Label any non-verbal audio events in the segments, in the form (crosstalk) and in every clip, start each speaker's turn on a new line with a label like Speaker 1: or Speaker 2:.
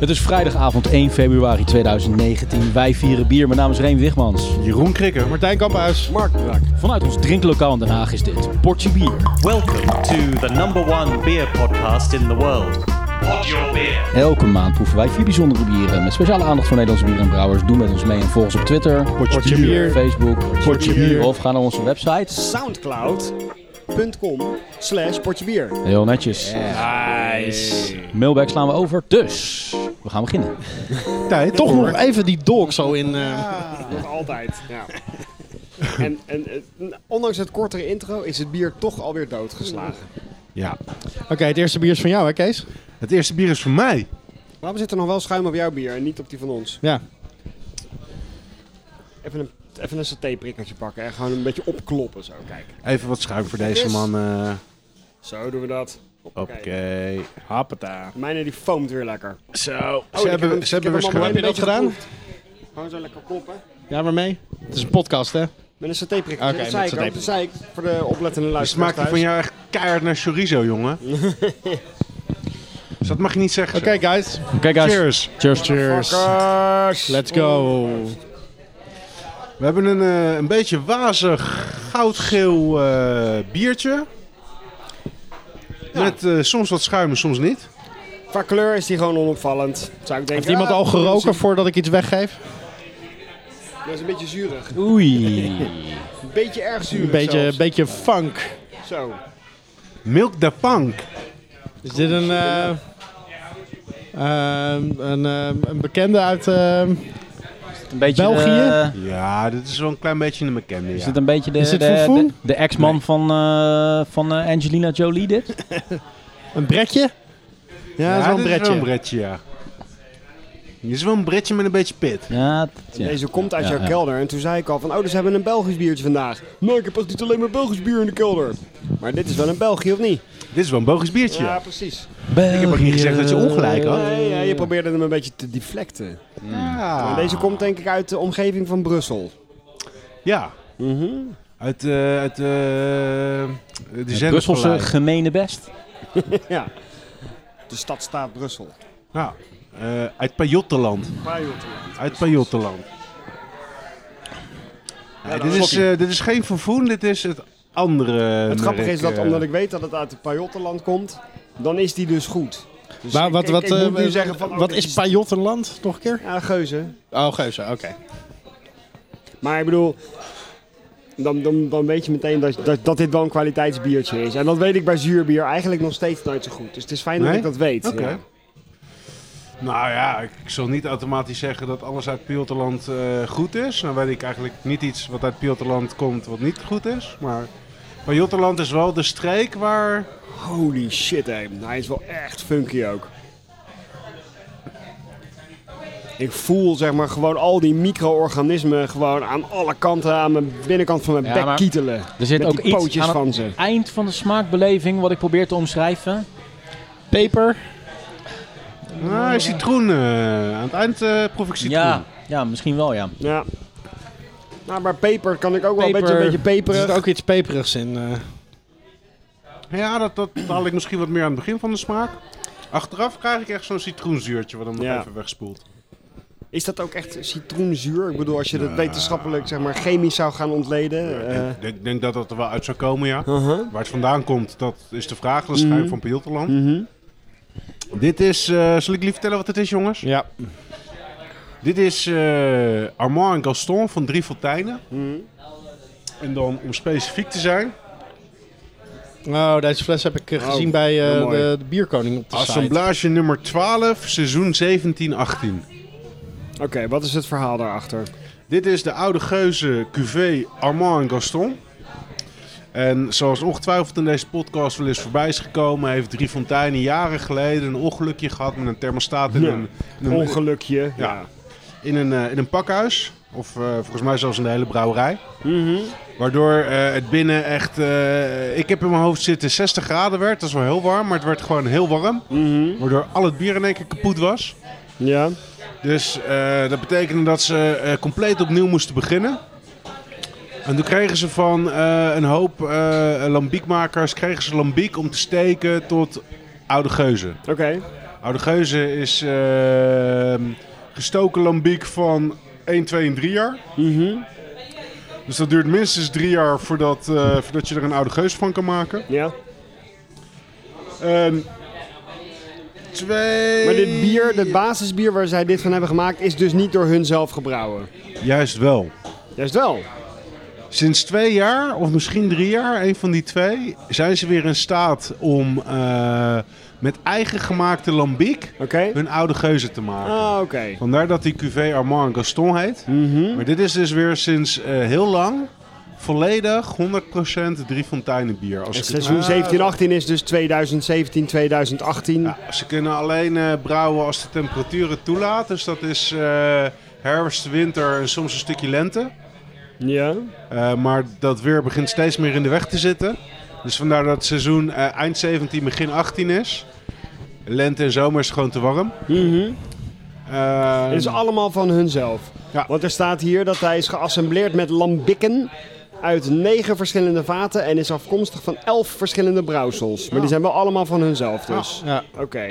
Speaker 1: Het is vrijdagavond 1 februari 2019. Wij vieren bier. Mijn naam is Reen Wigmans.
Speaker 2: Jeroen Krikker, Martijn Kamphuis, Mark Draak.
Speaker 1: Vanuit ons drinklokaal in Den Haag is dit Portje Bier.
Speaker 3: Welcome to the number one beer podcast in the world. Pod Your Beer.
Speaker 1: Elke maand proeven wij vier bijzondere bieren. Met speciale aandacht voor Nederlandse bieren en brouwers. Doe met ons mee en volg ons op Twitter,
Speaker 2: Potje bier.
Speaker 1: Facebook,
Speaker 2: Potje bier.
Speaker 1: Of ga naar onze website.
Speaker 4: soundcloud.com slash potjebier.
Speaker 1: Heel netjes. Nice. Mailback slaan we over. Dus, we gaan beginnen.
Speaker 2: Tijd
Speaker 5: Toch
Speaker 2: voor-
Speaker 5: nog even die dog zo in. eh,
Speaker 4: Nog altijd, ja. (laughs) En, en eh, ondanks het kortere intro is het bier toch alweer doodgeslagen.
Speaker 2: Ja.
Speaker 5: Oké, het eerste bier is van jou, hè, Kees?
Speaker 2: Het eerste bier is van mij.
Speaker 4: Waarom zit er nog wel schuim op jouw bier en niet op die van ons?
Speaker 5: Ja.
Speaker 4: Even een, even een satéprikkertje pakken en gewoon een beetje opkloppen zo, kijk.
Speaker 2: Even wat schuim voor deze man. eh.
Speaker 4: Zo doen we dat.
Speaker 2: Oké.
Speaker 4: Hoppakee. Mijne die foomt weer lekker. Oh,
Speaker 2: Zo.
Speaker 4: ik
Speaker 2: ze hebben,
Speaker 4: heb hem-
Speaker 2: ze hebben
Speaker 4: ik hem
Speaker 2: weer
Speaker 4: allemaal
Speaker 2: schuim.
Speaker 4: een beetje
Speaker 5: gedaan?
Speaker 4: geproefd. Gewoon zo lekker kloppen.
Speaker 5: Ja, waarmee? Het is een podcast, hè?
Speaker 4: Met een satéprikkertje.
Speaker 5: Oké,
Speaker 4: dat zei
Speaker 5: met Dus
Speaker 4: ik ook. Dat zei ik voor de oplettende
Speaker 2: Het
Speaker 4: luisteraars
Speaker 2: smaakt van
Speaker 4: thuis.
Speaker 2: jou echt keihard naar chorizo,
Speaker 5: (laughs)
Speaker 2: jongen. dus dat mag je niet zeggen.
Speaker 5: Oké, guys.
Speaker 1: Oké guys.
Speaker 2: Cheers.
Speaker 1: Cheers.
Speaker 5: Cheers. Let's go.
Speaker 2: We hebben een, eh, een beetje wazig goudgeel eh, biertje. Met eh, soms wat schuim en soms niet.
Speaker 4: Qua kleur is die gewoon onopvallend. Zou ik denken,
Speaker 5: Heeft iemand
Speaker 4: ah,
Speaker 5: al geroken voordat ik iets weggeef?
Speaker 4: Dat is een beetje zuurig.
Speaker 1: Oei.
Speaker 4: Een beetje erg zuurig
Speaker 5: Een beetje,
Speaker 4: zelfs.
Speaker 5: beetje funk.
Speaker 4: Zo.
Speaker 2: Milk da Punk.
Speaker 5: Is dit een. eh, ehm, een, ehm, een bekende uit. ehm,
Speaker 1: Een beetje
Speaker 5: België?
Speaker 1: de-
Speaker 2: Ja, dit is wel een klein beetje een bekende.
Speaker 1: is
Speaker 2: Ja.
Speaker 1: dit een beetje de,
Speaker 5: Is dit
Speaker 1: de,
Speaker 5: Fofoen?
Speaker 1: de, de ex-man van, eh, van eh, Angelina Jolie dit?
Speaker 5: een bretje? Ja, dat is wel een
Speaker 2: dit
Speaker 5: bretje.
Speaker 2: een bretje, ja. Dit is wel een bretje met een beetje pit.
Speaker 1: Ja, dat- ja.
Speaker 4: Deze komt uit
Speaker 1: Ja,
Speaker 4: jouw
Speaker 1: ja.
Speaker 4: kelder. En toen zei ik al van, oh, dus hebben we een Belgisch biertje vandaag. Nou, ik heb echt niet alleen maar Belgisch bier in de kelder. Maar dit is wel een België, of niet?
Speaker 2: Dit is wel een Belgisch biertje.
Speaker 4: Ja, precies.
Speaker 1: België.
Speaker 2: Ik heb ook niet gezegd dat je ongelijk had.
Speaker 4: Nee, Oh, ja, je probeerde hem een beetje te deflecten.
Speaker 2: Eh. Ja.
Speaker 4: Maar Deze komt denk ik uit de omgeving van
Speaker 2: (laughs)
Speaker 4: Brussel.
Speaker 2: Ja.
Speaker 4: Mhm.
Speaker 2: Uit, eh uit eh, de
Speaker 1: Het Brusselse
Speaker 2: zendersvallei.
Speaker 1: gemene best.
Speaker 4: ja. De stadstaat Brussel.
Speaker 2: Ja. Eh, uit Pajottenland. Uit Pajottenland. Nee, dit, is, eh, dit is geen vervoen, dit is het andere.
Speaker 4: Het grappige
Speaker 2: merk,
Speaker 4: is dat
Speaker 2: eh.
Speaker 4: omdat ik weet dat het uit het Pajottenland komt, dan is die dus goed. Dus
Speaker 5: Maar
Speaker 4: ik-
Speaker 5: wat,
Speaker 4: ik-
Speaker 5: wat,
Speaker 4: ik moet
Speaker 5: eh,
Speaker 4: nu zeggen van, oh,
Speaker 5: wat
Speaker 4: dit
Speaker 5: is Pajottenland? Nog een keer?
Speaker 4: Ja, geuzen.
Speaker 5: Oh, geuze, oké.
Speaker 4: Maar ik bedoel, dan, dan, dan weet je meteen dat, dat, dat dit wel een kwaliteitsbiertje is. En dat weet ik bij zuurbier eigenlijk nog steeds nooit zo goed. Dus het is fijn dat
Speaker 2: Nee?
Speaker 4: ik dat weet.
Speaker 2: Oké.
Speaker 4: ja.
Speaker 2: Nou ja, ik zal niet automatisch zeggen dat alles uit Pajottenland eh, goed is. Dan weet ik eigenlijk niet iets wat uit Pajottenland komt wat niet goed is. Maar Pajottenland is wel de streek waar...
Speaker 4: Holy shit, hé. Nou, Hij is wel echt funky ook. Ik voel zeg maar gewoon al die micro-organismen gewoon aan alle kanten aan mijn binnenkant van mijn
Speaker 1: Ja,
Speaker 4: bek
Speaker 1: maar
Speaker 4: kietelen.
Speaker 1: Er zit
Speaker 4: Met
Speaker 1: ook
Speaker 4: die
Speaker 1: iets
Speaker 4: pootjes
Speaker 1: aan
Speaker 4: van
Speaker 1: het
Speaker 4: ze.
Speaker 1: eind van de smaakbeleving wat ik probeer te omschrijven.
Speaker 5: Peper?
Speaker 2: Nou, citroen. eh, aan het eind eh, proef ik citroen.
Speaker 1: Ja, ja, misschien wel ja.
Speaker 4: Ja. Nou, maar peper kan ik ook wel een beetje,
Speaker 5: Peper.
Speaker 4: een beetje
Speaker 5: Er
Speaker 4: peperig.
Speaker 5: zit ook iets peperigs in. eh.
Speaker 2: Ja, dat, dat haal ik misschien wat meer aan het begin van de smaak. Achteraf krijg ik echt zo'n citroenzuurtje wat hem nog
Speaker 4: Ja.
Speaker 2: even wegspoelt.
Speaker 4: Is dat ook echt citroenzuur? Ik bedoel, als je dat wetenschappelijk, zeg maar, chemisch zou gaan ontleden. eh,
Speaker 2: Ik denk, denk dat dat er wel uit zou komen, ja.
Speaker 4: uh-huh.
Speaker 2: Waar het vandaan komt, dat is de vraag. Dat is het geheim van Pajottenland. Dit is... eh, zal ik lief vertellen wat het is, jongens?
Speaker 5: Ja.
Speaker 2: Dit is eh, Armand en Gaston van Drie Fonteinen. En dan, om specifiek te zijn,
Speaker 5: Oh, deze fles heb ik eh, gezien
Speaker 4: Oh,
Speaker 5: bij eh,
Speaker 4: heel mooi.
Speaker 5: de, de bierkoning op de site.
Speaker 2: assemblage nummer 12, seizoen 17-18.
Speaker 4: Oké, wat is het verhaal daarachter?
Speaker 2: Dit is de oude geuze cuvée Armand en Gaston. En zoals ongetwijfeld in deze podcast wel eens voorbij is gekomen, heeft Drie Fonteinen jaren geleden een ongelukje gehad met een thermostaat in
Speaker 4: Ja.
Speaker 2: een, in een,
Speaker 4: Ongelukje.
Speaker 2: Ja. in een, eh, in een pakhuis. Of eh, volgens mij zelfs in de hele brouwerij. Waardoor eh, het binnen echt. eh, ik heb in mijn hoofd zitten 60 graden werd. Dat is wel heel warm, maar het werd gewoon heel warm. Waardoor al het bier in één keer kapot was.
Speaker 4: Ja.
Speaker 2: Dus eh, dat betekende dat ze eh, compleet opnieuw moesten beginnen. En toen kregen ze van eh, een hoop eh, lambiekmakers kregen ze lambiek om te steken tot oude geuzen.
Speaker 4: Oké.
Speaker 2: Oude Geuze is eh, gestoken lambiek van 1, 2 en 3 jaar.
Speaker 4: Mhm.
Speaker 2: Dus dat duurt minstens drie jaar voordat, eh, voordat je er een oude geus van kan maken.
Speaker 4: Ja.
Speaker 2: Ehm, twee...
Speaker 4: Maar dit bier, dat basisbier waar zij dit van hebben gemaakt, is dus niet door hun zelf gebrouwen.
Speaker 2: Juist wel.
Speaker 4: Juist wel.
Speaker 2: Sinds twee jaar, of misschien drie jaar, een van die twee, zijn ze weer in staat om eh, met eigen gemaakte lambiek
Speaker 4: Oké.
Speaker 2: hun oude geuzen te maken.
Speaker 4: Ah, oké.
Speaker 2: Vandaar dat die cuvée Armand en Gaston heet.
Speaker 4: Mhm.
Speaker 2: Maar dit is dus weer sinds eh, heel lang volledig 100% Drie Fonteinen bier. Als
Speaker 4: Het
Speaker 2: ik het-
Speaker 4: seizoen 17-18 is dus 2017, 2018.
Speaker 2: Ja, ze kunnen alleen eh, brouwen als de temperatuur het toelaat. Dus dat is eh, herfst, winter en soms een stukje lente.
Speaker 4: Ja.
Speaker 2: Eh, maar dat weer begint steeds meer in de weg te zitten. Dus vandaar dat het seizoen eh, eind 17, begin 18 is. Lente en zomer is gewoon te warm.
Speaker 4: Mhm.
Speaker 2: Eh,
Speaker 4: Het is allemaal van hunzelf.
Speaker 2: Ja.
Speaker 4: Want er staat hier dat hij is geassembleerd met lambikken uit negen verschillende vaten en is afkomstig van elf verschillende brouwsels. Maar die zijn wel allemaal van hunzelf dus.
Speaker 5: Ja.
Speaker 4: Oké.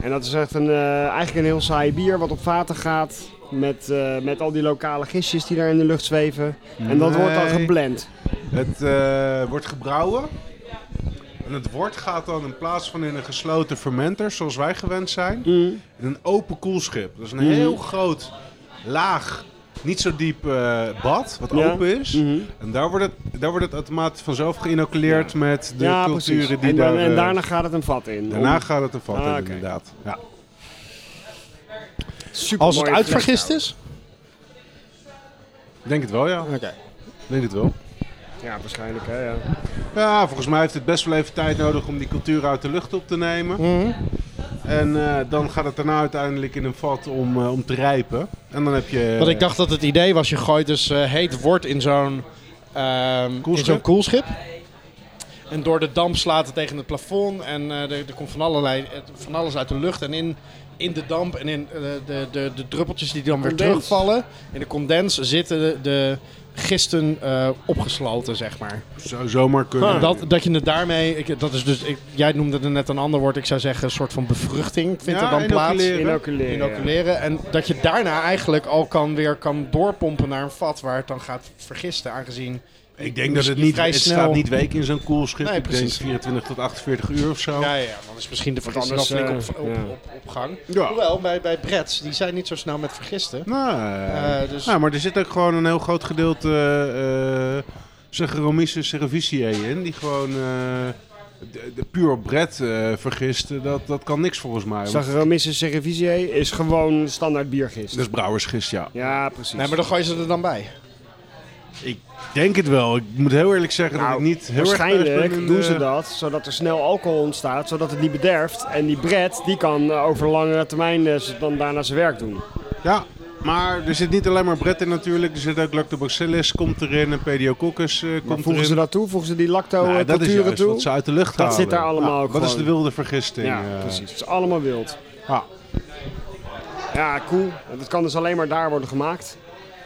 Speaker 4: En dat is echt een, eh, eigenlijk een heel saai bier wat op vaten gaat met, eh, met al die lokale gistjes die daar in de lucht zweven. En dat wordt dan
Speaker 2: Nee.
Speaker 4: geblend.
Speaker 2: Het eh, wordt gebrouwen. En het wort gaat dan in plaats van in een gesloten fermenter, zoals wij gewend
Speaker 4: Mhm.
Speaker 2: zijn, in een open koelschip. Dat is een heel groot, laag, niet zo diep eh, bad, wat
Speaker 4: Ja.
Speaker 2: open is.
Speaker 4: Mhm.
Speaker 2: En daar wordt, het, daar wordt het automatisch vanzelf geïnoculeerd met de
Speaker 4: ja,
Speaker 2: culturen
Speaker 4: precies.
Speaker 2: die
Speaker 4: en, dan,
Speaker 2: daar...
Speaker 4: en
Speaker 2: eh,
Speaker 4: daarna gaat het een vat in.
Speaker 2: daarna gaat het ervan
Speaker 4: Ah,
Speaker 2: in,
Speaker 4: oké.
Speaker 2: inderdaad. Ja.
Speaker 4: Super
Speaker 5: Als het uitvergist is?
Speaker 2: Ik Denk het wel, ja.
Speaker 5: Oké.
Speaker 2: Ik Denk het wel.
Speaker 4: Ja, waarschijnlijk hè. Ja.
Speaker 2: Ja, volgens mij heeft het best wel even tijd nodig om die cultuur uit de lucht op te nemen.
Speaker 5: Mhm.
Speaker 2: En eh, dan gaat het daarna uiteindelijk in een vat om, eh, om te rijpen. En dan heb je...
Speaker 5: Want ik dacht dat het idee was, je gooit dus eh, heet wort in zo'n ehm, in
Speaker 2: Koelschip?
Speaker 5: zo'n koelschip. En door de damp slaat het tegen het plafond en eh, er, er komt van, allerlei, het- van alles uit de lucht. En in, in de damp en in eh, de, de, de druppeltjes die dan weer
Speaker 4: Condens.
Speaker 5: terugvallen, in de condens zitten de, de gisten eh, opgesloten, zeg maar.
Speaker 2: Zou zomaar kunnen.
Speaker 5: Dat, dat je het daarmee, ik, dat is dus, ik, jij noemde er net een ander woord, ik zou zeggen een soort van bevruchting vindt
Speaker 2: Ja,
Speaker 5: er dan plaats
Speaker 2: inoculeren.
Speaker 4: Inoculeren. ja.
Speaker 5: inoculeren. En dat je daarna eigenlijk al kan weer kan doorpompen naar een vat waar het dan gaat vergisten. Aangezien.
Speaker 2: Ik denk dat het
Speaker 5: Misschien
Speaker 2: niet...
Speaker 5: vrij
Speaker 2: Het
Speaker 5: snel-
Speaker 2: staat niet week in zo'n koelschip.
Speaker 5: Nee,
Speaker 2: ik denk
Speaker 5: precies.
Speaker 2: 24 tot 48 uur of zo.
Speaker 5: Ja, ja, ja, dan is misschien de vergissing al
Speaker 4: Anders,
Speaker 5: flink
Speaker 4: eh,
Speaker 5: op, op,
Speaker 4: ja.
Speaker 5: op, op gang.
Speaker 2: Ja.
Speaker 5: Hoewel, bij, bij Brets, die zijn niet zo snel met vergisten.
Speaker 2: Nou, eh,
Speaker 5: Eh, dus-
Speaker 2: nou, maar er zit ook gewoon een heel groot gedeelte eh, eh Saccharomyces cerevisiae in. Die gewoon eh, de, de puur op bret eh, vergist. Eh, Dat, dat kan niks volgens mij. want
Speaker 4: Saccharomyces cerevisiae is gewoon standaard biergist.
Speaker 2: Dat is brouwersgist, ja.
Speaker 4: Ja, precies.
Speaker 5: Nee, maar dan gooi je ze er dan bij.
Speaker 2: Ik denk het wel. Ik moet heel eerlijk zeggen dat
Speaker 4: Nou,
Speaker 2: ik niet heel erg thuis
Speaker 4: Waarschijnlijk
Speaker 2: ben in eh,
Speaker 4: doen
Speaker 2: de-
Speaker 4: ze dat, zodat er snel alcohol ontstaat, zodat het niet bederft. En die bret, die kan eh, over langere termijn eh, z- dan daarna zijn werk doen.
Speaker 2: Ja, maar er zit niet alleen maar Brett in natuurlijk. Er zit ook Lactobacillus komt erin en Pediococcus eh,
Speaker 4: Maar
Speaker 2: komt
Speaker 4: voegen ze
Speaker 2: erin.
Speaker 4: dat toe? Voegen ze die
Speaker 2: Nou, dat is
Speaker 4: lacto-culturen
Speaker 2: juist
Speaker 4: toe?
Speaker 2: wat ze uit de lucht
Speaker 4: Dat
Speaker 2: halen.
Speaker 4: zit daar allemaal
Speaker 2: Nou,
Speaker 4: ook
Speaker 2: Dat is de
Speaker 4: gewoon.
Speaker 2: wilde vergisting.
Speaker 4: ja,
Speaker 2: eh.
Speaker 4: precies. Het is allemaal wild.
Speaker 2: Ah.
Speaker 4: Ja, cool. En Dat kan dus alleen maar daar worden gemaakt.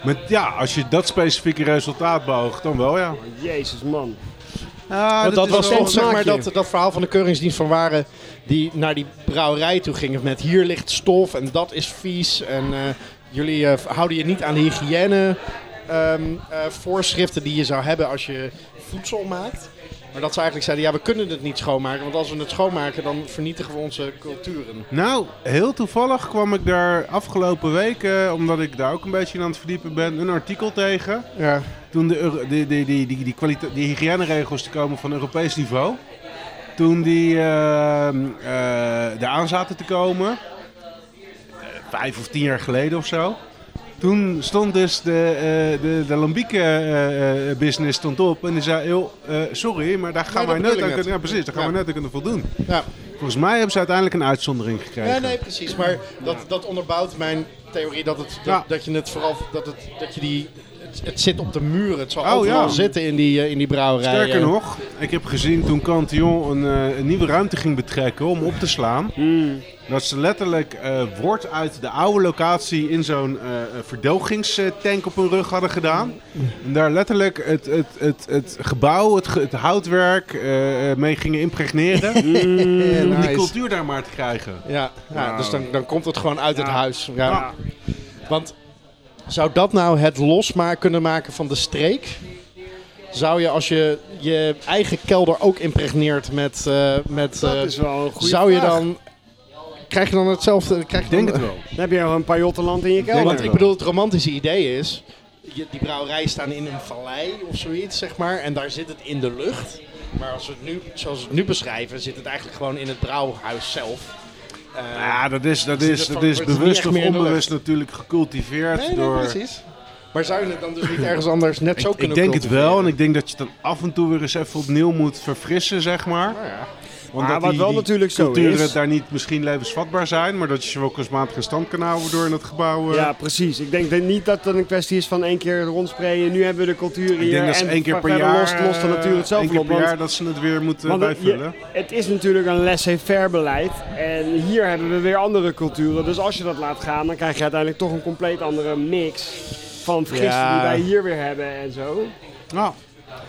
Speaker 2: Met, ja, als je dat specifieke resultaat beoogt, dan wel ja.
Speaker 4: Jezus, man.
Speaker 2: Eh,
Speaker 5: Want dat, was
Speaker 4: wel
Speaker 5: soms
Speaker 4: een
Speaker 5: zeg maar
Speaker 4: smaakje.
Speaker 5: dat, dat verhaal van de keuringsdienst van waren die naar die brouwerij toe gingen met hier ligt stof en dat is vies en eh, jullie eh, houden je niet aan de hygiëne ehm, eh, voorschriften die je zou hebben als je voedsel maakt. Maar dat ze eigenlijk zeiden, ja we kunnen het niet schoonmaken, want als we het schoonmaken dan vernietigen we onze culturen.
Speaker 2: Nou, heel toevallig kwam ik daar afgelopen week, eh, omdat ik daar ook een beetje in aan het verdiepen ben, een artikel tegen.
Speaker 5: Ja.
Speaker 2: Toen de, Euro- die, die, die, die, die, kwalite- die hygiëneregels die komen van Europees niveau. Toen die eh, eh, eraan zaten te komen. eh, vijf of tien jaar geleden of zo. Toen stond dus de, eh de, de lambieke eh, eh, business stond op. En die zei, joh, eh, sorry, maar daar gaan
Speaker 5: Nee, dat
Speaker 2: wij nooit
Speaker 5: bedoel
Speaker 2: aan
Speaker 5: ik net.
Speaker 2: kunnen... Ja, precies, daar gaan
Speaker 5: Ja.
Speaker 2: wij nooit aan kunnen voldoen.
Speaker 5: ja.
Speaker 2: Volgens mij hebben ze uiteindelijk een uitzondering gekregen.
Speaker 5: Ja, nee, precies. Maar dat, dat onderbouwt mijn theorie dat, het, dat,
Speaker 2: Ja.
Speaker 5: dat je het vooral dat, het, dat je die, het het, het zit op de muren. Het zal
Speaker 2: Oh,
Speaker 5: overal
Speaker 2: ja.
Speaker 5: zitten in die, eh, in die brouwerij.
Speaker 2: Sterker
Speaker 5: Eh,
Speaker 2: nog, ik heb gezien toen Cantillon een, eh, een nieuwe ruimte ging betrekken om op te slaan. Dat ze letterlijk eh wort uit de oude locatie in zo'n eh, verdelgingstank op hun rug hadden gedaan. En daar letterlijk het, het, het, het gebouw, het, ge- het houtwerk eh, eh, mee gingen (laughs) impregneren.
Speaker 5: eh,
Speaker 2: om
Speaker 5: nice.
Speaker 2: die cultuur daar maar te krijgen.
Speaker 5: Ja, ja
Speaker 4: Nou.
Speaker 2: Wauw.
Speaker 5: dus dan, dan komt het gewoon uit het
Speaker 4: Ja.
Speaker 5: huis. Ja. Want zou dat nou het losmaak kunnen maken van de streek? Zou je als je je eigen kelder ook impregneert met... eh, met eh,
Speaker 4: Dat is wel een goede
Speaker 5: zou je
Speaker 4: vraag.
Speaker 5: dan... Krijg je dan hetzelfde? Krijg je
Speaker 2: Ik denk
Speaker 5: dan,
Speaker 2: het wel.
Speaker 4: Dan heb je wel een paar jottenland in je
Speaker 2: denk
Speaker 4: kelder.
Speaker 5: Want ik bedoel, het romantische idee is... je- die brouwerijen staan in een vallei of zoiets, zeg maar. En daar zit het in de lucht. Maar als we het nu, zoals we het nu beschrijven, zit het eigenlijk gewoon in het brouwhuis zelf. Eh,
Speaker 2: Ja, dat is, dat
Speaker 5: Dus
Speaker 2: is,
Speaker 5: dat
Speaker 2: dat is
Speaker 5: wordt niet echt
Speaker 2: bewust of
Speaker 5: meer in de
Speaker 2: onbewust natuurlijk gecultiveerd
Speaker 5: nee, nee,
Speaker 2: door...
Speaker 5: precies. Maar zou je het dan
Speaker 2: (laughs)
Speaker 5: dus niet ergens anders net zo
Speaker 2: Ik, ik
Speaker 5: kunnen
Speaker 2: denk het wel en
Speaker 5: cultiveren?
Speaker 2: ik denk dat je het dan af en toe weer eens even opnieuw moet verfrissen, zeg maar.
Speaker 5: Nou ja.
Speaker 2: Want
Speaker 4: Maar
Speaker 2: dat
Speaker 4: wat
Speaker 2: die,
Speaker 4: wel
Speaker 2: die
Speaker 4: natuurlijk zo
Speaker 2: culturen
Speaker 4: is-
Speaker 2: daar niet misschien levensvatbaar zijn, maar dat je ze wel kunstmatig in stand kan houden door in het gebouw. eh,
Speaker 4: Ja, precies. Ik denk dat niet dat het een kwestie is van één keer rondsprayen. Nu hebben we de cultuur hier.
Speaker 2: ik denk dat ze
Speaker 4: en
Speaker 2: één keer
Speaker 4: ver-
Speaker 2: per
Speaker 4: verder
Speaker 2: jaar,
Speaker 4: Lost, lost de natuur het
Speaker 2: eh, één
Speaker 4: zelf
Speaker 2: keer
Speaker 4: op.
Speaker 2: per
Speaker 4: Want
Speaker 2: jaar dat ze het weer moeten
Speaker 4: Want het-
Speaker 2: bijvullen.
Speaker 4: je- het is natuurlijk een laissez-faire beleid. En hier hebben we weer andere culturen. Dus als je dat laat gaan, dan krijg je uiteindelijk toch een compleet andere mix. Van vergisten
Speaker 5: Ja.
Speaker 4: die wij hier weer hebben en zo.
Speaker 2: Nou,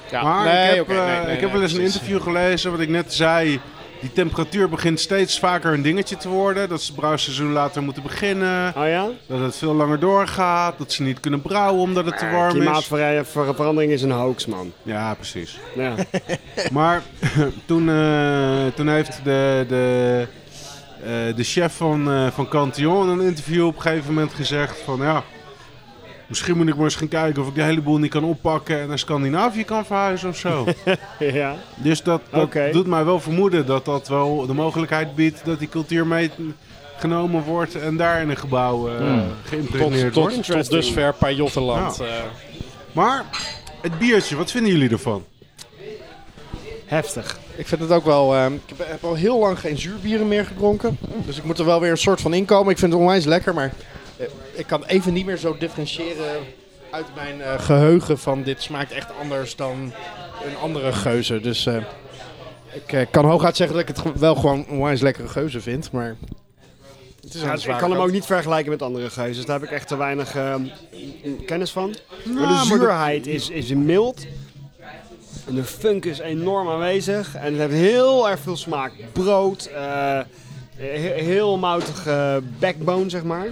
Speaker 4: Ah,
Speaker 5: Ja,
Speaker 2: maar ik
Speaker 5: nee,
Speaker 2: heb,
Speaker 5: oké,
Speaker 2: eh,
Speaker 5: nee, nee,
Speaker 2: ik heb
Speaker 5: nee,
Speaker 2: wel eens een
Speaker 5: precies.
Speaker 2: interview gelezen, wat ik net zei. Die temperatuur begint steeds vaker een dingetje te worden. Dat ze het brouwseizoen later moeten beginnen.
Speaker 4: Oh ja?
Speaker 2: Dat het veel langer doorgaat. Dat ze niet kunnen brouwen omdat het te warm is.
Speaker 4: Klimaatverandering is een hoax, man.
Speaker 2: Ja, precies.
Speaker 4: Ja.
Speaker 2: (laughs) Maar (laughs) toen, eh, toen heeft de, de, eh, de chef van, eh van Cantillon in een interview op een gegeven moment gezegd van ja, misschien moet ik maar eens gaan kijken of ik de hele boel niet kan oppakken en naar Scandinavië kan verhuizen of
Speaker 5: (laughs)
Speaker 2: zo.
Speaker 4: ja.
Speaker 2: dus dat, dat
Speaker 4: Oké.
Speaker 2: doet mij wel vermoeden dat dat wel de mogelijkheid biedt dat die cultuur meegenomen wordt en daar in een gebouw eh geïmpregneerd
Speaker 5: Hmm.
Speaker 2: wordt.
Speaker 5: tot, tot, tot dus-
Speaker 4: Interesting.
Speaker 5: dusver Pajottenland.
Speaker 2: Nou.
Speaker 5: eh
Speaker 2: Maar het biertje, wat vinden jullie ervan?
Speaker 4: Heftig.
Speaker 5: ik vind het ook wel. ehm, ik heb, heb al heel lang geen zuurbieren meer gedronken. Dus ik moet er wel weer een soort van inkomen. Ik vind het onwijs lekker, maar eh, ik kan even niet meer zo differentiëren uit mijn eh, geheugen van dit smaakt echt anders dan een andere geuze. Dus eh, ik eh, kan hooguit zeggen dat ik het ge- wel gewoon een onwijs lekkere geuze vind, maar. Het is
Speaker 4: Ja,
Speaker 5: een
Speaker 4: ik
Speaker 5: zwaar
Speaker 4: kan hem
Speaker 5: koud.
Speaker 4: ook niet vergelijken met andere geuzes. Daar heb ik echt te weinig ehm, kennis van.
Speaker 2: Nou,
Speaker 4: Maar de
Speaker 2: maar dat-
Speaker 4: zuurheid is, is mild. En de funk is enorm aanwezig. En het heeft heel erg veel smaak. Brood. eh, he- heel moutige backbone, zeg maar.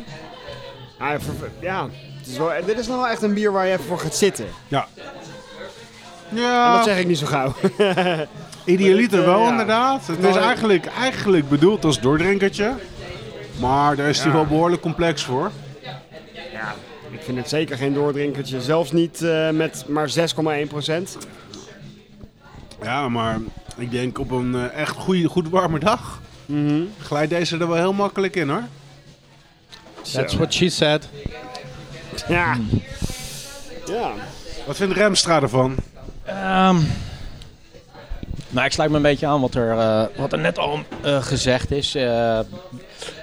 Speaker 4: Ja, ver- ja het is wel, dit is nou wel echt een bier waar je even voor gaat zitten.
Speaker 2: Ja.
Speaker 4: En
Speaker 2: Ja,
Speaker 4: dat zeg ik niet zo gauw. (laughs)
Speaker 2: Idealiter
Speaker 4: Maar dit, eh,
Speaker 2: wel,
Speaker 4: ja.
Speaker 2: inderdaad. Het
Speaker 4: Nou,
Speaker 2: is
Speaker 4: ja.
Speaker 2: eigenlijk, eigenlijk bedoeld als doordrinkertje. Maar daar is hij wel behoorlijk complex voor.
Speaker 4: ik vind het zeker geen doordrinkertje. Zelfs niet eh, met maar 6,1
Speaker 2: Ja, maar ik denk op een eh, echt goede, goed warme dag... glijdt deze er wel heel makkelijk in, hoor.
Speaker 5: That's what she said.
Speaker 4: Ja. Ja.
Speaker 2: Wat vindt Remstra ervan?
Speaker 1: Ehm, nou, ik sluit me een beetje aan wat er, eh, wat er net al eh, gezegd is. Eh,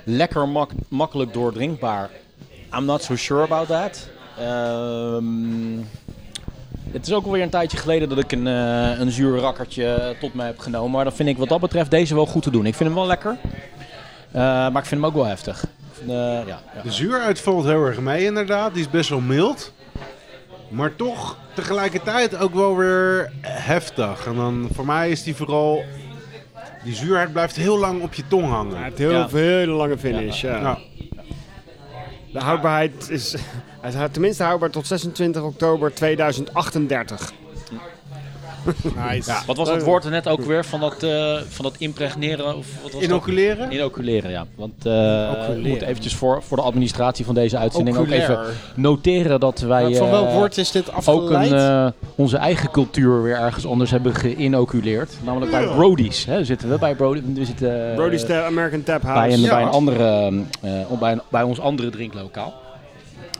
Speaker 1: lekker mak makkelijk doordrinkbaar. I'm not so sure about that. Ehm, het is ook alweer een tijdje geleden dat ik een, eh, een zuur rakkertje eh, tot mij heb genomen. Maar dan vind ik wat dat betreft deze wel goed te doen. Ik vind hem wel lekker. Eh, maar ik vind hem ook wel heftig. Ik vind, eh, ja, ja.
Speaker 2: De zuuruit valt heel erg mee, inderdaad. Die is best wel mild. Maar toch tegelijkertijd ook wel weer heftig. En dan voor mij is die vooral... Die zuurheid blijft heel lang op je tong
Speaker 4: Hij
Speaker 2: hangen.
Speaker 4: heeft heel
Speaker 1: Ja.
Speaker 4: veel hele lange finish. Ja.
Speaker 2: Ja.
Speaker 4: De houdbaarheid is hij is tenminste houdbaar tot 26 oktober 2038.
Speaker 5: Nice.
Speaker 1: Wat was dat woord er net ook weer van dat, eh, van dat impregneren? Of wat was dat?
Speaker 2: Inoculeren?
Speaker 1: Inoculeren, ja. Want eh, we moeten eventjes voor, voor de administratie van deze uitzending ook even
Speaker 5: Oculair.
Speaker 1: noteren dat wij
Speaker 5: Maar van
Speaker 1: eh,
Speaker 5: welk woord is dit
Speaker 1: ook
Speaker 5: afgeleid?
Speaker 1: een, eh, onze eigen cultuur weer ergens anders hebben geïnoculeerd. Namelijk bij Brody's. Hè. Zitten we bij Brody, we zitten eh,
Speaker 4: Brody's Tap- American Tap
Speaker 1: bij,
Speaker 4: House.
Speaker 1: een,
Speaker 2: Ja.
Speaker 1: bij, een andere, eh, eh, bij, een- bij ons andere drinklokaal.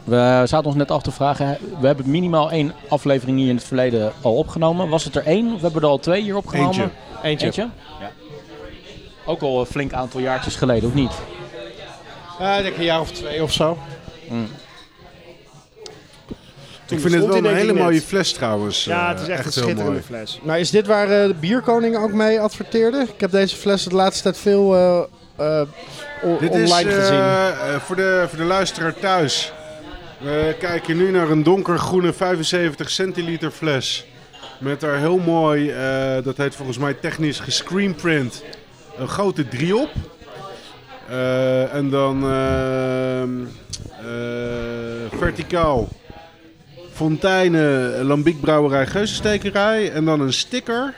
Speaker 1: We zaten ons net af te vragen, hè, we hebben minimaal één aflevering hier in het verleden al opgenomen. Was het er één of hebben we er al twee hier opgenomen?
Speaker 2: Eentje.
Speaker 5: Eentje.
Speaker 1: Eentje? Ja. Ook al een flink aantal jaartjes geleden, of niet?
Speaker 5: Eh, ik denk een jaar of twee of zo.
Speaker 4: toen
Speaker 2: Ik vind het
Speaker 4: bestond
Speaker 2: wel een
Speaker 4: in
Speaker 2: hele mooie
Speaker 4: 1900.
Speaker 2: fles trouwens.
Speaker 4: Ja,
Speaker 2: Eh,
Speaker 4: het is echt, een
Speaker 2: heel
Speaker 4: schitterende
Speaker 2: mooi.
Speaker 4: fles.
Speaker 5: Nou, is dit waar eh, de bierkoning ook mee adverteerde? Ik heb deze fles de laatste tijd veel eh, eh, o-
Speaker 2: Dit
Speaker 5: online
Speaker 2: is eh,
Speaker 5: gezien.
Speaker 2: eh, voor, de, voor de luisteraar thuis. We kijken nu naar een donkergroene 75 centiliter fles. Met daar heel mooi, eh, dat heet volgens mij technisch gescreenprint, een grote drie op. Eh, en dan ehm, eh, verticaal fonteinen, lambiek brouwerij, geuzenstekerij. En dan een sticker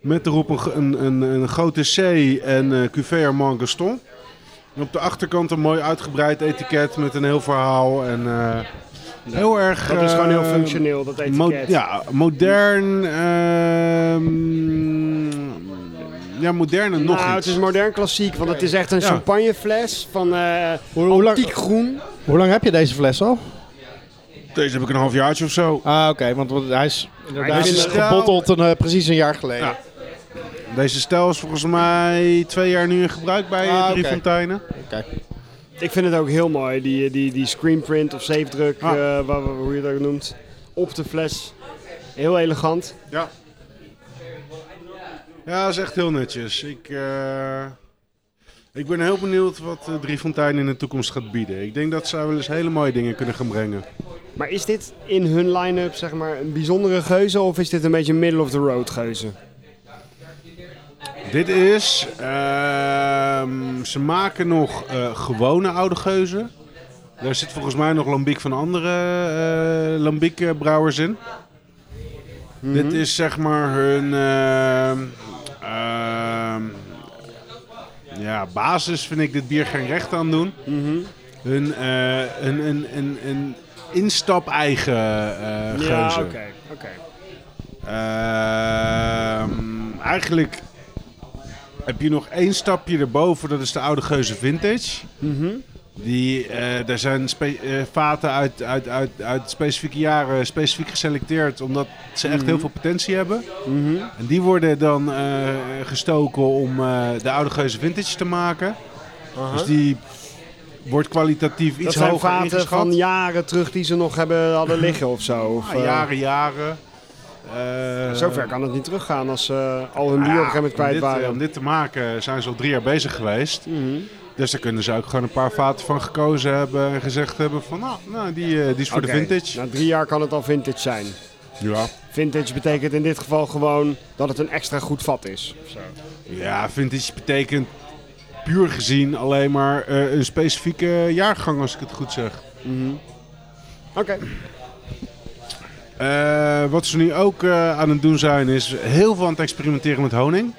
Speaker 2: met erop een, g- een, een, een grote C en eh cuvée Armand Gaston. En op de achterkant een mooi uitgebreid etiket met een heel verhaal. En eh, heel erg...
Speaker 4: Dat is gewoon heel
Speaker 2: eh,
Speaker 4: functioneel, dat etiket.
Speaker 2: mo- ja, modern... ehm, ja, modern en nog
Speaker 4: nou,
Speaker 2: iets.
Speaker 4: het is modern klassiek, want het is echt een
Speaker 2: Ja.
Speaker 4: champagnefles van eh
Speaker 5: Hoe, hoe lang,
Speaker 4: antiek groen.
Speaker 5: hoe lang heb je deze fles al?
Speaker 2: Deze heb ik een halfjaartje of zo.
Speaker 5: Ah, oké, want want hij is inderdaad
Speaker 4: Hij is
Speaker 5: eh,
Speaker 2: wel-
Speaker 5: gebotteld een, eh, precies een jaar geleden.
Speaker 2: Ja. Deze stijl is volgens mij twee jaar nu in gebruik bij eh,
Speaker 5: Ah, oké.
Speaker 2: Drie Fonteinen.
Speaker 4: Ik vind het ook heel mooi, die, die, die screenprint of zeefdruk,
Speaker 2: Ah.
Speaker 4: eh, wa- wa- hoe je dat ook noemt, op de fles. Heel elegant.
Speaker 2: Ja. Ja, dat is echt heel netjes. Ik, eh, ik ben heel benieuwd wat eh, Drie Fonteinen in de toekomst gaat bieden. Ik denk dat zij wel eens hele mooie dingen kunnen gaan brengen.
Speaker 4: Maar is dit in hun line-up zeg maar, een bijzondere geuze of is dit een beetje een middle-of-the-road geuze?
Speaker 2: Dit is. ehm, ze maken nog eh, gewone oude geuzen. Daar zit volgens mij nog lambiek van andere eh lambiek eh, brouwers in.
Speaker 4: Mhm.
Speaker 2: Dit is zeg maar hun. ehm, ehm, ja, basis vind ik dit bier geen recht aan doen.
Speaker 4: Mhm.
Speaker 2: Hun, eh een, een, een, een instap-eigen eh geuzen.
Speaker 4: Ja, oké. oké.
Speaker 2: Ehm, eigenlijk heb je nog één stapje erboven, dat is de oude geuze vintage.
Speaker 4: Mhm.
Speaker 2: Die, eh, daar zijn spe- eh, vaten uit, uit, uit, uit specifieke jaren specifiek geselecteerd, omdat ze echt
Speaker 4: Mhm.
Speaker 2: heel veel potentie hebben. En die worden dan eh, gestoken om eh, de oude geuze vintage te maken. Dus die wordt kwalitatief
Speaker 4: Dat
Speaker 2: iets
Speaker 4: zijn
Speaker 2: hoger
Speaker 4: vaten
Speaker 2: ingeschat.
Speaker 4: van jaren terug die ze nog hebben hadden liggen of zo. Of,
Speaker 2: Ja,
Speaker 4: eh,
Speaker 2: Ah, jaren, jaren. Eh,
Speaker 4: Zover kan het niet teruggaan als ze al hun bier
Speaker 2: Nou
Speaker 4: op
Speaker 2: ja,
Speaker 4: een gegeven moment
Speaker 2: om
Speaker 4: kwijt
Speaker 2: dit, eh,
Speaker 4: waren. Mhm.
Speaker 2: Om dit te maken zijn ze al drie jaar bezig geweest. Dus daar kunnen ze ook gewoon een paar vaten van gekozen hebben. En gezegd hebben van, nou, nou die, eh, die is voor
Speaker 4: Oké,
Speaker 2: de vintage.
Speaker 4: Na drie jaar kan het al vintage zijn.
Speaker 2: Ja.
Speaker 4: Vintage betekent in dit geval gewoon dat het een extra goed vat is. of zo.
Speaker 2: ja, vintage betekent puur gezien alleen maar eh, een specifieke jaargang, als ik het goed zeg.
Speaker 4: Oké.
Speaker 2: Eh, wat ze nu ook eh, aan het doen zijn, is heel veel aan het experimenteren met honing.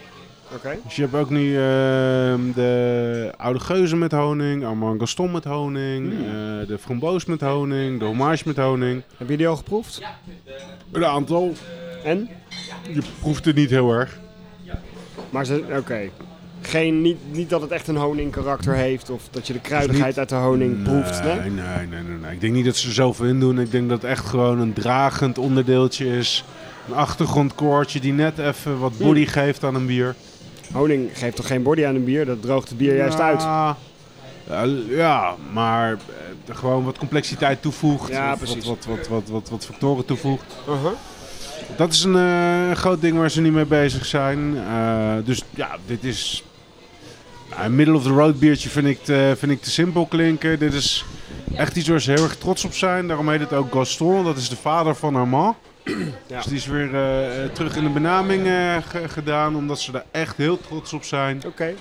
Speaker 4: Oké.
Speaker 2: Dus je hebt ook nu ehm, de Oude Geuze met honing, Armand Gaston met honing,
Speaker 4: Hmm.
Speaker 2: eh, de Framboos met honing, de Hommage met honing.
Speaker 4: Heb je die al geproefd?
Speaker 2: Een aantal.
Speaker 4: En?
Speaker 2: Je proeft het niet heel erg.
Speaker 4: Maar ze... Oké. Geen, niet, niet dat het echt een honingkarakter heeft of dat je de kruidigheid uit de honing proeft. Nee?
Speaker 2: Nee, nee, nee, nee, nee. Ik denk niet dat ze er zoveel in doen. Ik denk dat het echt gewoon een dragend onderdeeltje is. Een achtergrondkoortje die net even wat body geeft aan een bier.
Speaker 4: Honing geeft toch geen body aan een bier? Dat droogt het bier juist uit.
Speaker 2: Ja, eh, ja, maar eh, gewoon wat complexiteit toevoegt.
Speaker 4: Ja,
Speaker 2: Wat-
Speaker 4: precies.
Speaker 2: Wat, wat, wat, wat, wat, wat factoren toevoegt. Dat is een eh, groot ding waar ze nu mee bezig zijn. Eh, dus ja, dit is... nou, een middle-of-the-road biertje vind ik, te, vind ik te simpel klinken. Dit is echt iets waar ze heel erg trots op zijn. Daarom heet het ook Gaston. Dat is de vader van
Speaker 4: (clears throat)
Speaker 2: Armand. Dus die is weer eh, terug in de benaming eh, ge- gedaan. Omdat ze daar echt heel trots op zijn.
Speaker 4: Oké.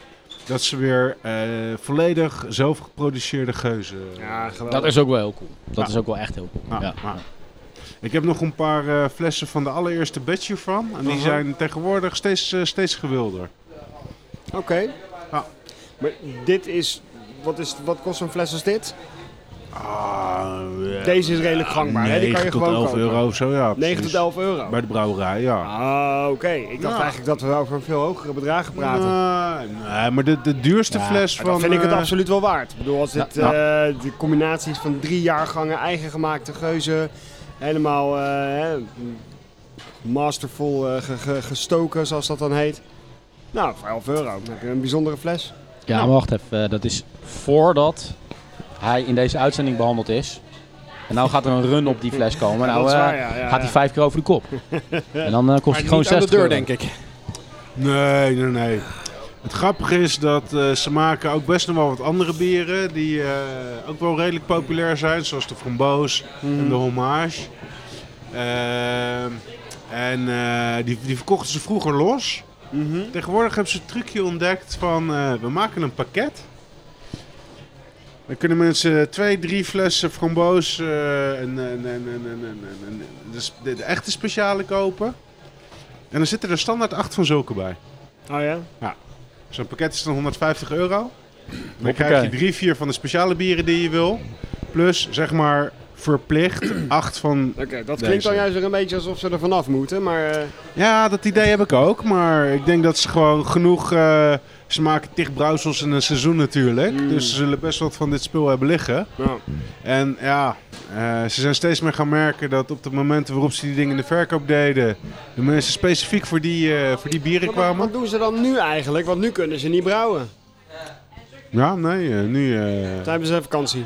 Speaker 2: Dat ze weer eh, volledig zelf geproduceerde geuzen...
Speaker 4: Ja, geweldig.
Speaker 1: Dat is ook wel heel cool. Dat
Speaker 2: Ja.
Speaker 1: is ook wel echt heel cool.
Speaker 2: Nou,
Speaker 1: ja.
Speaker 2: nou. Ik heb nog een paar eh, flessen van de allereerste batch hiervan. En die
Speaker 4: Aha.
Speaker 2: zijn tegenwoordig steeds, eh, steeds gewilder.
Speaker 4: Oké.
Speaker 2: Ja.
Speaker 4: Maar dit is... Wat, is, wat kost zo'n fles als dit?
Speaker 2: Ah, eh,
Speaker 4: Deze is redelijk gangbaar, hè? Die kan
Speaker 2: 9
Speaker 4: je
Speaker 2: tot
Speaker 4: gewoon
Speaker 2: 11
Speaker 4: kopen.
Speaker 2: euro of zo, ja.
Speaker 4: 9
Speaker 2: precies.
Speaker 4: tot 11 euro.
Speaker 2: Bij de brouwerij, ja.
Speaker 4: Ah, oké. Ik dacht
Speaker 2: Ja.
Speaker 4: eigenlijk dat we over veel hogere bedragen praten.
Speaker 2: Nee, nee, maar de, de duurste
Speaker 1: Ja,
Speaker 2: fles
Speaker 4: Maar
Speaker 2: van...
Speaker 4: dat vind ik het
Speaker 2: eh,
Speaker 4: absoluut wel waard. Ik bedoel, als dit
Speaker 1: Ja, nou.
Speaker 4: eh, de combinaties van drie jaargangen, eigen gemaakte geuzen, helemaal eh, hè, masterful eh, ge- ge- gestoken, zoals dat dan heet. Nou, voor 11 euro. Dan heb je een bijzondere fles.
Speaker 1: Ja, maar wacht even. eh, Dat is voordat hij in deze uitzending behandeld is. En nou gaat er een run op die fles komen.
Speaker 4: Ja,
Speaker 1: Nou
Speaker 4: dat is
Speaker 1: eh,
Speaker 4: waar, ja, ja,
Speaker 1: gaat
Speaker 4: ja.
Speaker 1: die vijf keer over de kop. en dan eh, kost
Speaker 5: Maar
Speaker 1: hij gewoon
Speaker 5: niet aan de
Speaker 1: 60
Speaker 5: deur,
Speaker 1: euro.
Speaker 5: denk ik.
Speaker 2: Nee, nee, nee. Het grappige is dat eh, ze maken ook best nog wel wat andere bieren die eh, ook wel redelijk populair zijn, zoals de framboos en de hommage. Ehm, en eh, die, die verkochten ze vroeger los. Tegenwoordig hebben ze een trucje ontdekt van eh, we maken een pakket. Dan kunnen mensen twee, drie flessen framboos eh, en, en, en, en, en, en, en- en de, de- de echte speciale kopen. En dan zitten er standaard acht van zulke bij.
Speaker 4: Oh ja?
Speaker 2: Zo'n pakket is dan 150 euro. Dan
Speaker 1: Hoppakee.
Speaker 2: krijg je drie, vier van de speciale bieren die je wil. Plus, zeg maar, verplicht (clears throat) acht van...
Speaker 4: Oké, dat
Speaker 2: Deze.
Speaker 4: klinkt dan juist weer een beetje alsof ze er vanaf moeten, maar... eh,
Speaker 2: Ja, dat idee heb ik ook. Maar ik denk dat ze gewoon genoeg... eh, ze maken tig brouwsels in een seizoen natuurlijk.
Speaker 4: Mm.
Speaker 2: Dus ze zullen best wat van dit spul hebben liggen.
Speaker 4: nou,
Speaker 2: En ja, eh, ze zijn steeds meer gaan merken dat op de momenten waarop ze die dingen in de verkoop deden... de mensen specifiek voor die, eh, voor die bieren
Speaker 4: wat,
Speaker 2: kwamen.
Speaker 4: wat doen ze dan nu eigenlijk? Want nu kunnen ze niet brouwen.
Speaker 2: Ja, nee, eh, nu... eh,
Speaker 4: Toen hebben ze vakantie.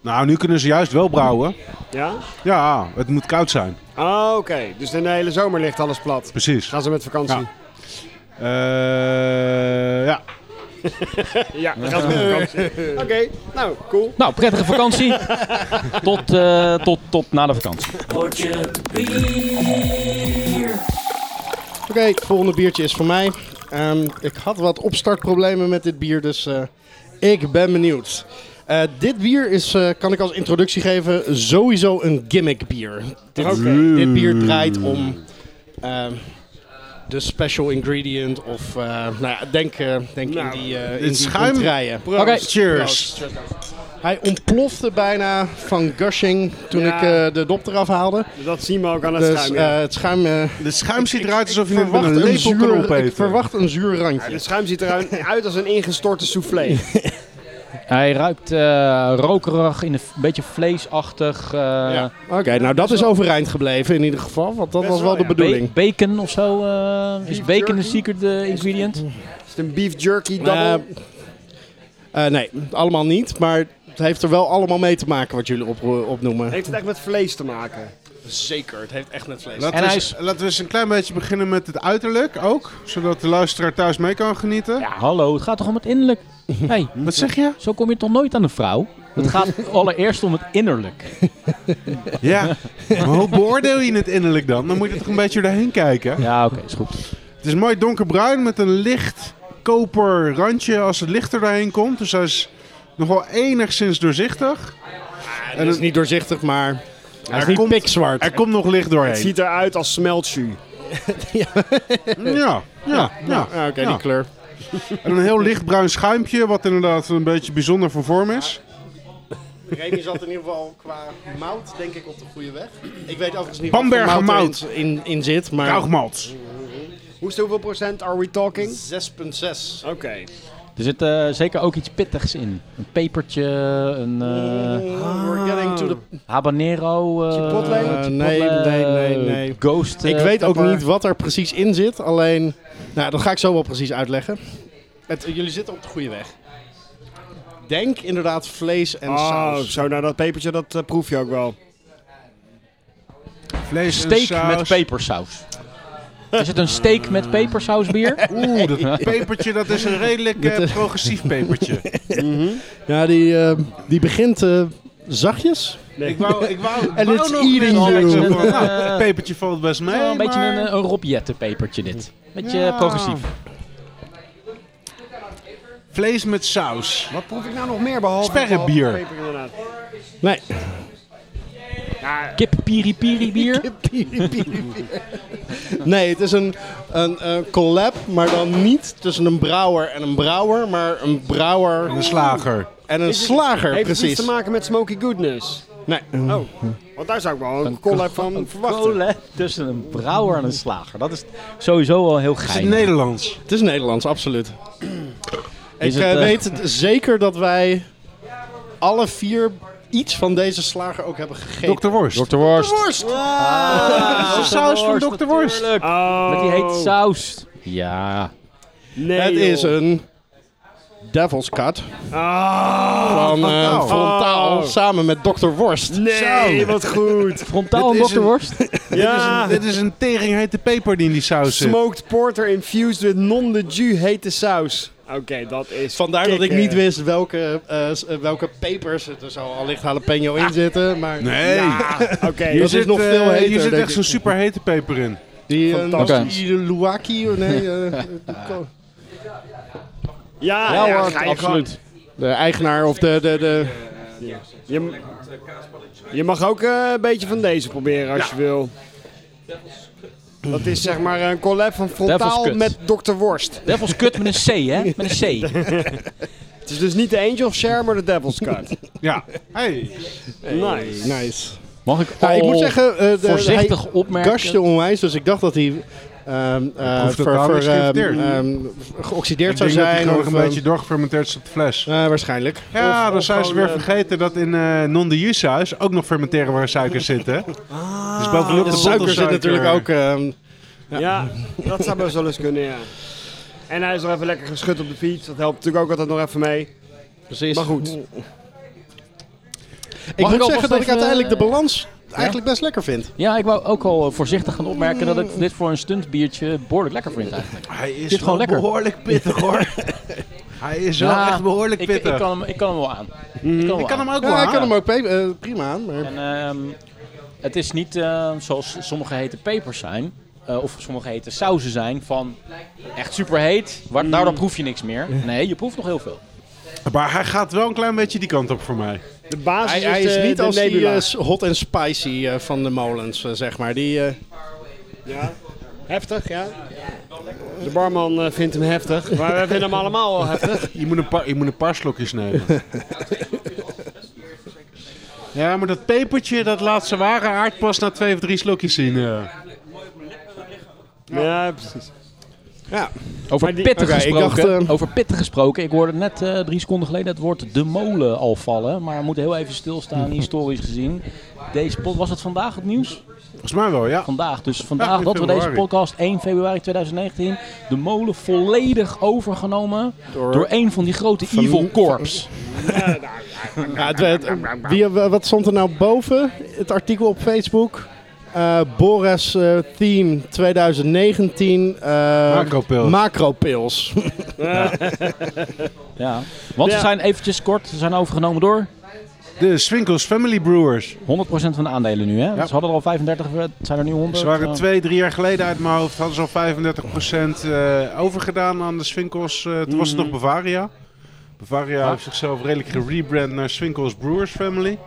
Speaker 2: nou, nu kunnen ze juist wel brouwen.
Speaker 4: Ja?
Speaker 2: Ja, het moet koud zijn.
Speaker 4: Ah, oké. Dus de hele zomer ligt alles plat.
Speaker 2: Precies.
Speaker 4: Gaan ze met vakantie?
Speaker 2: Ja. Eh, ja.
Speaker 4: Ja, dan gaan ze met vakantie. Oké, nou, cool.
Speaker 1: Nou, prettige vakantie. (laughs) tot, eh, tot, tot na de vakantie.
Speaker 5: Oké, het volgende biertje is voor mij. Ehm, ik had wat opstartproblemen met dit bier, dus eh, ik ben benieuwd. Eh, dit bier is, eh, kan ik als introductie geven, sowieso een gimmick bier. Dit,
Speaker 2: Oké.
Speaker 5: dit bier draait om ehm, de special ingredient of, eh, nou ja, denk, eh, denk
Speaker 4: Nou,
Speaker 5: in die, eh, in
Speaker 2: dit
Speaker 5: die
Speaker 2: schuim-
Speaker 5: contraien.
Speaker 1: Oké,
Speaker 2: Cheers.
Speaker 5: Hij ontplofte bijna van gushing toen
Speaker 4: Ja.
Speaker 5: ik eh, de dop eraf haalde.
Speaker 4: Dat zien we ook aan het
Speaker 5: dus
Speaker 4: schuim. ja.
Speaker 5: eh, het schuim... eh,
Speaker 2: De schuim ziet eruit alsof je het met
Speaker 5: verwacht
Speaker 2: een lepel kan
Speaker 5: zuur,
Speaker 2: opeten.
Speaker 5: ik verwacht een zuur randje.
Speaker 4: Het schuim ziet eruit uit als een ingestorte soufflé.
Speaker 1: Hij ruikt eh, rokerig, in een f- beetje vleesachtig. eh,
Speaker 5: Ja. Oké, nou dat is overeind gebleven in ieder geval, want dat
Speaker 4: Best
Speaker 5: was
Speaker 4: wel,
Speaker 5: wel de
Speaker 4: ja.
Speaker 1: ba-
Speaker 5: bedoeling.
Speaker 1: bacon of zo. eh, is
Speaker 4: Beef
Speaker 1: bacon de
Speaker 4: jerky?
Speaker 1: secret eh, ingredient?
Speaker 4: Is het een beef jerky double?
Speaker 5: Eh, eh, nee, allemaal niet, maar het heeft er wel allemaal mee te maken wat jullie op, opnoemen.
Speaker 4: Heeft het echt met vlees te maken?
Speaker 5: Zeker, het heeft echt met vlees.
Speaker 2: Laten,
Speaker 1: En
Speaker 2: we
Speaker 1: hij
Speaker 2: eens,
Speaker 1: is-
Speaker 2: laten we eens een klein beetje beginnen met het uiterlijk ook. Zodat de luisteraar thuis mee kan genieten.
Speaker 1: Ja, hallo, het gaat toch om het innerlijk? hey,
Speaker 2: Wat zeg je?
Speaker 1: zo kom je toch nooit aan een vrouw? Het gaat allereerst om het innerlijk.
Speaker 2: Ja. maar hoe beoordeel je het innerlijk dan? Dan moet je toch een beetje erheen kijken.
Speaker 1: Ja, oké, is goed.
Speaker 2: Het is mooi donkerbruin met een licht koper randje als het licht er doorheen komt. Dus hij is nogal enigszins doorzichtig.
Speaker 5: Het is niet doorzichtig, maar hij is
Speaker 2: Er
Speaker 5: niet
Speaker 2: komt-
Speaker 5: pikzwart.
Speaker 2: Er komt nog licht
Speaker 4: Het
Speaker 2: doorheen.
Speaker 4: ziet eruit als smeltjus.
Speaker 2: Ja, ja, ja.
Speaker 5: Ah, Oké,
Speaker 2: ja.
Speaker 5: die kleur.
Speaker 2: En een heel lichtbruin schuimpje, wat inderdaad een beetje bijzonder van vorm is.
Speaker 5: Remy zat in ieder geval qua mout denk ik op de goede weg. Ik weet overigens niet
Speaker 2: Bamberger
Speaker 5: wat voor mout
Speaker 2: mout.
Speaker 5: er in, in, in zit, maar 6,6.
Speaker 2: Kaugmalt.
Speaker 4: Hoeveel hoeveel procent are we talking? Oké.
Speaker 1: Er zit eh, zeker ook iets pittigs in. Een pepertje, een eh,
Speaker 5: We're getting to the...
Speaker 1: habanero. eh,
Speaker 4: Chipotle?
Speaker 1: chipotle,
Speaker 5: nee, nee, nee, nee.
Speaker 1: Ghost.
Speaker 5: Ik
Speaker 1: eh,
Speaker 5: weet ook
Speaker 1: pepper.
Speaker 5: niet wat er precies in zit, alleen... Nou, dat ga ik zo wel precies uitleggen. Het, eh, jullie zitten op de goede weg. Denk inderdaad vlees en
Speaker 4: Oh,
Speaker 5: saus.
Speaker 4: zo, nou dat pepertje, dat eh, proef je ook wel.
Speaker 2: Vlees
Speaker 1: Steak met pepersaus. Is het een steak met pepersaus bier?
Speaker 2: (laughs) Oeh, dat pepertje, dat is een redelijk eh,
Speaker 5: Dat, eh,
Speaker 2: progressief pepertje.
Speaker 5: Ja, die, eh, die begint eh, zachtjes.
Speaker 2: ik wou, ik wou,
Speaker 5: En
Speaker 2: wou
Speaker 5: it's
Speaker 2: nog
Speaker 5: eating
Speaker 2: mensen
Speaker 5: you.
Speaker 2: zeggen van,
Speaker 1: Eh,
Speaker 2: nou, het pepertje valt best mee,
Speaker 1: Wel een beetje
Speaker 2: maar-
Speaker 1: een, eh, een robjettenpepertje dit. Beetje
Speaker 2: Ja.
Speaker 1: eh, progressief.
Speaker 2: Vlees met saus.
Speaker 4: Wat proef ik nou nog meer behalve
Speaker 2: Sperrenbier.
Speaker 4: behalve peper inderdaad?
Speaker 5: Nee. (laughs)
Speaker 1: Kip piri
Speaker 2: (laughs)
Speaker 1: piri bier.
Speaker 5: nee, het is een, een eh, collab, maar dan niet tussen een brouwer en een brouwer, maar een brouwer
Speaker 2: Een slager.
Speaker 5: en een slager,
Speaker 4: Heeft het iets
Speaker 5: precies.
Speaker 4: te maken met smoky goodness?
Speaker 5: Nee.
Speaker 4: Oh, want daar zou ik wel een collab van verwachten.
Speaker 1: Kolen tussen een brouwer en een slager. Dat is sowieso al heel
Speaker 2: Is het
Speaker 1: geinig.
Speaker 2: Nederlands?
Speaker 5: Het is Nederlands, (clears throat) absoluut.
Speaker 1: Is
Speaker 5: ik
Speaker 1: het,
Speaker 5: eh,
Speaker 1: eh,
Speaker 5: weet het zeker dat wij alle vier iets van deze slager ook hebben gegeten.
Speaker 2: Dr. Worst.
Speaker 1: Dr. Worst. Ah,
Speaker 2: de saus van Dr. Worst.
Speaker 4: Oh.
Speaker 1: Met die hete saus. Ja.
Speaker 4: Nee,
Speaker 5: Het is
Speaker 4: joh.
Speaker 5: een Devil's Cut.
Speaker 4: Ah,
Speaker 5: van eh,
Speaker 2: Frontaal.
Speaker 5: Frontaal
Speaker 4: Oh.
Speaker 5: samen met Dr. Worst.
Speaker 4: Nee,
Speaker 2: Zo.
Speaker 4: wat (laughs) goed.
Speaker 1: Frontaal
Speaker 2: Dit
Speaker 1: en
Speaker 2: is een-
Speaker 1: dokterworst.
Speaker 4: ja.
Speaker 2: Ah, Dit is een tering hete peper die in die saus zit.
Speaker 4: Smoked porter infused with non de jus hete saus. Oké, dat is.
Speaker 5: Vandaar dat ik
Speaker 4: kicken.
Speaker 5: niet wist welke, eh, s- eh, welke pepers er zo allicht jalapeno in zitten. Maar
Speaker 2: Nee.
Speaker 4: Oké,
Speaker 5: Hier
Speaker 2: Hier
Speaker 4: dat-
Speaker 5: zit
Speaker 2: zit,
Speaker 5: nog
Speaker 2: eh,
Speaker 5: veel heter,
Speaker 2: hier zit
Speaker 5: denk
Speaker 2: echt
Speaker 5: ik.
Speaker 2: zo'n super hete peper in.
Speaker 5: die eh,
Speaker 1: Fantastisch.
Speaker 5: die Luwaki, oh, (laughs) nee, eh, de-
Speaker 4: ja,
Speaker 1: Ja,
Speaker 4: ja,
Speaker 1: hoor,
Speaker 4: ga je
Speaker 1: absoluut.
Speaker 5: de eigenaar of de, de, de
Speaker 4: gang. Je, m- je mag ook eh, een beetje van deze proberen als je wil. Dat is zeg maar een collab van
Speaker 1: Devil's
Speaker 4: Frontaal
Speaker 1: Cut.
Speaker 4: met Dr. Worst.
Speaker 1: Devil's Cut met een C, hè? Met een C.
Speaker 4: Het is dus niet de Angel Share, maar de Devil's
Speaker 5: (laughs)
Speaker 4: Cut.
Speaker 2: Ja. Hey.
Speaker 4: Nice.
Speaker 5: Nice.
Speaker 1: Mag ik
Speaker 5: Nou, ik
Speaker 1: al
Speaker 5: moet zeggen, eh, de- de,
Speaker 1: voorzichtig
Speaker 5: hij
Speaker 1: opmerken?
Speaker 5: gashte onwijs, dus ik dacht dat hij ehm, eh,
Speaker 2: proeft ook
Speaker 5: ver-
Speaker 2: aan,
Speaker 5: ver-
Speaker 2: is geïrriteerd.
Speaker 5: ehm, ehm, geoxideerd
Speaker 2: Ik
Speaker 5: zou
Speaker 2: denk dat die
Speaker 5: zijn.
Speaker 2: gewoon
Speaker 5: Of,
Speaker 2: nog een beetje doorgefermenteerd is op de fles.
Speaker 5: ehm, eh, waarschijnlijk.
Speaker 2: Ja,
Speaker 4: of-
Speaker 2: dan
Speaker 4: of
Speaker 2: zijn ze
Speaker 4: gewoon,
Speaker 2: weer
Speaker 4: eh,
Speaker 2: vergeten dat in eh non de jus saus ook nog fermenteerbare suikers zitten. dus bovenop de,
Speaker 5: de suiker zit natuurlijk ook. ehm,
Speaker 4: Ja. dat zou best wel eens kunnen, ja. En hij is nog even lekker geschud op de fiets. Dat helpt natuurlijk ook altijd nog even mee.
Speaker 5: precies.
Speaker 4: Maar goed.
Speaker 5: Ik
Speaker 1: Mag ik
Speaker 5: moet
Speaker 1: alvast
Speaker 5: zeggen dat Dus ik
Speaker 1: even,
Speaker 5: uiteindelijk de
Speaker 1: eh,
Speaker 5: balans eigenlijk best lekker vind.
Speaker 1: Ja, ik wou ook al eh, voorzichtig gaan opmerken dat ik dit voor een stuntbiertje behoorlijk lekker vind eigenlijk.
Speaker 2: Hij is
Speaker 1: Zit gewoon
Speaker 2: wel
Speaker 1: lekker.
Speaker 2: behoorlijk pittig
Speaker 1: (laughs)
Speaker 2: hoor. Hij is wel
Speaker 1: Ja,
Speaker 2: echt behoorlijk
Speaker 1: Ik,
Speaker 2: pittig. Mhm.
Speaker 1: ik, kan, hem, ik kan hem wel aan. Ik kan,
Speaker 2: Ik kan hem ook wel
Speaker 5: Ja, ik kan
Speaker 2: aan.
Speaker 5: hem ook pe- eh, prima aan. Maar...
Speaker 1: En, ehm, het is niet eh, zoals sommige hete pepers zijn, eh, of sommige hete sauzen zijn, van echt superheet,
Speaker 2: Mhm.
Speaker 1: waar, daardoor proef je niks meer. Nee, je proeft nog heel veel.
Speaker 2: Maar hij gaat wel een klein beetje die kant op voor mij.
Speaker 4: De basis
Speaker 5: Hij, hij
Speaker 4: is,
Speaker 5: is
Speaker 4: de-
Speaker 5: niet
Speaker 4: de
Speaker 5: als die
Speaker 4: nebula.
Speaker 5: eh, s- hot en spicy eh, van de molens, eh, zeg maar. Die, eh,
Speaker 4: Ja. Heftig, ja. De barman eh, vindt hem heftig. (laughs) Maar wij vinden hem allemaal wel heftig.
Speaker 2: Je moet een paar, je moet een paar slokjes (laughs) nemen. ja, maar dat pepertje, dat laat zijn ware aard pas na twee of drie slokjes zien. eh.
Speaker 4: (laughs) Ja, precies.
Speaker 5: ja.
Speaker 1: Over
Speaker 4: Maar die-
Speaker 1: pitten
Speaker 5: oké, ik
Speaker 1: gesproken.
Speaker 5: dacht,
Speaker 2: ehm,
Speaker 5: eh,
Speaker 1: over pitten gesproken. Ik hoorde net eh, drie seconden geleden het woord de molen al vallen. Maar we moeten heel even
Speaker 2: (laughs)
Speaker 1: stilstaan, historisch gezien. Deze pod- was het vandaag het nieuws?
Speaker 2: Volgens mij wel, ja.
Speaker 1: Vandaag. Dus
Speaker 2: Ja,
Speaker 1: vandaag
Speaker 2: in
Speaker 1: dat we deze
Speaker 2: februari.
Speaker 1: podcast 1 februari 2019 de molen volledig overgenomen door, een van die grote evil corps.
Speaker 5: Ja, het, het- wie, wat stond er nou boven het artikel op Facebook? Eh, Boris eh, Theme 2019. eh,
Speaker 2: Macropils.
Speaker 5: Macropils.
Speaker 1: Ja. Want ze
Speaker 4: Ja.
Speaker 1: zijn eventjes kort, ze zijn overgenomen door
Speaker 2: De Swinkels Family Brewers.
Speaker 1: 100% van de aandelen nu. Hè? Ze hadden er al 35, het zijn er nu 100.
Speaker 2: Ze waren
Speaker 1: eh.
Speaker 2: twee, drie jaar geleden uit mijn hoofd. Hadden ze al 35% eh, overgedaan aan de Swinkels. eh, toen was het
Speaker 4: Mhm.
Speaker 2: nog Bavaria. Bavaria heeft zichzelf redelijk gerebrand naar Swinkels Brewers Family.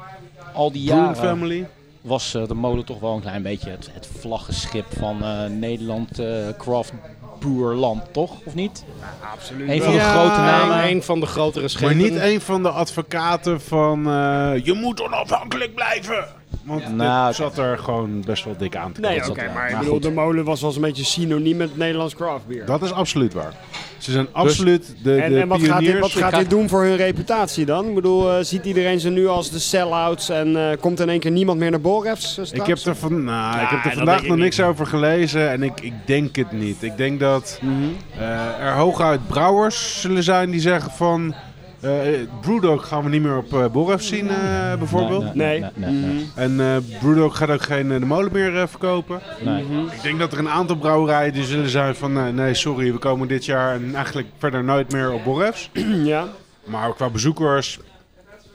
Speaker 1: al die
Speaker 2: Brewing
Speaker 1: jaren
Speaker 2: Family.
Speaker 1: was eh, de molen toch wel een klein beetje het, het vlaggenschip van eh, Nederland eh craft boerland, toch? Of niet?
Speaker 4: Absoluut.
Speaker 1: Een van de
Speaker 2: Ja,
Speaker 1: grote namen.
Speaker 5: Een van de grotere
Speaker 2: Maar
Speaker 5: schepen.
Speaker 2: niet een van de advocaten van eh, je moet onafhankelijk blijven. Want dit
Speaker 1: Nou,
Speaker 2: zat er gewoon best wel dik aan te komen.
Speaker 4: Nee, oké,
Speaker 1: dat wel.
Speaker 4: maar ik
Speaker 1: Maar
Speaker 4: bedoel,
Speaker 1: goed.
Speaker 4: de molen was wel eens een beetje synoniem met Nederlands craftbier.
Speaker 2: Dat is absoluut waar. Ze zijn absoluut de, de
Speaker 4: Dus- En, en wat, gaat dit,
Speaker 2: pioniers.
Speaker 4: wat gaat
Speaker 1: ga-
Speaker 4: dit doen voor hun reputatie dan? Ik bedoel, eh, ziet iedereen ze nu als de sell-outs en eh, komt in één keer niemand meer naar Borrefs eh,
Speaker 2: Ik
Speaker 4: straks?
Speaker 2: heb er, van, nou, ik heb er
Speaker 4: dat
Speaker 2: vandaag
Speaker 4: denk ik
Speaker 2: nog
Speaker 4: niet.
Speaker 2: niks over gelezen en ik, ik denk het niet. Ik denk dat
Speaker 4: Mhm.
Speaker 2: eh, er hooguit brouwers zullen zijn die zeggen van... eh Brewdog gaan we niet meer op eh Borref zien eh, bijvoorbeeld.
Speaker 4: Nee.
Speaker 1: nee,
Speaker 2: En eh Brewdog gaat ook geen eh, de molen meer eh, verkopen.
Speaker 1: nee.
Speaker 2: Ik denk dat er een aantal brouwerijen die zullen zijn van... eh, nee, sorry, we komen dit jaar en eigenlijk verder nooit meer op Borrefs.
Speaker 4: Ja.
Speaker 2: Maar qua bezoekers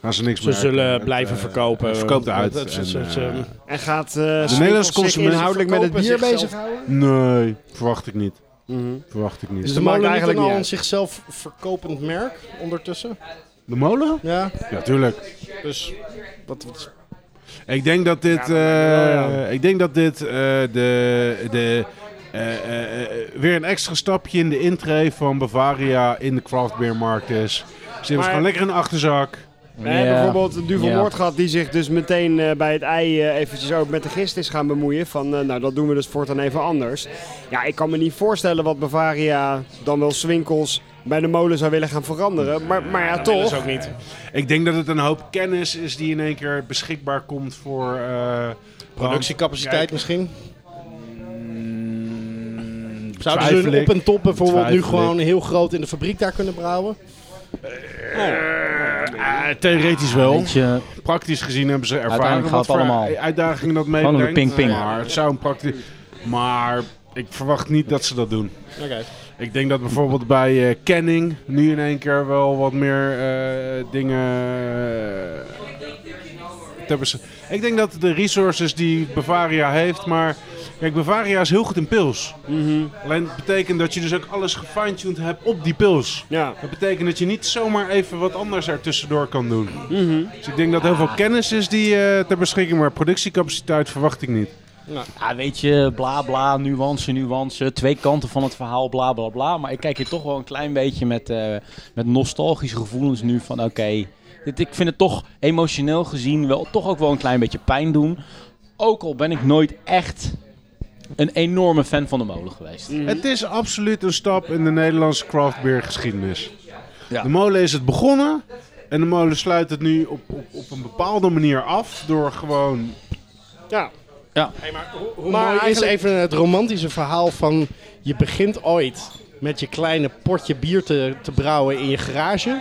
Speaker 2: gaan ze niks
Speaker 5: Ze
Speaker 2: meer...
Speaker 5: zullen
Speaker 2: Het,
Speaker 5: blijven
Speaker 2: eh,
Speaker 5: verkopen.
Speaker 2: het verkoopt uit.
Speaker 5: Het- het- het-
Speaker 2: En,
Speaker 5: het-
Speaker 2: eh,
Speaker 5: het-
Speaker 4: En gaat eh
Speaker 2: Nederlandse
Speaker 4: Swinkels zich
Speaker 2: consument-
Speaker 4: inhoudelijk met het bier
Speaker 5: Verkopen zichzelf.
Speaker 4: bezighouden?
Speaker 2: nee, verwacht ik niet. Verwacht ik niet.
Speaker 4: Dus
Speaker 5: de
Speaker 4: dat
Speaker 5: molen
Speaker 4: maakt
Speaker 5: niet
Speaker 4: eigenlijk niet
Speaker 5: een al
Speaker 4: uit.
Speaker 5: een zichzelf verkopend merk ondertussen.
Speaker 2: De molen?
Speaker 5: Ja,
Speaker 2: Ja, tuurlijk.
Speaker 5: dus wat, wat-
Speaker 2: Ik denk dat dit,
Speaker 4: ja,
Speaker 2: eh, ik denk dat dit eh, de, de, eh, eh, eh, weer een extra stapje in de intree van Bavaria in de craft beer markt is. Ze hebben
Speaker 4: Maar-
Speaker 2: gewoon lekker een achterzak.
Speaker 4: We hebben bijvoorbeeld de Duvel
Speaker 1: Ja.
Speaker 4: Noord gehad die zich dus meteen eh, bij het ei eh, eventjes ook met de gist is gaan bemoeien. Van eh, nou, dat doen we dus voortaan even anders. Ja, ik kan me niet voorstellen wat Bavaria, dan wel Swinkels, bij de molen zou willen gaan veranderen. Maar, maar ja, toch.
Speaker 5: ook niet.
Speaker 2: Ik denk dat het een hoop kennis is die in één keer beschikbaar komt voor eh,
Speaker 5: Productiecapaciteit
Speaker 2: Kijk.
Speaker 5: misschien.
Speaker 2: Mm,
Speaker 5: Zouden ze
Speaker 2: twijfel
Speaker 5: hun
Speaker 2: ik.
Speaker 5: op en top bijvoorbeeld nu
Speaker 2: Twijfel ik.
Speaker 5: gewoon heel groot in de fabriek daar kunnen brouwen?
Speaker 2: Eh, theoretisch wel.
Speaker 1: Weet je,
Speaker 2: Praktisch gezien hebben ze ervaring
Speaker 1: Uiteindelijk
Speaker 2: gehad.
Speaker 1: gaat
Speaker 2: Wat
Speaker 1: het
Speaker 2: voor
Speaker 1: allemaal.
Speaker 2: uitdaging dat mee.
Speaker 1: Gewoon een ping-ping.
Speaker 2: Maar het zou een praktisch... Maar ik verwacht niet dat ze dat doen.
Speaker 5: Oké.
Speaker 2: Ik denk dat bijvoorbeeld bij eh, Canning nu in één keer wel wat meer eh, dingen. eh, te bes- ik denk dat de resources die Bavaria heeft, maar kijk, Bavaria is heel goed in pils.
Speaker 4: Mhm.
Speaker 2: Alleen dat betekent dat je dus ook alles gefine-tuned hebt op die pils.
Speaker 4: Ja.
Speaker 2: Dat betekent dat je niet zomaar even wat anders er tussendoor kan doen.
Speaker 4: Mhm.
Speaker 2: Dus ik denk dat heel veel kennis is die eh, ter beschikking, maar productiecapaciteit verwacht ik niet.
Speaker 1: ja, weet je, bla bla, nuance, nuance, twee kanten van het verhaal, bla bla bla. Maar ik kijk hier toch wel een klein beetje met, eh, met nostalgische gevoelens nu van oké, dit- ik vind het toch emotioneel gezien wel toch ook wel een klein beetje pijn doen. Ook al ben ik nooit echt een enorme fan van de molen geweest.
Speaker 4: Mm.
Speaker 2: Het is absoluut een stap in de Nederlandse craft beer geschiedenis.
Speaker 1: Ja.
Speaker 2: De molen is het begonnen en de molen sluit het nu op, op, op een bepaalde manier af door gewoon...
Speaker 4: Ja.
Speaker 5: Hoe
Speaker 4: Maar
Speaker 5: mooi
Speaker 4: eigenlijk-
Speaker 5: is even het romantische verhaal van je begint ooit met je kleine potje bier te, te brouwen in je garage.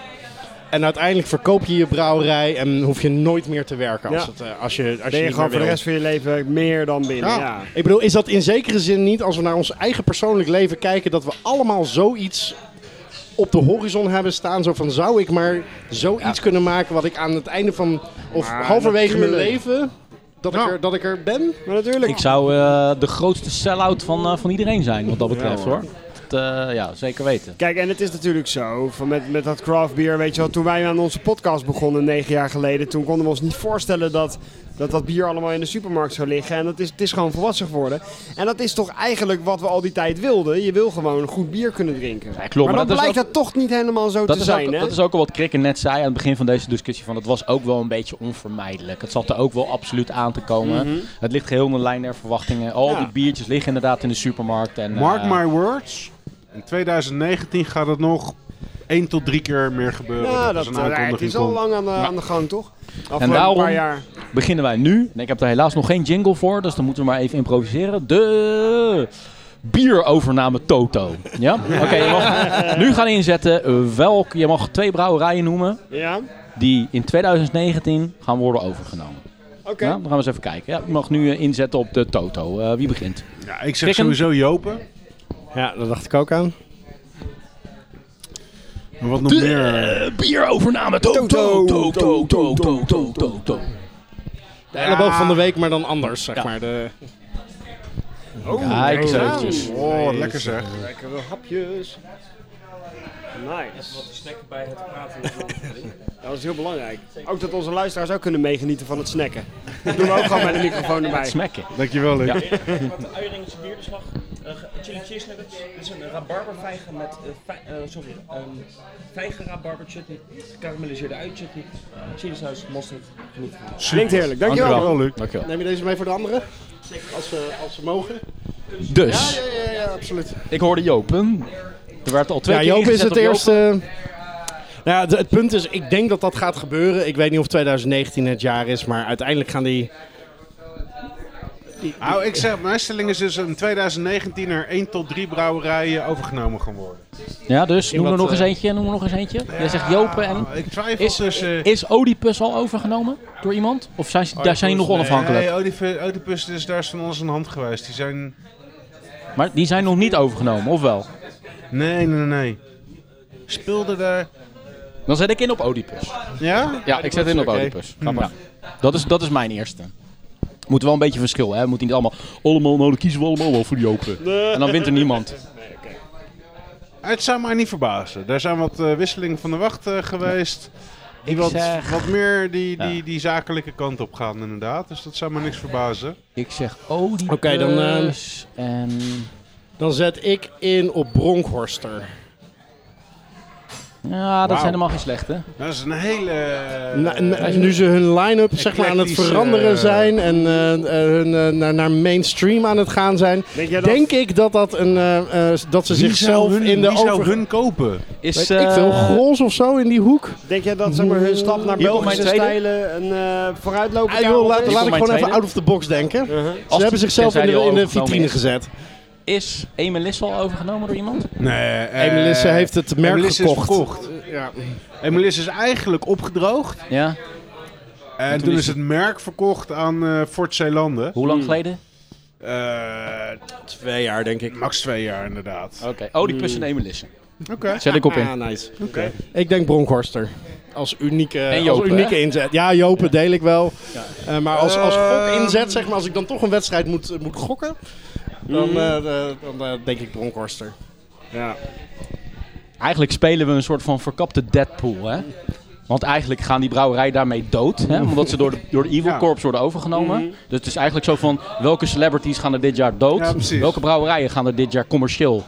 Speaker 5: En uiteindelijk verkoop je je brouwerij en hoef je nooit meer te werken als,
Speaker 4: Ja.
Speaker 5: het, eh, als je, als
Speaker 4: Ben
Speaker 5: je
Speaker 4: je
Speaker 5: niet
Speaker 4: gewoon voor
Speaker 5: meer
Speaker 4: de
Speaker 5: wil.
Speaker 4: rest van je leven meer dan binnen.
Speaker 5: Ja.
Speaker 4: Ja.
Speaker 5: Ik bedoel, is dat in zekere zin niet, als we naar ons eigen persoonlijk leven kijken, dat we allemaal zoiets op de horizon hebben staan? Zo van, zou ik maar zoiets kunnen maken wat ik aan het einde van, of
Speaker 4: Maar
Speaker 5: halverwege mijn
Speaker 4: natuurlijk.
Speaker 5: leven, dat, ik
Speaker 2: Ja.
Speaker 5: er, dat ik er ben?
Speaker 4: Maar natuurlijk.
Speaker 1: Ik zou eh, de grootste sell-out van, eh, van iedereen zijn wat dat betreft
Speaker 4: Ja, hoor.
Speaker 1: hoor. Dat, eh, ja, zeker weten.
Speaker 4: Kijk, en het is natuurlijk zo, van met, met dat craft beer, weet je wel, toen wij aan onze podcast begonnen negen jaar geleden, toen konden we ons niet voorstellen dat dat, dat bier allemaal in de supermarkt zou liggen. En dat is, het is gewoon volwassen geworden. En dat is toch eigenlijk wat we al die tijd wilden. Je wil gewoon goed bier kunnen drinken.
Speaker 1: Ja, klopt,
Speaker 4: maar,
Speaker 1: maar
Speaker 4: dan
Speaker 1: dat is
Speaker 4: blijkt dat toch niet helemaal zo
Speaker 1: Dat
Speaker 4: te
Speaker 1: is,
Speaker 4: zijn,
Speaker 1: ook,
Speaker 4: hè?
Speaker 1: dat is ook al wat Krikken net zei aan het begin van deze discussie. Van, het was ook wel een beetje onvermijdelijk. Het zat er ook wel absoluut aan te komen. Het ligt geheel in de lijn der verwachtingen. Al
Speaker 4: Mhm. Ja.
Speaker 1: die biertjes liggen inderdaad in de supermarkt. En,
Speaker 2: Mark
Speaker 1: eh,
Speaker 2: my words, in 2019 gaat het nog één tot drie keer meer gebeuren.
Speaker 4: ja,
Speaker 2: er
Speaker 4: dat,
Speaker 2: een
Speaker 4: eh,
Speaker 2: aankondiging
Speaker 4: het is al
Speaker 2: komt.
Speaker 4: lang aan de, aan de gang, toch? Afgelopen
Speaker 1: daarom-
Speaker 4: paar jaar.
Speaker 1: beginnen wij nu. En ik heb er helaas nog geen jingle voor, dus dan moeten we maar even improviseren. De bierovername Toto.
Speaker 4: (laughs)
Speaker 1: Ja? Oké, je mag nu gaan inzetten eh, welk... Je mag twee brouwerijen noemen
Speaker 4: Ja?
Speaker 1: die in 2019 gaan worden overgenomen.
Speaker 4: Oké.
Speaker 1: Ja, dan gaan we eens even kijken. Ja, je mag nu eh, inzetten op de Toto. Eh, wie begint?
Speaker 2: Ja, ik zeg
Speaker 1: Krikken.
Speaker 2: sowieso Jopen.
Speaker 5: Ja, dat dacht ik ook aan.
Speaker 2: Maar wat nog meer... eh,
Speaker 1: De bierovername Toto. Toto. Toto. Toto. Toto. Toto.
Speaker 5: De elleboog van de week, maar dan anders, zeg
Speaker 1: Ja.
Speaker 5: maar. De,
Speaker 1: Kijk eens eventjes.
Speaker 2: Oh, lekker zeg.
Speaker 4: Oh, nou. Lekkere hapjes. Nice.
Speaker 6: snacken bij het praten.
Speaker 4: Dat is heel belangrijk. Ook dat onze luisteraars ook kunnen meegenieten van het snacken. Dat doen we ook gewoon met
Speaker 5: (laughs)
Speaker 4: een microfoon erbij.
Speaker 1: Smekken.
Speaker 2: Dankjewel, Luc.
Speaker 1: Ja.
Speaker 6: Wat de uieringetje bierslag. Eh, chili cheese nuggets. Dit is een rabarbervijgen met, eh, fi- eh, sorry, een vijgen rabarber chutney. Gekarameliseerde ui chutney. Chili saus, mosterd, geniet van.
Speaker 4: Klinkt heerlijk, dankjewel.
Speaker 2: Dankjewel, Luc.
Speaker 1: Dankjewel.
Speaker 5: Neem je deze mee voor de anderen? Als ze, als ze mogen.
Speaker 1: Dus,
Speaker 5: ja, ja, absoluut.
Speaker 1: ik hoorde Jopen. Er werd al twee
Speaker 5: Ja,
Speaker 1: keer
Speaker 5: Joop is
Speaker 1: ingezet
Speaker 5: het
Speaker 1: op Joop.
Speaker 5: eerste. Nou ja, de- het punt is, ik denk dat dat gaat gebeuren. Ik weet niet of 2019 het jaar is, maar uiteindelijk gaan die...
Speaker 2: Nou, ik zeg, mijn stelling is dus in 2019 er 1 tot 3 brouwerijen overgenomen gaan worden.
Speaker 1: Ja, dus noem er
Speaker 5: wat,
Speaker 1: nog eens
Speaker 5: eh,
Speaker 1: eentje. Noem er nog eens eentje. Jij zegt Jopen en...
Speaker 2: Nou, Ik twijfel
Speaker 1: Is,
Speaker 2: tussen...
Speaker 1: is Oedipus al overgenomen door iemand? Of zijn, ze- daar zijn die nog onafhankelijk?
Speaker 2: Nee, Oedipus, Oedipus is daar is van alles aan de hand geweest. Die zijn...
Speaker 1: Maar die zijn nog niet overgenomen, of wel?
Speaker 2: Nee, nee, nee, nee. Speelde daar...
Speaker 1: Dan zet ik in op Oedipus.
Speaker 2: Ja?
Speaker 1: Ja, ik zet in op
Speaker 2: oké.
Speaker 1: Oedipus. Ja. Dat, is, dat is mijn eerste. Moet wel een beetje verschil, hè? Moet niet allemaal... Allemaal, nou, dan kiezen we allemaal wel voor die Jopen. En dan wint er niemand.
Speaker 2: Het zou mij niet verbazen. Daar zijn wat eh, wisselingen van de wacht eh, geweest. Die
Speaker 1: Ik
Speaker 2: wat,
Speaker 1: zeg-
Speaker 2: wat meer die,
Speaker 1: Ja.
Speaker 2: die, die zakelijke kant op gaan, inderdaad. Dus dat zou me niks verbazen.
Speaker 1: Ik zeg Oedipus.
Speaker 5: Oké, dan, eh,
Speaker 1: En...
Speaker 5: Dan zet ik in op Bronkhorster.
Speaker 1: Ja, dat
Speaker 2: Wauw.
Speaker 1: zijn helemaal geen slechte.
Speaker 2: Dat is een hele... eh,
Speaker 5: Na- na- nu ze hun line-up zeg maar, aan het
Speaker 2: eclectisch,
Speaker 5: veranderen
Speaker 2: eh,
Speaker 5: zijn en eh, eh, hun eh, naar, naar mainstream aan het gaan zijn,
Speaker 4: Denk jij dat?
Speaker 5: denk ik dat, dat, een, eh, eh, dat ze
Speaker 2: wie
Speaker 5: zichzelf
Speaker 2: zou hun-
Speaker 5: in de
Speaker 2: Wie zou
Speaker 5: over...
Speaker 2: hun kopen?
Speaker 1: Is,
Speaker 5: Weet ik veel,
Speaker 1: eh,
Speaker 5: Grols of zo in die hoek.
Speaker 4: Denk jij dat zeg maar, hun stap naar
Speaker 1: Hier komt
Speaker 4: Belgische
Speaker 1: mijn tweede.
Speaker 4: stijlen een eh vooruitlopen
Speaker 5: Ah, joh, laat,
Speaker 1: is
Speaker 5: laat
Speaker 1: voor
Speaker 5: ik
Speaker 1: mijn
Speaker 5: gewoon even
Speaker 1: tweede.
Speaker 5: out of the box denken. Ze
Speaker 1: Als-
Speaker 5: hebben zichzelf in
Speaker 1: tenzij
Speaker 5: de,
Speaker 1: die al
Speaker 5: in de
Speaker 1: overgenomen
Speaker 5: vitrine
Speaker 1: is.
Speaker 5: gezet.
Speaker 1: Is Emelisse al overgenomen door iemand?
Speaker 2: Nee, eh,
Speaker 5: Emelisse heeft het merk
Speaker 2: Emelisse is
Speaker 5: gekocht.
Speaker 2: verkocht.
Speaker 5: Ja.
Speaker 2: Emelis is eigenlijk opgedroogd.
Speaker 1: Ja?
Speaker 2: En toen is het merk verkocht aan eh Fort Zeelanden.
Speaker 1: Hoe lang geleden?
Speaker 2: Eh,
Speaker 5: Twee jaar, denk ik.
Speaker 2: max twee jaar inderdaad.
Speaker 1: Oké. Oh, die
Speaker 2: Hmm.
Speaker 1: plus een Emelissen.
Speaker 2: Oké.
Speaker 1: Zet ik op in.
Speaker 5: Ah, nice.
Speaker 2: Oké.
Speaker 5: Ik denk Bronkhorster. Als unieke,
Speaker 1: En Jopen,
Speaker 5: als unieke inzet. Ja, Jopen deel ik wel. Eh, maar als, als
Speaker 2: Eh,
Speaker 5: gokinzet, zeg maar, als ik dan toch een wedstrijd moet, eh, moet gokken, dan, eh, eh, dan eh, denk ik Bronkhorster.
Speaker 4: Ja.
Speaker 1: Eigenlijk spelen we een soort van verkapte Deadpool, hè? Want eigenlijk gaan die brouwerij daarmee dood, hè? omdat ze door de, door de Evil
Speaker 2: Ja. Hmm.
Speaker 1: Corps worden overgenomen. Dus het is eigenlijk zo van, welke celebrities gaan er dit jaar dood?
Speaker 2: Ja, precies.
Speaker 1: welke brouwerijen gaan er dit jaar commercieel?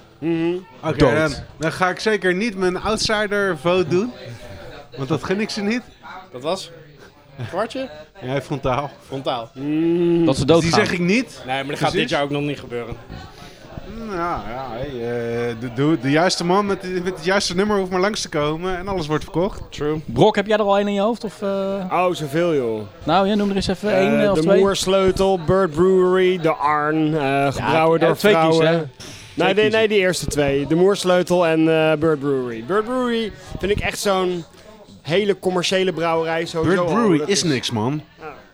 Speaker 2: Oké,
Speaker 1: Dood.
Speaker 2: dan, dan ga ik zeker niet mijn outsider vote doen. Want dat gun ik ze niet.
Speaker 5: Dat was? Kwartje?
Speaker 2: Jij frontaal.
Speaker 5: Frontaal. Nee,
Speaker 1: Dat ze
Speaker 2: Dus
Speaker 1: dood
Speaker 2: die
Speaker 1: gaan.
Speaker 2: zeg ik niet.
Speaker 5: maar dat gaat
Speaker 2: Precies.
Speaker 5: dit jaar ook nog niet gebeuren.
Speaker 2: Mm, Ja, ja hey, eh, de, de, de juiste man met, de- met het juiste nummer hoeft maar langs te komen en alles wordt verkocht.
Speaker 5: True.
Speaker 1: Brok, heb jij er al één in je hoofd? Of, eh,
Speaker 4: Oh, zoveel joh.
Speaker 1: Nou, jij noem er eens even
Speaker 4: Eh,
Speaker 1: één eh, of
Speaker 4: de
Speaker 1: twee.
Speaker 4: Moersleutel, Bird Brewery, de Arn, eh gebrouwen
Speaker 1: ja,
Speaker 4: door
Speaker 1: twee kiezen,
Speaker 4: vrouwen.
Speaker 1: hè?
Speaker 4: nee, nee, nee, die eerste twee. De Moersleutel en eh, Bird Brewery. Bird Brewery vind ik echt zo'n hele commerciële brouwerij. Sowieso
Speaker 2: Bird
Speaker 4: al.
Speaker 2: Brewery
Speaker 4: Dat
Speaker 2: is niks, man.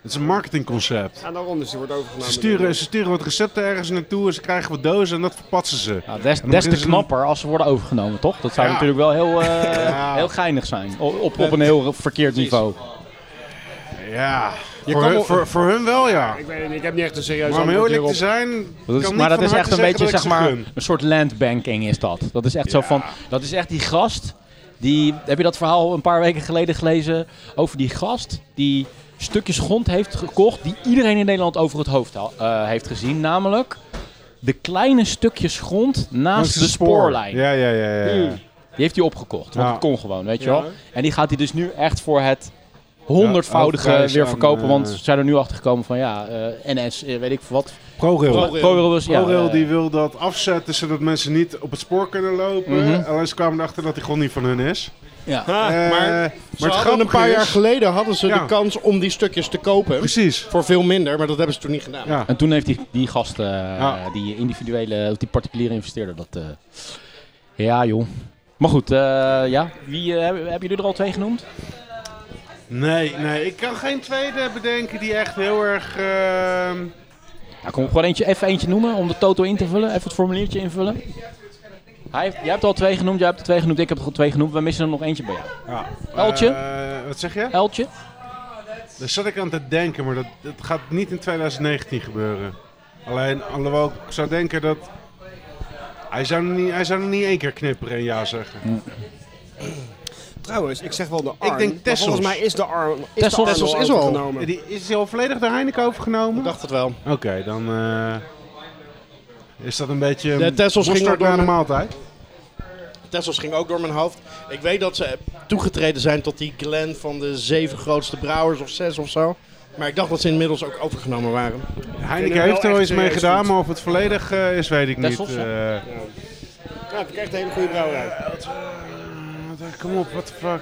Speaker 2: Het is een marketingconcept.
Speaker 4: Ja, daarom dus, die wordt overgenomen.
Speaker 2: Ze
Speaker 4: door-
Speaker 2: sturen, ze sturen wat recepten ergens naartoe en ze krijgen wat dozen en dat verpatsen
Speaker 1: Ja,
Speaker 2: ze.
Speaker 1: des,
Speaker 2: dan
Speaker 1: des te
Speaker 2: beginnen ze-
Speaker 1: knapper als ze worden overgenomen, toch? Dat zou
Speaker 2: Ja.
Speaker 1: natuurlijk wel heel, eh,
Speaker 2: Ja.
Speaker 1: heel geinig zijn. O- Op, op een heel verkeerd niveau.
Speaker 2: Ja, voor,
Speaker 5: kan
Speaker 2: hun,
Speaker 5: wel-
Speaker 2: voor, voor hun wel ja.
Speaker 4: Ik weet het niet, ik heb niet echt een serieus
Speaker 2: Maar om heel
Speaker 4: antwoord
Speaker 2: eerlijk
Speaker 4: hierop.
Speaker 2: te zijn,
Speaker 1: Dat is,
Speaker 2: kan
Speaker 1: maar
Speaker 2: niet
Speaker 1: dat is
Speaker 2: van
Speaker 1: echt
Speaker 2: harte
Speaker 1: een beetje,
Speaker 2: zeggen dat ik
Speaker 1: zeg
Speaker 2: ze
Speaker 1: maar,
Speaker 2: gun.
Speaker 1: een soort landbanking is dat. Dat is echt zo van, dat is echt die gast, die, heb je dat verhaal een paar weken geleden gelezen, over die gast die stukjes grond heeft gekocht, die iedereen in Nederland over het hoofd ha- eh, heeft gezien, namelijk de kleine stukjes grond naast
Speaker 2: Langs Hmm.
Speaker 1: de spoorlijn.
Speaker 2: Ja, ja, ja. ja, ja.
Speaker 1: Die heeft hij opgekocht, want
Speaker 2: Ja.
Speaker 1: het kon gewoon, weet je
Speaker 4: Ja.
Speaker 1: wel. En die gaat hij dus nu echt voor het honderdvoudige
Speaker 2: Ja, hoofdprijs
Speaker 1: weer
Speaker 2: aan,
Speaker 1: verkopen, want
Speaker 2: eh,
Speaker 1: ze zijn er nu achter gekomen van ja, eh, NS, eh, weet ik veel wat.
Speaker 2: ProRail.
Speaker 5: Pro- ProRail.
Speaker 1: ProRail was- ja,
Speaker 2: ProRail
Speaker 1: eh,
Speaker 2: die wil dat afzetten zodat mensen niet op het spoor kunnen lopen.
Speaker 1: Mhm.
Speaker 2: Alleen ze kwamen erachter dat die grond niet van hun is.
Speaker 1: ja.
Speaker 4: Ah,
Speaker 2: Eh,
Speaker 5: maar
Speaker 2: maar
Speaker 5: Ze
Speaker 2: het
Speaker 5: hadden een
Speaker 2: grappige
Speaker 5: paar jaar
Speaker 2: is-
Speaker 5: geleden hadden ze
Speaker 2: Ja.
Speaker 5: de kans om die stukjes te kopen.
Speaker 2: Precies.
Speaker 5: Voor veel minder, maar dat hebben ze toen niet gedaan.
Speaker 2: Ja.
Speaker 1: En toen heeft die, die gast, eh,
Speaker 2: Ja.
Speaker 1: die individuele, of die particuliere investeerder dat... eh, ja, joh. Maar goed, eh, ja. Wie, eh, hebben hebben jullie er al twee genoemd?
Speaker 2: Nee, nee, ik kan geen tweede bedenken die echt heel erg. ehm,
Speaker 1: Nou, kom gewoon eentje, even eentje noemen om de toto in te vullen. Even het formuliertje invullen. Hij heeft, jij hebt al twee genoemd, jij hebt er twee genoemd, ik heb er al twee genoemd. We missen er nog eentje bij jou.
Speaker 2: ja,
Speaker 1: Eltje?
Speaker 2: eh, wat zeg je?
Speaker 1: Eltje?
Speaker 2: Daar zat ik aan te denken, maar dat, dat gaat niet in 2019 gebeuren. Alleen, alhoewel ik zou denken dat. Hij zou nog niet, hij zou nog niet één keer knipperen en ja zeggen.
Speaker 4: trouwens, ik zeg wel de Arn.
Speaker 2: denk
Speaker 4: maar
Speaker 2: Tessels.
Speaker 4: Volgens mij is de Arn is
Speaker 1: Tessels-
Speaker 4: de Arn
Speaker 5: Tessels
Speaker 4: al
Speaker 5: is al.
Speaker 4: overgenomen.
Speaker 2: Die, is hij al volledig door Heineken overgenomen?
Speaker 5: Ik dacht het wel.
Speaker 2: Oké, dan eh, is dat een beetje
Speaker 5: De Tessels
Speaker 2: mosterd
Speaker 5: ging
Speaker 2: na
Speaker 5: ook door
Speaker 2: de
Speaker 5: met-
Speaker 2: maaltijd.
Speaker 5: Tessels ging ook door mijn hoofd. Ik weet dat ze toegetreden zijn tot die clan van de zeven grootste brouwers of zes of zo. Maar ik dacht dat ze inmiddels ook overgenomen waren.
Speaker 2: Heineken heeft er wel
Speaker 4: wel echt
Speaker 2: iets mee
Speaker 4: serieus
Speaker 2: gedaan,
Speaker 4: goed.
Speaker 2: maar of het volledig eh, is, weet ik
Speaker 1: Tessels,
Speaker 2: niet.
Speaker 1: hè?
Speaker 2: Eh,
Speaker 4: Ja, heb ik echt een hele goede brouwerij.
Speaker 2: wat- eh, kom op, what the fuck.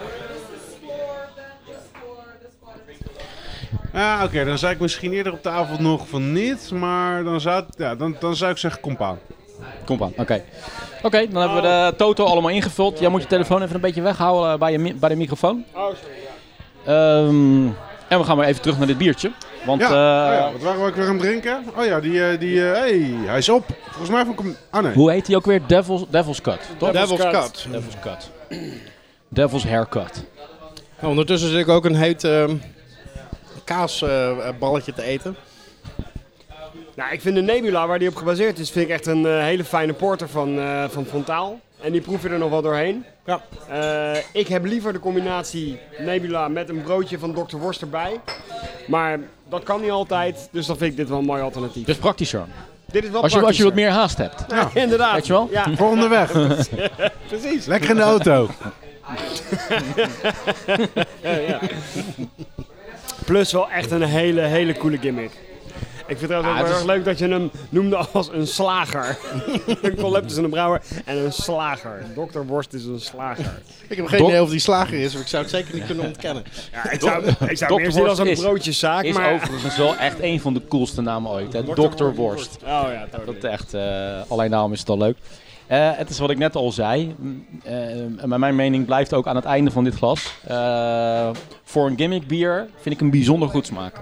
Speaker 2: Ja, oké, dan zou ik misschien eerder op de avond nog van niet, maar dan zou, het- ja, dan, dan zou ik zeggen compaan.
Speaker 1: Kom aan, oké. Oké, dan hebben we de toto allemaal ingevuld. Jij moet je telefoon even een beetje weghouden eh, bij, je, mi- bij de microfoon.
Speaker 4: Oh, sorry.
Speaker 1: Ehm, en we gaan weer even terug naar dit biertje. Want
Speaker 2: Ja,
Speaker 1: eh,
Speaker 2: oh ja, wat waren we ook weer aan het drinken? Oh ja, die, eh, die eh, hey, hij is op. Volgens mij van... Com- Ah nee.
Speaker 1: Hoe heet die ook weer? Devil's, Devil's Cut, toch?
Speaker 5: Devil's
Speaker 4: Cut.
Speaker 5: Cut.
Speaker 1: Devil's Cut. Devil's Haircut.
Speaker 5: Nou, ondertussen zit ik ook een heet ehm, kaasballetje eh, te eten.
Speaker 4: Nou, ik vind de Nebula waar die op gebaseerd is, vind ik echt een eh, hele fijne porter van, eh, van Frontaal. En die proef je er nog wel doorheen.
Speaker 5: Ja.
Speaker 4: Eh, ik heb liever de combinatie Nebula met een broodje van Dr. Worst erbij. Maar dat kan niet altijd, dus dan vind ik dit wel een mooi alternatief.
Speaker 1: Dus praktischer.
Speaker 4: dit is wel
Speaker 1: Als je, als je wat
Speaker 4: praktischer.
Speaker 1: meer haast hebt.
Speaker 4: Ja, inderdaad.
Speaker 1: Weet je wel?
Speaker 4: Ja,
Speaker 2: Volgende weg.
Speaker 4: (laughs) precies.
Speaker 2: Lekker in de auto.
Speaker 4: Plus wel echt een hele, hele coole gimmick. Ik vind het
Speaker 1: Ah,
Speaker 4: ook wel
Speaker 1: het
Speaker 4: erg
Speaker 1: is-
Speaker 4: leuk dat je hem noemde als een slager. (laughs) een collab tussen een brouwer en een slager. Dr. Worst is een slager.
Speaker 5: Ik heb geen
Speaker 1: Dok-
Speaker 5: idee of die slager is, maar ik zou het zeker niet kunnen ontkennen.
Speaker 4: Ja, ik zou, ik zou
Speaker 1: Dr.
Speaker 4: hem meer zien als een
Speaker 1: Worst is-
Speaker 4: broodjeszaak,
Speaker 1: Is
Speaker 4: maar...
Speaker 1: overigens wel echt een van de coolste namen ooit. Hè? Dr. Worst.
Speaker 4: Oh ja, totally.
Speaker 1: Dat echt, eh, alleen eh, daarom is het al leuk. Eh, het is wat ik net al zei. Mm, eh, maar mijn mening blijft ook aan het einde van dit glas. Eh, voor een gimmick bier vind ik hem bijzonder goed smaken.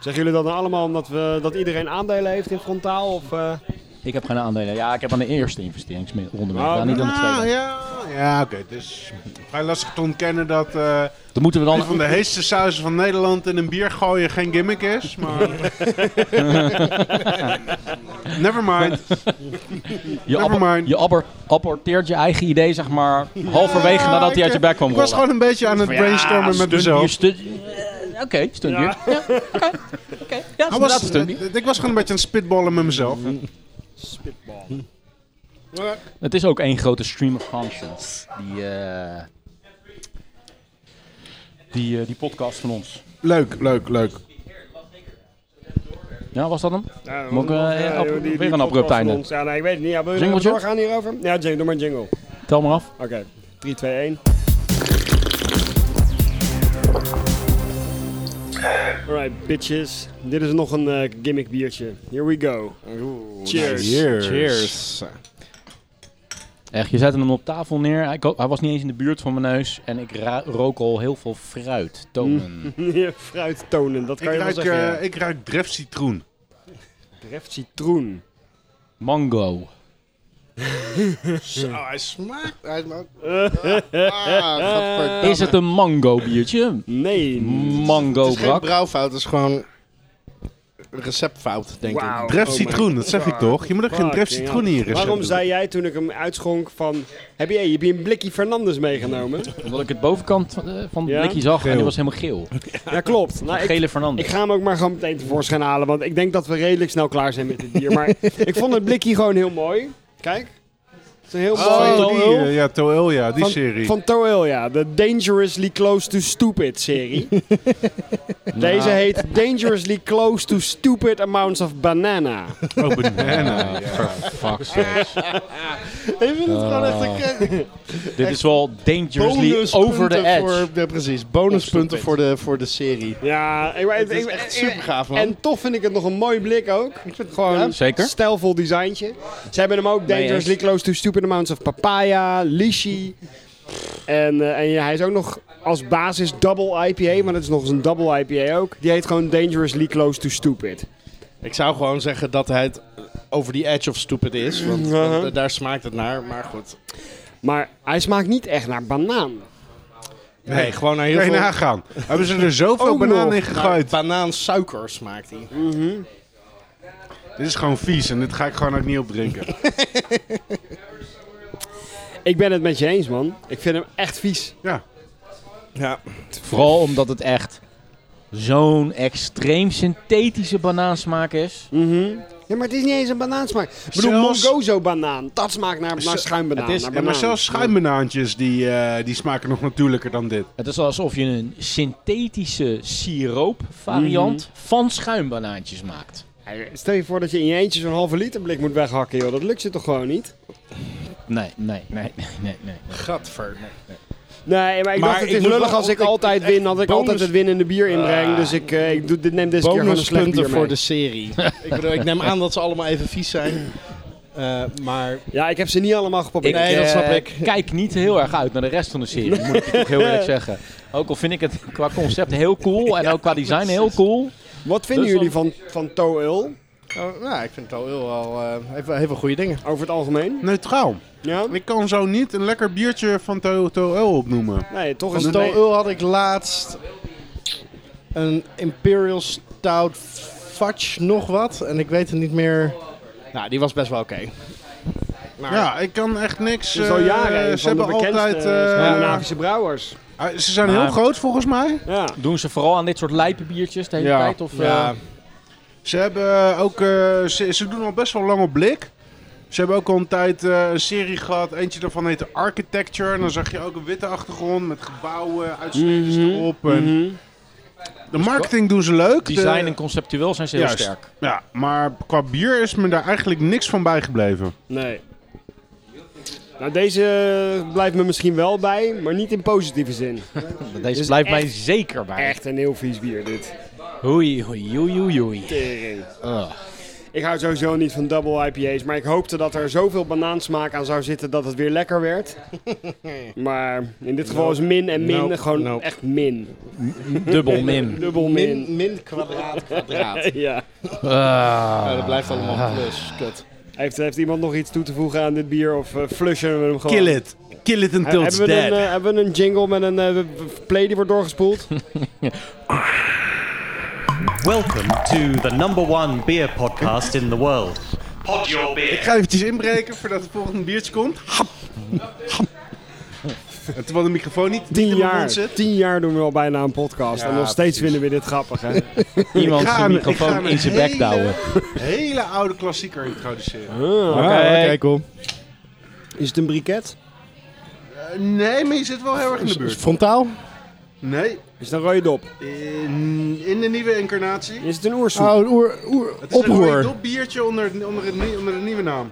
Speaker 4: Zeggen jullie dat nou allemaal omdat, we, dat iedereen aandelen heeft in frontaal? Of, eh?
Speaker 1: Ik heb geen aandelen. Ja, ik heb aan de eerste investeringsronde
Speaker 4: Oh,
Speaker 1: meegedaan, niet aan de tweede.
Speaker 2: Ah, ja, ja oké. Het is vrij lastig te ontkennen dat eh
Speaker 1: Dan moeten we dan...
Speaker 2: een van de heetste sausen van Nederland in een bier gooien geen gimmick
Speaker 1: (laughs)
Speaker 2: is. Maar... Never mind.
Speaker 1: Je,
Speaker 2: Never
Speaker 1: abor-
Speaker 2: mind.
Speaker 1: je abor- aborteert je eigen idee, zeg maar, halverwege nadat hij uit je bek kwam
Speaker 2: Ik was
Speaker 1: rollen.
Speaker 2: gewoon een beetje aan het brainstormen met
Speaker 1: Je
Speaker 2: mezelf.
Speaker 1: stu- eh, Oké, stunt hier. Ja, oké. oké. Ja,
Speaker 2: Hij
Speaker 1: dat is
Speaker 2: was,
Speaker 1: stunt
Speaker 2: eh, ik was gewoon een beetje aan het spitballen met mezelf.
Speaker 1: Mm. Het is ook één grote stream of conscience, die, eh, die, eh, die podcast van ons.
Speaker 2: Leuk, leuk, leuk.
Speaker 1: Ja, was dat hem?
Speaker 4: Ja,
Speaker 1: Moet ik, eh,
Speaker 4: ja,
Speaker 1: app-
Speaker 4: die- die
Speaker 1: weer een abrupt
Speaker 4: podcast van
Speaker 1: einde?
Speaker 4: ons. Ja, nee, ik weet het niet. Ja, wil je nog
Speaker 1: Jingletje?
Speaker 4: doorgaan hierover? Ja, jingle, doe maar een jingle.
Speaker 1: Tel maar af.
Speaker 4: Oké, 3, 2, 1. Alright, bitches. Dit is nog een eh, gimmick biertje. Here we go. Cheers. (laughs)
Speaker 5: Cheers.
Speaker 1: Echt, je zette hem op tafel neer. Hij, ko- hij was niet eens in de buurt van mijn neus. En ik ra- rook al heel veel fruit, tonen.
Speaker 4: Hier, Fruit tonen, dat
Speaker 2: Ik
Speaker 4: kan je wel
Speaker 2: ruik,
Speaker 4: zeggen. ja. Oh,
Speaker 2: eh ik ruik dref citroen.
Speaker 4: Treft citroen.
Speaker 1: Mango.
Speaker 5: Zo, Oh, hij smaakt. Hij (laughs) smaakt. Ah, gadverdamme.
Speaker 1: Is het een mango biertje?
Speaker 4: Nee.
Speaker 1: Mango
Speaker 5: Het is geen
Speaker 1: brak.
Speaker 5: brouwfout, het is gewoon receptfout, denk ik.
Speaker 4: Wauw.
Speaker 2: Dref
Speaker 4: Oh my
Speaker 2: citroen, dat zeg ik toch? Je moet ook geen dref
Speaker 4: Fucking
Speaker 2: citroen
Speaker 4: hell.
Speaker 2: in je recept
Speaker 4: Waarom
Speaker 2: doen.
Speaker 4: zei jij toen ik hem uitschonk van... Heb je, heb je een blikje Fernandes meegenomen?
Speaker 1: Omdat ik het bovenkant eh, van het
Speaker 4: Ja?
Speaker 1: blikje zag en
Speaker 2: Geel.
Speaker 1: die was helemaal geel.
Speaker 4: ja, klopt. Nou, ik,
Speaker 1: Gele
Speaker 4: ik
Speaker 1: Fernandes.
Speaker 4: ga hem ook maar gewoon meteen tevoorschijn halen. Want ik denk dat we redelijk snel klaar zijn met dit bier. Maar ik vond het blikje gewoon heel mooi. Kijk. Het is een heel mooi...
Speaker 2: Oh, die, eh, ja, Toel, ja, die
Speaker 4: van,
Speaker 2: serie.
Speaker 4: Van Toel, ja. De Dangerously Close to
Speaker 2: (laughs)
Speaker 4: Stupid serie.
Speaker 2: Nou.
Speaker 4: Deze heet Dangerously Close to Stupid Amounts of Banana.
Speaker 2: Oh,
Speaker 4: (laughs)
Speaker 2: banana.
Speaker 1: Fuck sake.
Speaker 5: Ik vind het gewoon echt
Speaker 2: Oh.
Speaker 5: een kei-
Speaker 1: Dit is wel dangerously
Speaker 5: bonuspunten
Speaker 1: over the edge.
Speaker 5: Voor, ja, precies, bonuspunten
Speaker 1: Opstoppend.
Speaker 5: voor de, voor de serie.
Speaker 4: Ja, ik, ik,
Speaker 5: Het is
Speaker 4: ik-
Speaker 5: echt
Speaker 4: ik-
Speaker 5: super gaaf, man.
Speaker 4: En toch vind ik het nog een mooi blik ook. Ik vind het gewoon
Speaker 1: Ja, zeker.
Speaker 4: stijlvol designtje. Ze hebben hem ook
Speaker 1: Nee,
Speaker 4: Dangerously
Speaker 1: eens.
Speaker 4: Close to Stupid Amounts of Papaya, Lychee. En, eh, en ja, hij is ook nog als basis double IPA, maar dat is nog eens een double IPA ook. Die heet gewoon Dangerously Close to Stupid.
Speaker 5: Ik zou gewoon zeggen dat hij het over die edge of stupid is, want want daar smaakt het naar. Maar goed.
Speaker 4: Maar hij smaakt niet echt naar banaan.
Speaker 5: Nee, gewoon naar heel
Speaker 2: Kan je
Speaker 5: veel...
Speaker 2: nagaan. Hebben ze er zoveel
Speaker 5: Ook
Speaker 2: banaan
Speaker 5: nog
Speaker 2: in gegooid?
Speaker 5: naar Banaansuiker smaakt hij.
Speaker 2: Dit is gewoon vies en dit ga ik gewoon ook niet opdrinken.
Speaker 4: Ik ben het met je eens, man. Ik vind hem echt vies.
Speaker 2: Ja.
Speaker 5: Ja.
Speaker 1: Vooral omdat het echt zo'n extreem synthetische banaansmaak is.
Speaker 4: Ja, maar het is niet eens een banaansmaak. Ik bedoel,
Speaker 2: Zelfs-
Speaker 4: mongozo-banaan. Dat smaakt naar, naar
Speaker 2: Zo-
Speaker 4: schuimbanaan.
Speaker 2: Het is,
Speaker 4: Nou, naar
Speaker 2: ja, maar
Speaker 4: banaan.
Speaker 2: zelfs schuimbanaantjes die, eh, die smaken nog natuurlijker dan dit.
Speaker 1: Het is alsof je een synthetische siroop variant
Speaker 5: Mhm.
Speaker 1: van schuimbanaantjes maakt.
Speaker 4: Hey, Stel je voor dat je in je eentje zo'n halve liter blik moet weghakken, joh. Dat lukt je toch gewoon niet?
Speaker 1: Nee, nee, nee, nee, nee. nee.
Speaker 5: Gadver.
Speaker 4: Nee, maar ik
Speaker 5: Maar
Speaker 4: dacht het
Speaker 5: ik
Speaker 4: is
Speaker 5: moet
Speaker 4: lullig
Speaker 5: wel
Speaker 4: als ik
Speaker 5: altijd-
Speaker 4: altijd win, had ik
Speaker 5: bonus- Ah.
Speaker 4: altijd het winnende bier inbreng. dus ik, eh, ik doe, dit neem deze keer gewoon een slecht bier
Speaker 5: Bonuspunten voor
Speaker 4: mee.
Speaker 5: de (laughs) serie. ik, bedoel, ik neem aan dat ze allemaal even vies zijn. Eh, maar
Speaker 4: Ja, ik heb ze niet allemaal geprobeerd.
Speaker 5: Nee, dat
Speaker 1: eh,
Speaker 5: snap ik.
Speaker 1: Kijk niet heel erg uit naar de rest van de serie, moet ik je toch heel
Speaker 5: (laughs)
Speaker 1: eerlijk zeggen. Ook al vind ik het qua concept heel cool en ook qua design heel cool.
Speaker 4: Wat vinden
Speaker 1: Dus
Speaker 4: jullie van, van Toil
Speaker 5: oh, nou, ik vind het al heel wel eh, heeft wel heel veel goede dingen.
Speaker 4: over het algemeen?
Speaker 2: Neutraal.
Speaker 4: Ja?
Speaker 2: Ik kan zo niet een lekker biertje van Toel opnoemen.
Speaker 4: Nee, toch is het...
Speaker 5: Van Toll
Speaker 4: nee.
Speaker 5: Ul had ik laatst een Imperial Stout Fudge nog wat. En ik weet het niet meer. Nou, die was best wel oké. Maar
Speaker 2: Ja, ik kan echt niks.
Speaker 4: Nou. Het is al
Speaker 2: eh,
Speaker 4: jaren een
Speaker 2: ze
Speaker 4: van de
Speaker 2: hebben
Speaker 4: bekendste
Speaker 2: altijd. eh,
Speaker 4: Scandinavische Nou. brouwers.
Speaker 2: ah, ze zijn heel
Speaker 1: Maar-
Speaker 2: groot volgens mij.
Speaker 4: Ja.
Speaker 1: Doen ze vooral aan dit soort lijpe biertjes de hele
Speaker 2: Ja.
Speaker 1: tijd? Of,
Speaker 5: ja,
Speaker 1: eh,
Speaker 2: Ze hebben eh, ook. eh, ze, ze doen al best wel lang op blik. Ze hebben ook al een tijd eh, een serie gehad. Eentje daarvan heette Architecture. En dan zag je ook een witte achtergrond met gebouwen, uitsneden
Speaker 1: Mhm.
Speaker 2: erop. En De marketing doen ze leuk. de-
Speaker 1: design en conceptueel zijn ze heel
Speaker 2: Juist.
Speaker 1: sterk.
Speaker 2: Ja, maar qua bier is me daar eigenlijk niks van bijgebleven.
Speaker 4: Nee. Nou, deze blijft me misschien wel bij, maar niet in positieve zin.
Speaker 1: Deze
Speaker 4: Dus
Speaker 1: blijft mij
Speaker 4: echt-
Speaker 1: zeker bij.
Speaker 4: Echt een heel vies bier, dit.
Speaker 1: Oei, oei, oei, oei, oei.
Speaker 4: Tering.
Speaker 1: Ugh.
Speaker 4: Ik hou sowieso niet van double IPA's, maar ik hoopte dat er zoveel banaansmaak aan zou zitten dat het weer lekker werd. maar in dit geval is min en min
Speaker 5: Nope.
Speaker 4: gewoon
Speaker 5: Nope.
Speaker 4: echt min.
Speaker 1: Dubbel min.
Speaker 4: Dubbel min.
Speaker 5: Min, min kwadraat, kwadraat.
Speaker 4: (laughs) ja.
Speaker 1: Ah,
Speaker 5: Ja, dat blijft allemaal plus. Kut.
Speaker 4: Heeft, heeft iemand nog iets toe te voegen aan dit bier of eh, flushen we hem gewoon?
Speaker 2: Kill it. Kill it
Speaker 4: He-
Speaker 2: until it's
Speaker 4: hebben, we een,
Speaker 2: dead.
Speaker 4: eh, hebben we een jingle met een eh, play die wordt doorgespoeld?
Speaker 3: Welcome to the number one beer podcast in the world. Pod your
Speaker 2: Ik
Speaker 3: beer.
Speaker 2: ga eventjes inbreken voordat het volgende biertje komt. Hap. Hap. En terwijl de microfoon niet niet in
Speaker 4: Tien
Speaker 2: mijn mond
Speaker 4: jaar.
Speaker 2: zit.
Speaker 4: Tien jaar doen we al bijna een podcast en nog steeds vinden we dit grappig. Hè?
Speaker 1: Iemand
Speaker 2: Ik ga
Speaker 1: zijn
Speaker 2: hem- ik ga
Speaker 1: microfoon
Speaker 2: hem
Speaker 1: in zijn bek
Speaker 2: hele-
Speaker 1: douwen.
Speaker 2: Hele oude klassieker introduceren.
Speaker 4: Ah.
Speaker 1: Oké.
Speaker 5: cool.
Speaker 4: Is het een briket?
Speaker 2: Eh, nee, maar je zit wel heel erg in de
Speaker 5: (laughs)
Speaker 2: buurt.
Speaker 5: Frontaal?
Speaker 2: Nee,
Speaker 4: Is het een rode dop?
Speaker 2: in, in de nieuwe incarnatie.
Speaker 4: Is het een oersoep?
Speaker 5: Oh, oer, oer,
Speaker 2: Het is een rode
Speaker 5: oproer.
Speaker 2: dop biertje onder, het- onder, het, nie- onder de nieuwe naam.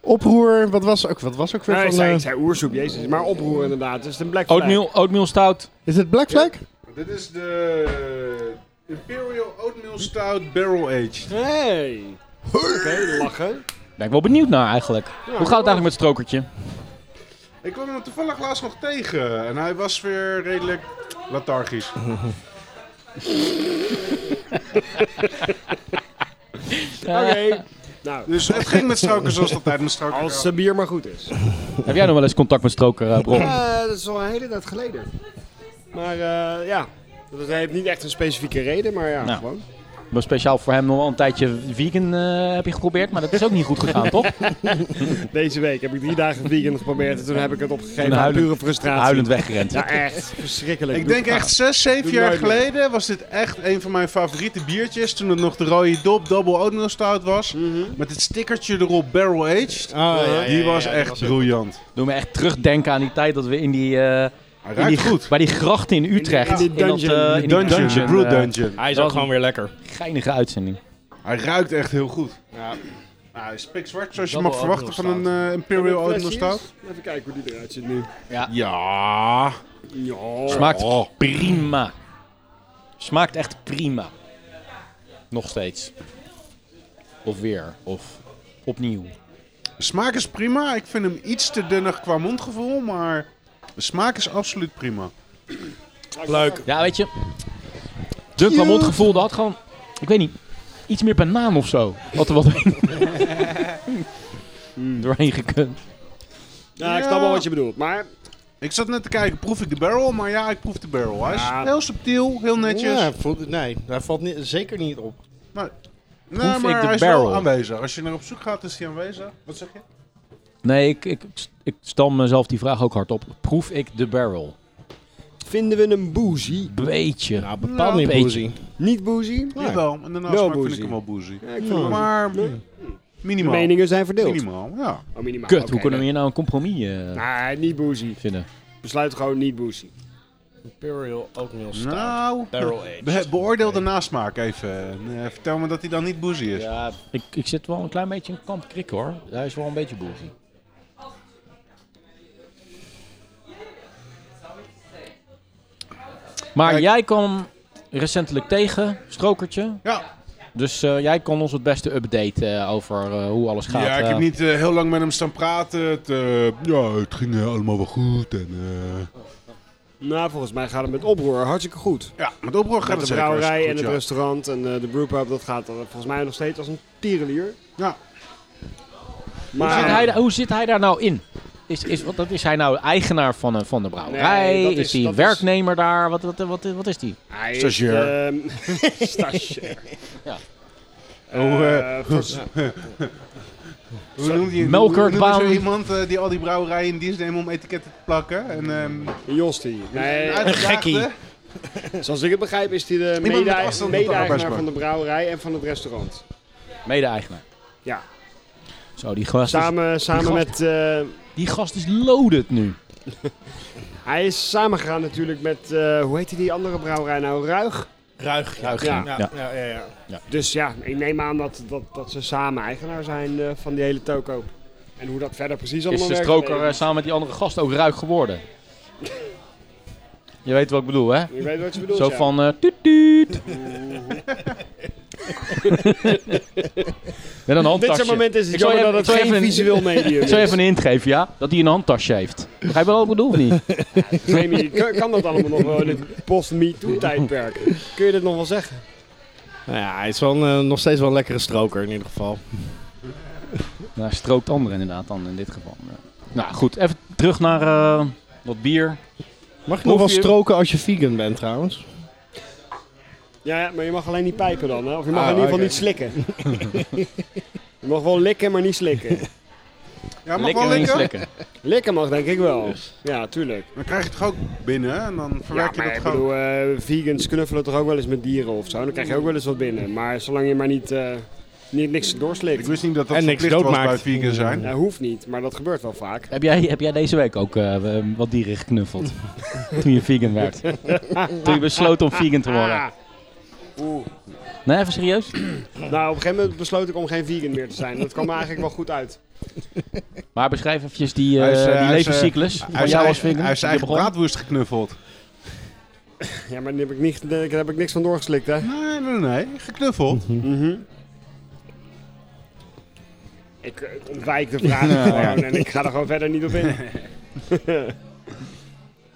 Speaker 5: Oproer, wat was ook, wat was ook weer
Speaker 4: Nee, ik,
Speaker 5: van...
Speaker 4: zei,
Speaker 5: eh,
Speaker 4: ik zei oersoep, jezus. Maar oproer inderdaad. Is het een black flag?
Speaker 1: Oatmeal, oatmeal stout.
Speaker 5: is het Black Flag?
Speaker 2: Dit is de Imperial Oatmeal Stout Barrel Aged.
Speaker 4: Hey. Oké, lachen.
Speaker 1: Ben ik wel benieuwd naar eigenlijk. Hoe gaat het eigenlijk met het strokertje?
Speaker 2: Ik kwam hem toevallig laatst nog tegen en hij was weer redelijk lethargisch.
Speaker 4: Oké. Nou,
Speaker 2: Dus het ging met stroken zoals het altijd met stroken
Speaker 4: als
Speaker 2: gaat.
Speaker 4: de bier maar goed is.
Speaker 1: Heb jij nog wel eens contact met stroker, eh, Bron?
Speaker 4: Eh, dat is al een hele tijd geleden. Maar eh, ja, dat heeft niet echt een specifieke reden, maar ja,
Speaker 1: Nou.
Speaker 4: gewoon.
Speaker 1: Maar speciaal voor hem nog wel een tijdje vegan eh, heb je geprobeerd, maar dat is ook niet goed gegaan, toch?
Speaker 4: Deze week heb ik drie dagen vegan geprobeerd en toen heb ik het opgegeven
Speaker 1: Toen
Speaker 4: aan
Speaker 1: huilend-
Speaker 4: pure frustratie.
Speaker 1: Huilend weggerend.
Speaker 4: Ja, echt. Verschrikkelijk.
Speaker 2: Ik denk echt 6, 7
Speaker 4: Doe
Speaker 2: jaar
Speaker 4: nooit meer.
Speaker 2: geleden was dit echt een van mijn favoriete biertjes. Toen het nog de rode dop Double Oatmeal Stout was. Met het stickertje erop Barrel Aged. die was echt briljant.
Speaker 1: Doe me echt terugdenken aan die tijd dat we in die, eh,
Speaker 2: Hij
Speaker 1: in die
Speaker 2: ruikt goed.
Speaker 1: bij die gracht in Utrecht.
Speaker 4: In die
Speaker 1: dat,
Speaker 4: dungeon.
Speaker 1: eh,
Speaker 4: Die
Speaker 1: in die
Speaker 2: Dungeon, de
Speaker 1: dungeon,
Speaker 2: Brew
Speaker 1: eh,
Speaker 2: Dungeon.
Speaker 5: Hij
Speaker 1: is ook gewoon
Speaker 5: weer lekker.
Speaker 1: Geinige uitzending.
Speaker 2: Hij ruikt echt heel goed. Ja. hij is pikzwart, zoals je mag verwachten van een eh, Imperial Oatmeal Stout.
Speaker 4: Even kijken hoe die eruit ziet nu.
Speaker 2: Ja.
Speaker 4: Ja.
Speaker 1: Smaakt prima. Smaakt echt prima. Nog steeds. Of weer. Of opnieuw.
Speaker 2: Smaak is prima. Ik vind hem iets te dunnig qua mondgevoel, maar de smaak is absoluut prima.
Speaker 4: Leuk.
Speaker 1: Ja, weet je. Dunk van mondgevoel, dat had gewoon... Ik weet niet. Iets meer banaan of zo. Wat er wat (laughs) doorheen gekund.
Speaker 4: Ja, ik
Speaker 2: Ja.
Speaker 4: snap wel wat je bedoelt, maar
Speaker 2: Ik zat net te kijken, proef ik de barrel? Maar ja, ik proef de barrel. Hij is
Speaker 4: Ja.
Speaker 2: heel subtiel, heel netjes.
Speaker 5: Ja, voelt- nee, daar valt ni- zeker niet op.
Speaker 2: nee,
Speaker 1: ik
Speaker 2: maar
Speaker 1: de
Speaker 2: hij is
Speaker 1: barrel?
Speaker 2: wel aanwezig. Als je naar op zoek gaat, is hij aanwezig. Wat zeg je?
Speaker 1: Nee, ik, ik, ik stel mezelf die vraag ook hardop. Proef ik de barrel?
Speaker 4: vinden we een boozy?
Speaker 1: Beetje.
Speaker 5: Nou,
Speaker 2: Nou,
Speaker 5: bepaal niet
Speaker 1: beetje.
Speaker 5: boozy.
Speaker 4: Niet boozy?
Speaker 2: Ja. Jawel, en daarnaast
Speaker 4: Wel
Speaker 2: smaak vind
Speaker 4: boozy.
Speaker 2: ik hem wel boozy.
Speaker 4: Ja, ik vind hem maar
Speaker 2: Maar minimaal.
Speaker 4: meningen zijn verdeeld.
Speaker 2: Minimaal, ja.
Speaker 4: Oh, minimaal.
Speaker 1: Kut,
Speaker 4: Oké,
Speaker 1: hoe kunnen we
Speaker 4: nee.
Speaker 1: hier nou een compromis eh,
Speaker 4: Nee, niet boozy.
Speaker 1: vinden?
Speaker 4: Besluit gewoon niet boozy.
Speaker 5: Imperial Oatmeal
Speaker 2: Nou,
Speaker 5: Barrel aged.
Speaker 2: be- beoordeel de nasmaak even. Eh, vertel me dat hij dan niet boozy is.
Speaker 1: Ja, ik, ik zit wel een klein beetje in kamp krik hoor. Hij is wel een beetje boezie. Maar
Speaker 2: Kijk.
Speaker 1: jij kwam recentelijk tegen, Strokertje.
Speaker 2: Ja.
Speaker 1: Dus eh, jij kon ons het beste updaten eh, over eh, hoe alles gaat.
Speaker 2: ja, ik
Speaker 1: eh.
Speaker 2: heb niet eh, heel lang met hem staan praten. Het, eh, ja, het ging eh, allemaal wel goed. En, eh,
Speaker 4: Nou, volgens mij gaat het met oproer hartstikke goed.
Speaker 2: ja, met oproer gaat
Speaker 4: Met
Speaker 2: het
Speaker 4: de
Speaker 2: zeker
Speaker 4: brouwerij
Speaker 2: hartstikke
Speaker 4: en het
Speaker 2: goed,
Speaker 4: restaurant en eh, de brewpub, dat gaat dan volgens mij nog steeds als een tierenlier.
Speaker 2: Ja.
Speaker 1: hoe,
Speaker 4: Maar
Speaker 1: zit hij, da- hoe zit hij daar nou in? Is, is, wat, dat is hij nou eigenaar van, een- van de brouwerij?
Speaker 4: Nee, dat
Speaker 1: is
Speaker 4: is-
Speaker 1: hij
Speaker 4: dat
Speaker 1: een
Speaker 4: is-
Speaker 1: werknemer daar? Wat, wat, wat, wat is die?
Speaker 4: hij
Speaker 2: (laughs)
Speaker 4: is,
Speaker 2: Stagiair.
Speaker 4: ehm, stagiair.
Speaker 1: Ja.
Speaker 4: Eh,
Speaker 2: Hoe,
Speaker 4: voor-
Speaker 2: Hoe noem je,
Speaker 1: Melkert
Speaker 2: hoe noem je zo
Speaker 1: Baan.
Speaker 2: iemand eh, die al die brouwerijen in dienst neemt om etiketten te plakken? En, ehm,
Speaker 4: Jostie. Nee,
Speaker 2: een gekkie.
Speaker 4: zoals ik het begrijp is hij de
Speaker 2: met
Speaker 4: mede-
Speaker 2: afstand op de
Speaker 4: mede-eigenaar
Speaker 2: arbeidsmarkt.
Speaker 4: van de brouwerij en van het restaurant.
Speaker 1: Mede-eigenaar.
Speaker 4: Ja.
Speaker 1: Zo, die gast, is,
Speaker 4: Samen, samen
Speaker 1: gast-
Speaker 4: met... eh,
Speaker 1: die gast is loaded nu.
Speaker 4: hij is samengegaan natuurlijk met, eh, hoe heette die andere brouwerij nou? Ruig?
Speaker 5: Ruig.
Speaker 4: Ruig,
Speaker 5: ja.
Speaker 4: ja.
Speaker 5: Ja, ja, ja, ja.
Speaker 4: Dus ja, ik neem aan dat, dat, dat ze samen eigenaar zijn eh, van die hele toko. En hoe dat verder precies
Speaker 1: Is
Speaker 4: allemaal
Speaker 1: de
Speaker 4: werkt.
Speaker 1: stroker
Speaker 4: weet
Speaker 1: eh,
Speaker 4: ik
Speaker 1: samen met die andere gast ook ruik geworden? Je weet wat ik bedoel, hè?
Speaker 4: niet. Ik weet wat je bedoelt,
Speaker 1: Zo
Speaker 4: ja. (laughs)
Speaker 1: van eh tuut tuut. Met een
Speaker 4: Dit
Speaker 1: handtasje.
Speaker 4: soort momenten is het
Speaker 1: Ik zal
Speaker 4: jammer
Speaker 1: je-
Speaker 4: dat
Speaker 1: ik
Speaker 4: het
Speaker 1: zal
Speaker 4: geen
Speaker 1: even een- (laughs)
Speaker 4: visueel medium
Speaker 1: Ik
Speaker 4: is.
Speaker 1: zal je even een hint geven, ja? Dat hij een handtasje heeft. Begrijp je wat ik bedoel of
Speaker 4: (laughs)
Speaker 1: niet?
Speaker 4: Jamie, kan, kan dat allemaal nog wel in
Speaker 1: (laughs)
Speaker 4: het post-me-too-tijdperk? Kun je dit nog wel zeggen?
Speaker 5: Nou ja, hij is wel een, eh, nog steeds wel een lekkere stroker in ieder geval.
Speaker 1: Nou, strookt anderen inderdaad dan in dit geval. Ja. Nou goed, even terug naar eh, wat bier.
Speaker 5: Mag je
Speaker 1: Proef
Speaker 5: nog wel
Speaker 1: je-
Speaker 5: stroken als je vegan bent trouwens?
Speaker 4: Ja, ja, maar je mag alleen niet pijpen dan, hè? Of je mag
Speaker 5: Ah,
Speaker 4: in ieder geval
Speaker 5: oké.
Speaker 4: niet
Speaker 1: (laughs)
Speaker 4: slikken. je mag wel likken, maar niet
Speaker 1: (laughs)
Speaker 4: slikken.
Speaker 2: Ja, mag
Speaker 1: Lekker
Speaker 2: wel
Speaker 1: links,
Speaker 2: lekker.
Speaker 1: lekker.
Speaker 4: Likken mag denk ik wel. Ja, tuurlijk.
Speaker 2: Dan krijg je het toch ook binnen en dan
Speaker 4: Ja,
Speaker 2: verwerk je
Speaker 4: maar
Speaker 2: dat
Speaker 4: ik
Speaker 2: gewoon.
Speaker 4: bedoel, eh, vegans knuffelen toch ook wel eens met dieren of zo. Dan krijg je ook wel eens wat binnen. Maar zolang je maar niet, eh, niet niks
Speaker 2: Ik
Speaker 4: doorslikt.
Speaker 2: wist niet dat dat
Speaker 5: En niks
Speaker 2: verplicht was bij
Speaker 5: doodmaakt.
Speaker 2: vegan zijn.
Speaker 4: Ja, hoeft niet, maar dat gebeurt wel vaak.
Speaker 1: Heb jij, heb jij deze week ook eh, wat dieren
Speaker 2: (laughs)
Speaker 1: geknuffeld? toen je vegan werd. toen je besloot om vegan te worden.
Speaker 4: Ah. Oeh.
Speaker 1: Nee, even serieus?
Speaker 4: Nou, op een gegeven moment besloot ik om geen vegan meer te zijn. Dat kwam me eigenlijk wel goed uit.
Speaker 1: Maar beschrijf eventjes die, eh,
Speaker 2: Hij is, eh,
Speaker 1: die
Speaker 2: hij is, eh,
Speaker 1: levenscyclus
Speaker 2: Hij
Speaker 1: van
Speaker 2: is
Speaker 1: jou als
Speaker 2: eigen-
Speaker 1: vegan.
Speaker 2: hij is
Speaker 1: Je
Speaker 2: zijn eigen
Speaker 1: begon.
Speaker 2: braadwoest geknuffeld.
Speaker 4: Ja, maar daar heb ik, niet, eh, daar heb ik niks van doorgeslikt, hè?
Speaker 2: Nee, nee, nee. Geknuffeld.
Speaker 4: Mhm. Ik, eh, ik ontwijk de vraag gewoon en ik ga er gewoon verder niet op in.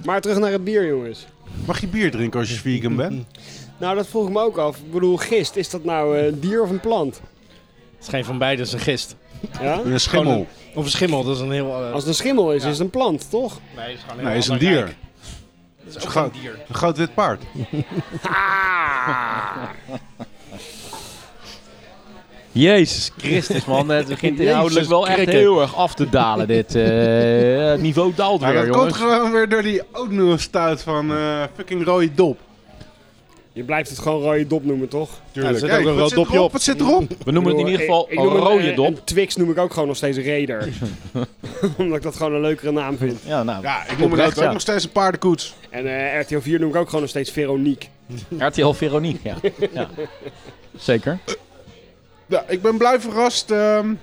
Speaker 4: maar terug naar het bier, jongens.
Speaker 2: Mag je bier drinken als je vegan bent?
Speaker 4: Nou, dat vroeg ik me ook af. Ik bedoel, gist, is dat nou eh, een dier of een plant?
Speaker 5: Het is geen van beide, het is een gist.
Speaker 4: Ja?
Speaker 2: Een schimmel.
Speaker 5: Gewoon Of een schimmel, dat is een heel... eh,
Speaker 4: Als het een schimmel is, is het een plant, toch?
Speaker 5: nee, het is, gewoon
Speaker 2: Nee, is een
Speaker 5: ander
Speaker 2: dier.
Speaker 5: rijk.
Speaker 2: Het is een groot- een groot wit paard.
Speaker 1: Jezus Christus, man. Het begint inhoudelijk wel echt
Speaker 5: krikken.
Speaker 1: heel erg af te dalen, dit. eh,
Speaker 2: (laughs)
Speaker 1: het niveau daalt
Speaker 2: Maar
Speaker 1: weer,
Speaker 2: Nou, dat komt
Speaker 1: jongens.
Speaker 2: gewoon weer door die oatmeal stout van eh, fucking rode dop.
Speaker 4: Je blijft het gewoon rode dop noemen, toch?
Speaker 5: er zit
Speaker 2: Hey,
Speaker 5: ook een
Speaker 2: wat
Speaker 5: rood
Speaker 2: zit erop?
Speaker 5: dopje op.
Speaker 2: Wat zit erop?
Speaker 1: We noemen het in
Speaker 4: Ik
Speaker 1: ieder
Speaker 4: bedoel,
Speaker 1: geval
Speaker 4: ik- ik noem hem,
Speaker 1: rode
Speaker 4: eh,
Speaker 1: dop.
Speaker 4: En Twix noem ik ook gewoon nog steeds
Speaker 1: (laughs)
Speaker 4: Raider. (laughs) Omdat ik dat gewoon een leukere naam vind.
Speaker 1: Ja, nou,
Speaker 2: Ja, ik noem het
Speaker 1: Oprecht,
Speaker 2: ook
Speaker 1: ja.
Speaker 2: nog steeds een paardenkoets.
Speaker 4: En eh, RTL 4 noem ik ook gewoon nog steeds Veronique.
Speaker 1: RTL Veronique, ja.
Speaker 2: (laughs)
Speaker 1: ja. Zeker.
Speaker 2: Ja, ik ben blij verrast. ehm,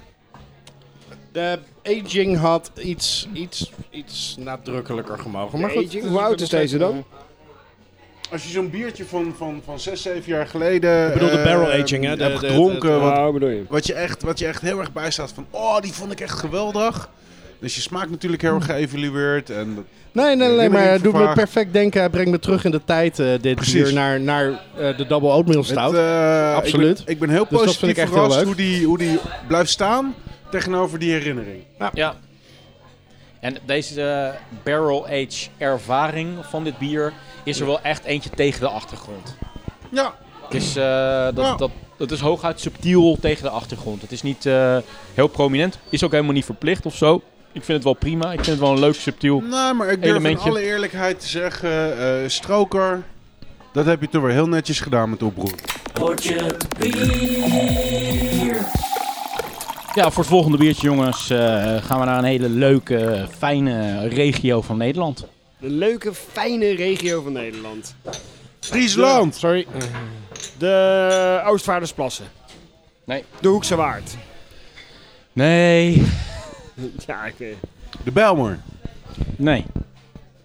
Speaker 5: De aging had iets, iets, iets nadrukkelijker gemogen. Maar
Speaker 4: De
Speaker 5: goed,
Speaker 4: aging?
Speaker 5: dus
Speaker 4: Hoe
Speaker 5: ik
Speaker 4: oud
Speaker 5: ben
Speaker 4: is
Speaker 5: nog
Speaker 4: deze
Speaker 5: steeds,
Speaker 4: dan?
Speaker 5: eh,
Speaker 2: als je zo'n biertje van, van, van 6, 7 jaar geleden.
Speaker 5: Ik bedoel de barrel aging, hè, de-
Speaker 2: Heb
Speaker 5: de- de-
Speaker 2: gedronken.
Speaker 5: de-
Speaker 2: wat,
Speaker 4: Waar bedoel je?
Speaker 2: wat, je echt, wat je echt heel erg bijstaat van. Oh, die vond ik echt geweldig. Dus je smaakt natuurlijk heel erg geëvalueerd. En dat-
Speaker 5: Nee, nee, nee,
Speaker 2: Herinnering
Speaker 5: maar het doet me
Speaker 2: vervagen.
Speaker 5: perfect denken. Hij brengt me terug in de tijd, eh, dit
Speaker 2: Precies.
Speaker 5: bier, naar, naar eh, de Double Oatmeal
Speaker 2: het,
Speaker 5: Stout.
Speaker 2: eh,
Speaker 5: Absoluut. Dus
Speaker 2: Ik ben, ik ben heel
Speaker 5: dat vind
Speaker 2: positief
Speaker 5: ik echt heel
Speaker 2: verrast
Speaker 5: leuk.
Speaker 2: hoe, die, hoe die blijft staan tegenover die herinnering.
Speaker 1: Ja. En deze eh, barrel age ervaring van dit bier is er wel echt eentje tegen de achtergrond.
Speaker 2: Ja,
Speaker 1: Het is, eh, dat,
Speaker 2: Ja.
Speaker 1: dat, dat is hooguit subtiel tegen de achtergrond. Het is niet eh, heel prominent. Is ook helemaal niet verplicht of zo. Ik vind het wel prima. Ik vind het wel een leuk subtiel.
Speaker 2: Nou, maar ik durf
Speaker 1: Elementje.
Speaker 2: in alle eerlijkheid te zeggen, eh, Stroker, dat heb je toch weer heel netjes gedaan met oproep.
Speaker 1: Ja, voor het volgende biertje, jongens, eh, gaan we naar een hele leuke, fijne regio van Nederland.
Speaker 4: De leuke, fijne regio van Nederland.
Speaker 2: Friesland!
Speaker 5: Sorry.
Speaker 4: De Oostvaardersplassen.
Speaker 1: Nee.
Speaker 4: De Hoekse Waard.
Speaker 1: Nee.
Speaker 4: (laughs) Ja, ik weet-
Speaker 2: De Belmer. (laughs)
Speaker 1: Nee.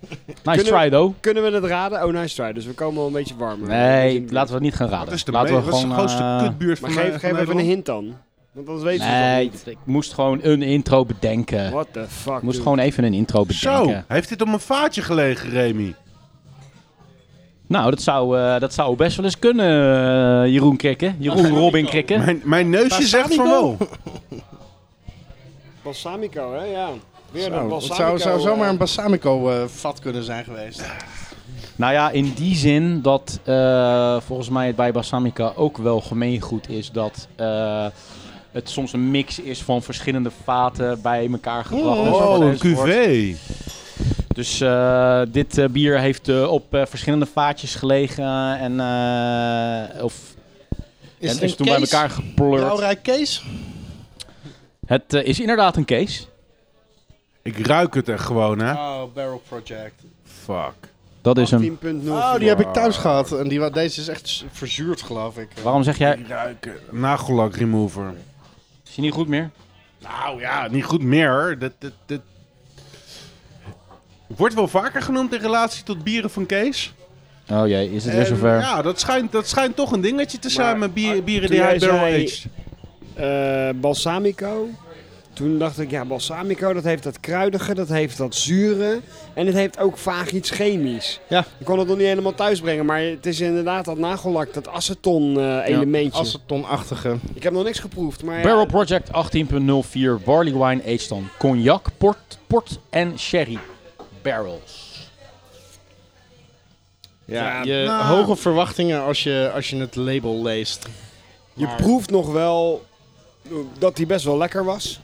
Speaker 1: Nice
Speaker 4: Kunnen-
Speaker 1: try, though.
Speaker 4: Kunnen we het raden? Oh, nice try. Dus we komen al een beetje warmer.
Speaker 1: Nee, laten we het niet gaan raden.
Speaker 2: Dat is de,
Speaker 1: laten
Speaker 2: me-
Speaker 1: we
Speaker 2: dat is de grootste
Speaker 1: eh,
Speaker 2: kutbuurt
Speaker 4: Maar
Speaker 2: van
Speaker 4: geef,
Speaker 2: eh, van
Speaker 4: geef even een
Speaker 2: Nederland.
Speaker 4: hint dan. Want anders weten ze het
Speaker 1: Nee,
Speaker 4: niet.
Speaker 1: ik moest gewoon een intro bedenken. Ik
Speaker 4: What the fuck,
Speaker 1: moest
Speaker 4: dude.
Speaker 1: gewoon even een intro bedenken.
Speaker 2: Zo, heeft dit om een vaatje gelegen, Remy?
Speaker 1: Nou, dat zou, eh, dat zou best wel eens kunnen, eh, Jeroen Krikke. Jeroen Robin Krikke.
Speaker 2: Mijn, mijn neusje zegt van wel.
Speaker 4: Balsamico, hè? Ja. Weer
Speaker 5: Zo,
Speaker 4: dat
Speaker 5: nou, het
Speaker 4: balsamico.
Speaker 5: zou, zou zomaar een
Speaker 4: eh,
Speaker 5: balsamico-vat kunnen zijn geweest.
Speaker 1: Nou ja, in die zin dat eh, volgens mij het bij Balsamica ook wel gemeengoed is dat eh, het soms een mix is van verschillende vaten bij elkaar gebracht.
Speaker 2: Oh,
Speaker 1: enzovoort,
Speaker 2: een
Speaker 1: enzovoort.
Speaker 2: cuvée.
Speaker 1: Dus eh, dit eh, bier heeft eh, op eh, verschillende vaatjes gelegen en, eh, of,
Speaker 5: Is
Speaker 1: en is toen bij elkaar geplurd.
Speaker 5: Blauwrijk Kees?
Speaker 1: Het eh, is inderdaad een case.
Speaker 2: Ik ruik het echt gewoon, hè?
Speaker 5: Oh, Barrel Project.
Speaker 2: Fuck.
Speaker 1: Dat is hem.
Speaker 4: 10.0.
Speaker 5: Oh, die heb ik thuis gehad. En die, wa- deze is echt s- verzuurd, geloof ik.
Speaker 1: Waarom zeg jij?
Speaker 2: Ik ruik het. Nagellak remover.
Speaker 1: Is je niet goed meer?
Speaker 2: Nou ja, niet goed meer. Dat, dat, dat... Wordt wel vaker genoemd in relatie tot bieren van Kees.
Speaker 1: Oh jee, is het
Speaker 2: En, Ja, dat schijnt, dat schijnt toch een dingetje te zijn met bier- bieren
Speaker 4: toen
Speaker 2: die hij
Speaker 4: jij
Speaker 2: barrel
Speaker 4: zei-
Speaker 2: aged.
Speaker 4: eh, balsamico. Toen dacht ik, ja, balsamico, dat heeft dat kruidige, dat heeft dat zure. En het heeft ook vaag iets chemisch.
Speaker 5: Ja.
Speaker 4: Ik kon het nog niet helemaal thuisbrengen, maar het is inderdaad dat nagellak, dat aceton-elementje.
Speaker 5: acetonachtige.
Speaker 4: Ik heb nog niks geproefd, maar... ja,
Speaker 1: Barrel Project 18.04 Barley Wine aged on cognac, port, port en sherry barrels.
Speaker 5: Ja,
Speaker 4: Ja,
Speaker 5: je
Speaker 2: nou.
Speaker 5: hoge verwachtingen als je, als je het label leest.
Speaker 4: je
Speaker 5: maar-
Speaker 4: proeft nog wel eh, dat die best wel lekker was.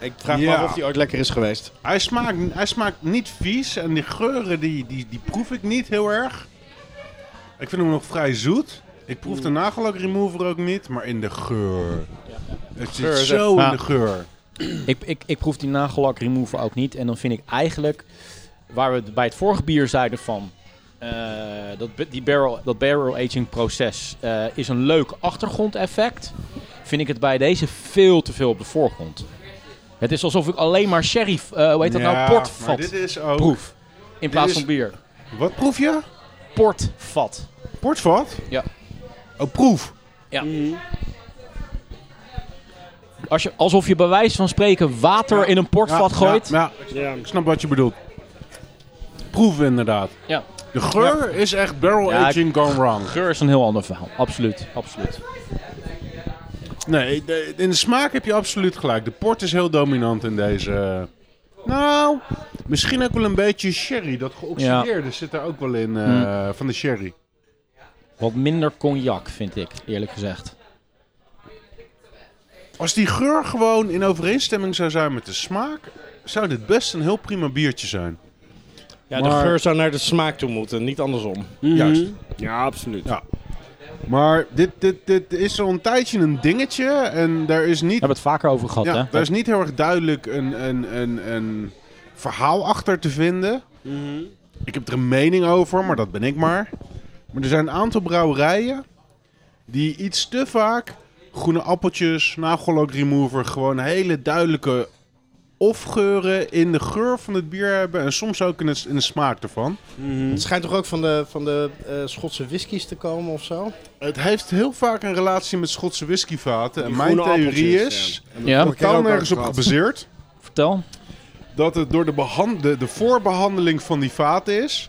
Speaker 5: Ik vraag me
Speaker 2: Ja.
Speaker 5: af of die ooit lekker is geweest.
Speaker 2: Hij smaakt, hij smaakt niet vies en die geuren die, die, die proef ik niet heel erg. Ik vind hem nog vrij zoet. Ik
Speaker 1: Mm.
Speaker 2: proef de nagellak remover ook niet, maar in de geur. Het zit
Speaker 5: Geur is
Speaker 2: zo
Speaker 1: echt-
Speaker 2: in de geur.
Speaker 1: Ik, ik, ik proef die nagellak remover ook niet. En dan vind ik eigenlijk, waar we het bij het vorige bier zeiden van... eh, dat, ba- die barrel, dat barrel aging proces eh, is een leuk achtergrondeffect. Vind ik het bij deze veel te veel op de voorgrond. Het is alsof ik alleen maar sherry, eh, hoe heet dat
Speaker 2: Ja,
Speaker 1: nou, port
Speaker 2: maar
Speaker 1: vat
Speaker 2: Dit is ook...
Speaker 1: proef. In plaats
Speaker 2: is-
Speaker 1: van bier.
Speaker 2: Wat proef je?
Speaker 1: Port vat.
Speaker 2: Portvat?
Speaker 1: Ja.
Speaker 2: Oh, proef.
Speaker 1: Als je, alsof je bij wijze van spreken water in een portvat
Speaker 2: Ja,
Speaker 1: gooit.
Speaker 2: Ja, ja,
Speaker 4: Ja.
Speaker 2: ik snap wat je bedoelt. Proef inderdaad.
Speaker 1: Ja.
Speaker 2: De geur is echt barrel
Speaker 1: Ja,
Speaker 2: aging gone wrong.
Speaker 1: Geur is een heel ander verhaal. Absoluut, absoluut.
Speaker 2: Nee, de- in de smaak heb je absoluut gelijk. De port is heel dominant in deze. eh, Nou, misschien ook wel een beetje sherry. Dat geoxideerde zit daar ook wel in eh, van de sherry.
Speaker 1: Wat minder cognac, vind ik, eerlijk gezegd.
Speaker 2: Als die geur gewoon in overeenstemming zou zijn met de smaak, zou dit best een heel prima biertje zijn.
Speaker 5: Ja,
Speaker 2: Maar-
Speaker 5: de geur zou naar de smaak toe moeten, niet andersom.
Speaker 2: Juist.
Speaker 4: Ja, absoluut.
Speaker 2: Ja. Maar dit, dit, dit is al een tijdje een dingetje en daar is niet
Speaker 1: We hebben het vaker over gehad,
Speaker 2: Ja,
Speaker 1: hè?
Speaker 2: daar is niet heel erg duidelijk een, een, een, een verhaal achter te vinden.
Speaker 4: Mhm.
Speaker 2: Ik heb er een mening over, maar dat ben ik maar. Maar er zijn een aantal brouwerijen die iets te vaak groene appeltjes, nagellak remover, gewoon hele duidelijke of geuren in de geur van het bier hebben en soms ook in, het, in de smaak ervan.
Speaker 5: Het schijnt toch ook van de, van de eh, Schotse whiskies te komen of zo?
Speaker 2: Het heeft heel vaak een relatie met Schotse whiskyvaten. En
Speaker 4: Die
Speaker 2: mijn
Speaker 4: groene
Speaker 2: theorie
Speaker 4: appeltjes,
Speaker 2: is,
Speaker 1: Ja,
Speaker 4: Vorige keer
Speaker 2: totaal
Speaker 4: ook
Speaker 2: nergens op
Speaker 4: over gehad.
Speaker 2: gebaseerd,
Speaker 1: vertel.
Speaker 2: dat het door de, behand- de, de voorbehandeling van die vaten is.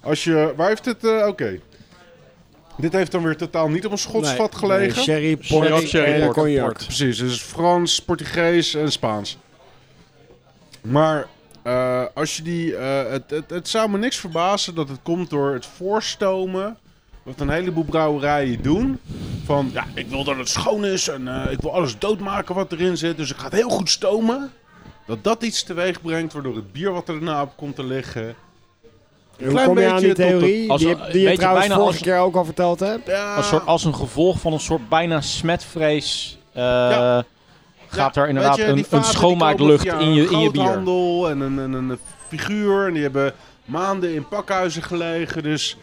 Speaker 2: Als je, waar heeft het, eh, oké. Dit heeft dan weer totaal niet op een Schots
Speaker 4: Nee,
Speaker 2: vat gelegen.
Speaker 4: nee, sherry, port,
Speaker 2: Cognac, sherry,
Speaker 4: en
Speaker 2: port,
Speaker 4: cognac.
Speaker 2: Precies, dus Frans, Portugees en Spaans. Maar eh, als je die, eh, het, het, het zou me niks verbazen dat het komt door het voorstomen. Wat een heleboel brouwerijen doen. Van ja, ik wil dat het schoon is en eh, ik wil alles doodmaken wat erin zit. Dus ik ga het heel goed stomen. Dat dat iets teweeg brengt waardoor het bier wat er daarna op komt te liggen.
Speaker 4: Hoe kom je aan die
Speaker 2: tot de-
Speaker 4: theorie?
Speaker 1: als-
Speaker 4: die heb- die je
Speaker 1: weet je,
Speaker 4: trouwens
Speaker 1: bijna
Speaker 4: vorige
Speaker 1: als-
Speaker 4: keer ook al verteld hebt.
Speaker 2: Ja,
Speaker 1: Als, soort, als een gevolg van een soort bijna smetvrees... eh,
Speaker 2: Ja.
Speaker 1: Gaat
Speaker 2: Ja,
Speaker 1: er inderdaad
Speaker 2: weet je, die
Speaker 1: een, een
Speaker 2: vaten die
Speaker 1: schoonmaaklucht
Speaker 2: komen
Speaker 1: in, je,
Speaker 2: via
Speaker 1: in je
Speaker 2: een
Speaker 1: bier?
Speaker 2: groothandel en een, een, een, een figuur. En die hebben maanden in pakhuizen gelegen. Dus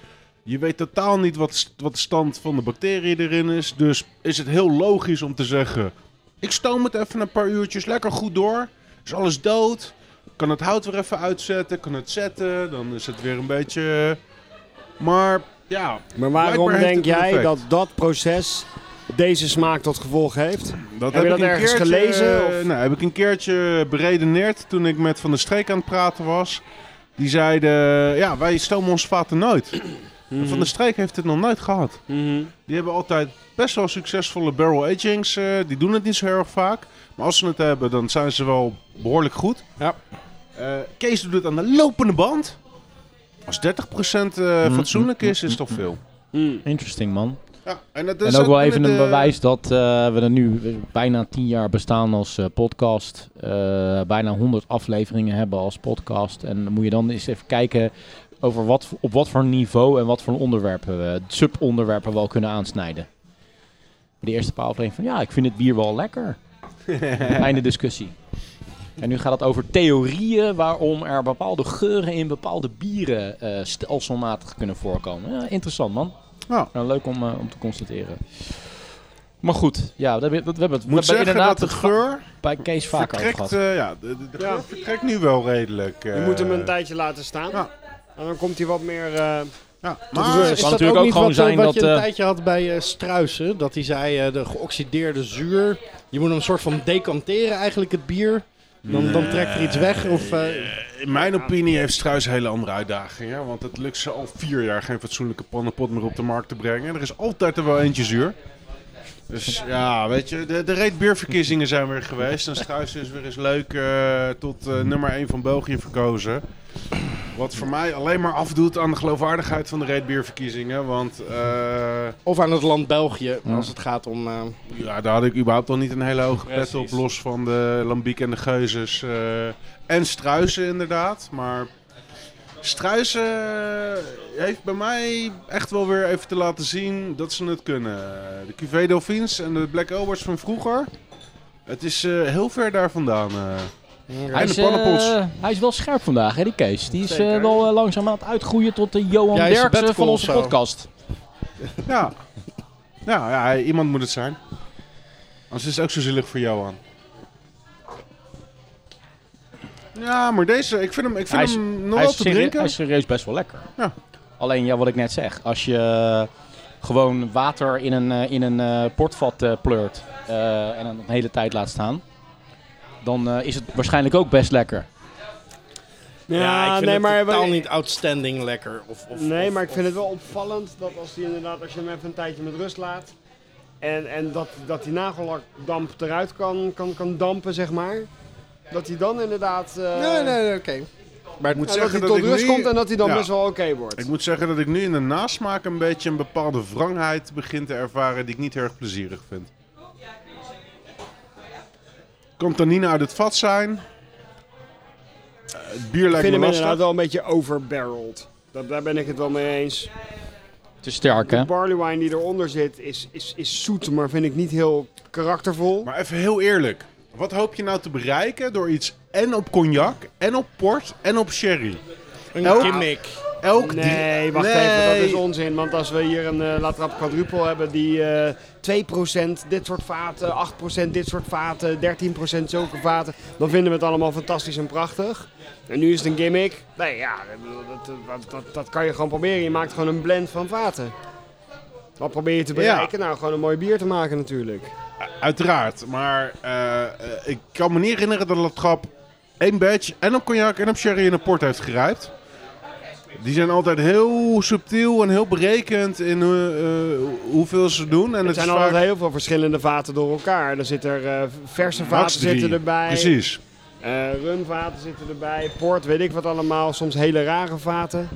Speaker 2: je weet totaal niet wat, st- wat de stand van de bacteriën erin is. Dus is het heel logisch om te zeggen... Ik stoom het even een paar uurtjes lekker goed door. Is alles dood. Kan het hout weer even uitzetten. Kan het zetten. Dan is het weer een beetje... Maar ja,
Speaker 4: Maar waarom
Speaker 2: Blijkbaar heeft
Speaker 4: denk
Speaker 2: het een
Speaker 4: jij
Speaker 2: effect.
Speaker 4: dat dat proces deze smaak tot gevolg heeft?
Speaker 2: Dat
Speaker 4: Heb je dat
Speaker 2: ik een
Speaker 4: ergens
Speaker 2: keertje,
Speaker 4: gelezen, of?
Speaker 2: eh, Nou, heb ik een keertje beredeneerd toen ik met Van der Streek aan het praten was. Die zeiden, ja, wij stomen ons vaten nooit.
Speaker 4: (clears throat) Hmm.
Speaker 2: En Van der Streek heeft het nog nooit gehad. Die hebben altijd best wel succesvolle barrel agings. eh, die doen het niet zo heel erg vaak. Maar als ze het hebben, dan zijn ze wel behoorlijk goed.
Speaker 5: Ja.
Speaker 2: Eh, Kees doet het aan de lopende band. Als 30% eh,
Speaker 4: Mm,
Speaker 2: fatsoenlijk is, is toch veel.
Speaker 4: Hmm.
Speaker 1: Interesting, man.
Speaker 2: Ja, en, Dus het
Speaker 1: En ook wel even een bewijs dat eh, we er nu eh, bijna tien jaar bestaan als eh, podcast. eh, bijna 100 afleveringen hebben als podcast. En dan moet je dan eens even kijken over wat, op wat voor niveau en wat voor onderwerpen we, subonderwerpen we al kunnen aansnijden. De eerste paar afleveringen van ja, ik vind het bier wel lekker.
Speaker 2: Eh,
Speaker 1: Einde discussie. En nu gaat het over theorieën waarom er bepaalde geuren in bepaalde bieren eh, stelselmatig kunnen voorkomen. Ja, interessant man.
Speaker 2: Ja.
Speaker 1: Nou, leuk om, eh, om te constateren. Maar goed, ja, dat, hebben we- dat, hebben we
Speaker 2: Ik moet
Speaker 1: hebben
Speaker 2: zeggen dat
Speaker 1: inderdaad
Speaker 2: de
Speaker 1: het
Speaker 2: geur...
Speaker 1: va- bij Kees vaker over
Speaker 2: vertrekt,
Speaker 1: gehad.
Speaker 2: eh, ja, de, de, de geur vertrekt nu wel redelijk.
Speaker 4: Je
Speaker 2: eh.
Speaker 4: moet hem een tijdje laten staan.
Speaker 2: Ja.
Speaker 4: En dan komt hij wat meer eh,
Speaker 2: Ja,
Speaker 1: is het
Speaker 2: maar
Speaker 1: kan natuurlijk ook
Speaker 5: niet
Speaker 1: gewoon
Speaker 5: wat, eh,
Speaker 1: zijn
Speaker 5: wat
Speaker 1: dat,
Speaker 5: je een
Speaker 1: eh,
Speaker 5: tijdje had bij eh, struisen. Dat hij zei, eh, de geoxideerde zuur. Je moet hem een soort van decanteren eigenlijk, het bier. Dan, dan trekt er iets weg. Of, eh,
Speaker 2: in mijn opinie heeft Struis een hele andere uitdagingen. Want het lukt ze al vier jaar geen fatsoenlijke pannenpot meer op de markt te brengen. En er is altijd er wel eentje zuur. Dus ja, weet je, de, de reetbeerverkiezingen zijn weer geweest. En Struis is weer eens leuk eh, tot eh, nummer 1 van België verkozen. Wat voor mij alleen maar afdoet aan de geloofwaardigheid van de reetbeerverkiezingen. Want eh,
Speaker 5: of aan het land België, als het gaat om... eh,
Speaker 2: Ja, daar had ik überhaupt al niet een hele hoge pet op.
Speaker 6: Precies.
Speaker 2: Los van de Lambiek en de Geuzes. eh, en Struisen inderdaad. Maar Struisen eh, heeft bij mij echt wel weer even te laten zien dat ze het kunnen. De QV Dolphins en de Black Elbers van vroeger. Het is eh, heel ver daar vandaan. eh.
Speaker 1: Hij is,
Speaker 2: de pannenpoes.
Speaker 1: eh, hij is wel scherp vandaag, hè, die Kees. Die is eh,
Speaker 5: Zeker.
Speaker 1: wel eh, langzaam aan het uitgroeien tot de Johan
Speaker 5: Ja, hij is een
Speaker 1: Derksen van
Speaker 5: bedkool
Speaker 1: onze
Speaker 5: of zo.
Speaker 1: podcast.
Speaker 2: ja. Nou ja, iemand moet het zijn. Anders is het ook zo zielig voor jou aan. Ja, maar deze, ik vind hem, ik vind
Speaker 1: Hij is-
Speaker 2: hem nog
Speaker 1: Hij
Speaker 2: wel
Speaker 1: is,
Speaker 2: te
Speaker 1: serie-
Speaker 2: drinken.
Speaker 1: hij is serieus best wel lekker.
Speaker 2: Ja.
Speaker 1: Alleen, ja, wat ik net zeg. Als je eh, gewoon water in een, eh, in een eh, portvat eh, pleurt eh, en een hele tijd laat staan... dan eh, is het waarschijnlijk ook best lekker.
Speaker 4: Ja,
Speaker 5: ja, ik vind
Speaker 4: nee,
Speaker 5: het
Speaker 4: maar,
Speaker 5: totaal niet outstanding lekker. Of, of,
Speaker 4: nee,
Speaker 5: of-
Speaker 4: maar ik
Speaker 5: of-
Speaker 4: vind het wel opvallend dat als hij inderdaad, als je hem even een tijdje met rust laat. En, en dat, dat die nagellakdamp eruit kan, kan, kan dampen, zeg maar. Dat hij dan inderdaad. eh,
Speaker 5: Nee, nee, nee, oké. Maar het
Speaker 2: moet
Speaker 4: ja, dat hij
Speaker 2: zeggen dat,
Speaker 4: tot
Speaker 2: ik
Speaker 4: rust
Speaker 2: nu-
Speaker 4: komt en dat hij dan
Speaker 2: Ja.
Speaker 4: best wel oké wordt.
Speaker 2: Ik moet zeggen dat ik nu in de nasmaak een beetje een bepaalde wrangheid begin te ervaren die ik niet heel erg plezierig vind. Komt dan Nina uit het vat zijn. Eh, het bier
Speaker 4: Ik
Speaker 2: lijkt
Speaker 4: vind
Speaker 2: me
Speaker 4: hem
Speaker 2: lastig.
Speaker 4: inderdaad wel een beetje overbarreled. Dat, daar ben ik het wel mee eens.
Speaker 1: Te sterk, hè?
Speaker 4: De barley wine die eronder zit is, is, is zoet, maar vind ik niet heel karaktervol.
Speaker 2: Maar even heel eerlijk. Wat hoop je nou te bereiken door iets en op cognac, en op port, en op sherry?
Speaker 5: Een
Speaker 2: Elk-
Speaker 5: gimmick.
Speaker 2: Elk
Speaker 4: Nee, wacht
Speaker 2: Nee.
Speaker 4: even, dat is onzin. Want als we hier een eh latrap quadruple hebben die eh, 2% dit soort vaten, 8% dit soort vaten, 13% zulke vaten, dan vinden we het allemaal fantastisch en prachtig. En nu is het een gimmick. Nee, ja, ik bedoel, dat, dat, dat, dat kan je gewoon proberen. Je maakt gewoon een blend van vaten. Wat probeer je te bereiken? Nou, gewoon een mooi bier te maken natuurlijk.
Speaker 2: Uiteraard, maar eh, eh, ik kan me niet herinneren dat Latrap één badge en op cognac en op sherry en op port heeft gerijpt. Die zijn altijd heel subtiel en heel berekend in hoe- eh, hoeveel ze doen. En
Speaker 4: Er
Speaker 2: het
Speaker 4: zijn
Speaker 2: is vaak
Speaker 4: altijd heel veel verschillende vaten door elkaar. Er zit er eh, verse
Speaker 2: max
Speaker 4: vaten zitten
Speaker 2: drie.
Speaker 4: erbij.
Speaker 2: Precies.
Speaker 4: Eh, rumvaten zitten erbij, port, weet ik wat allemaal. Soms hele rare vaten.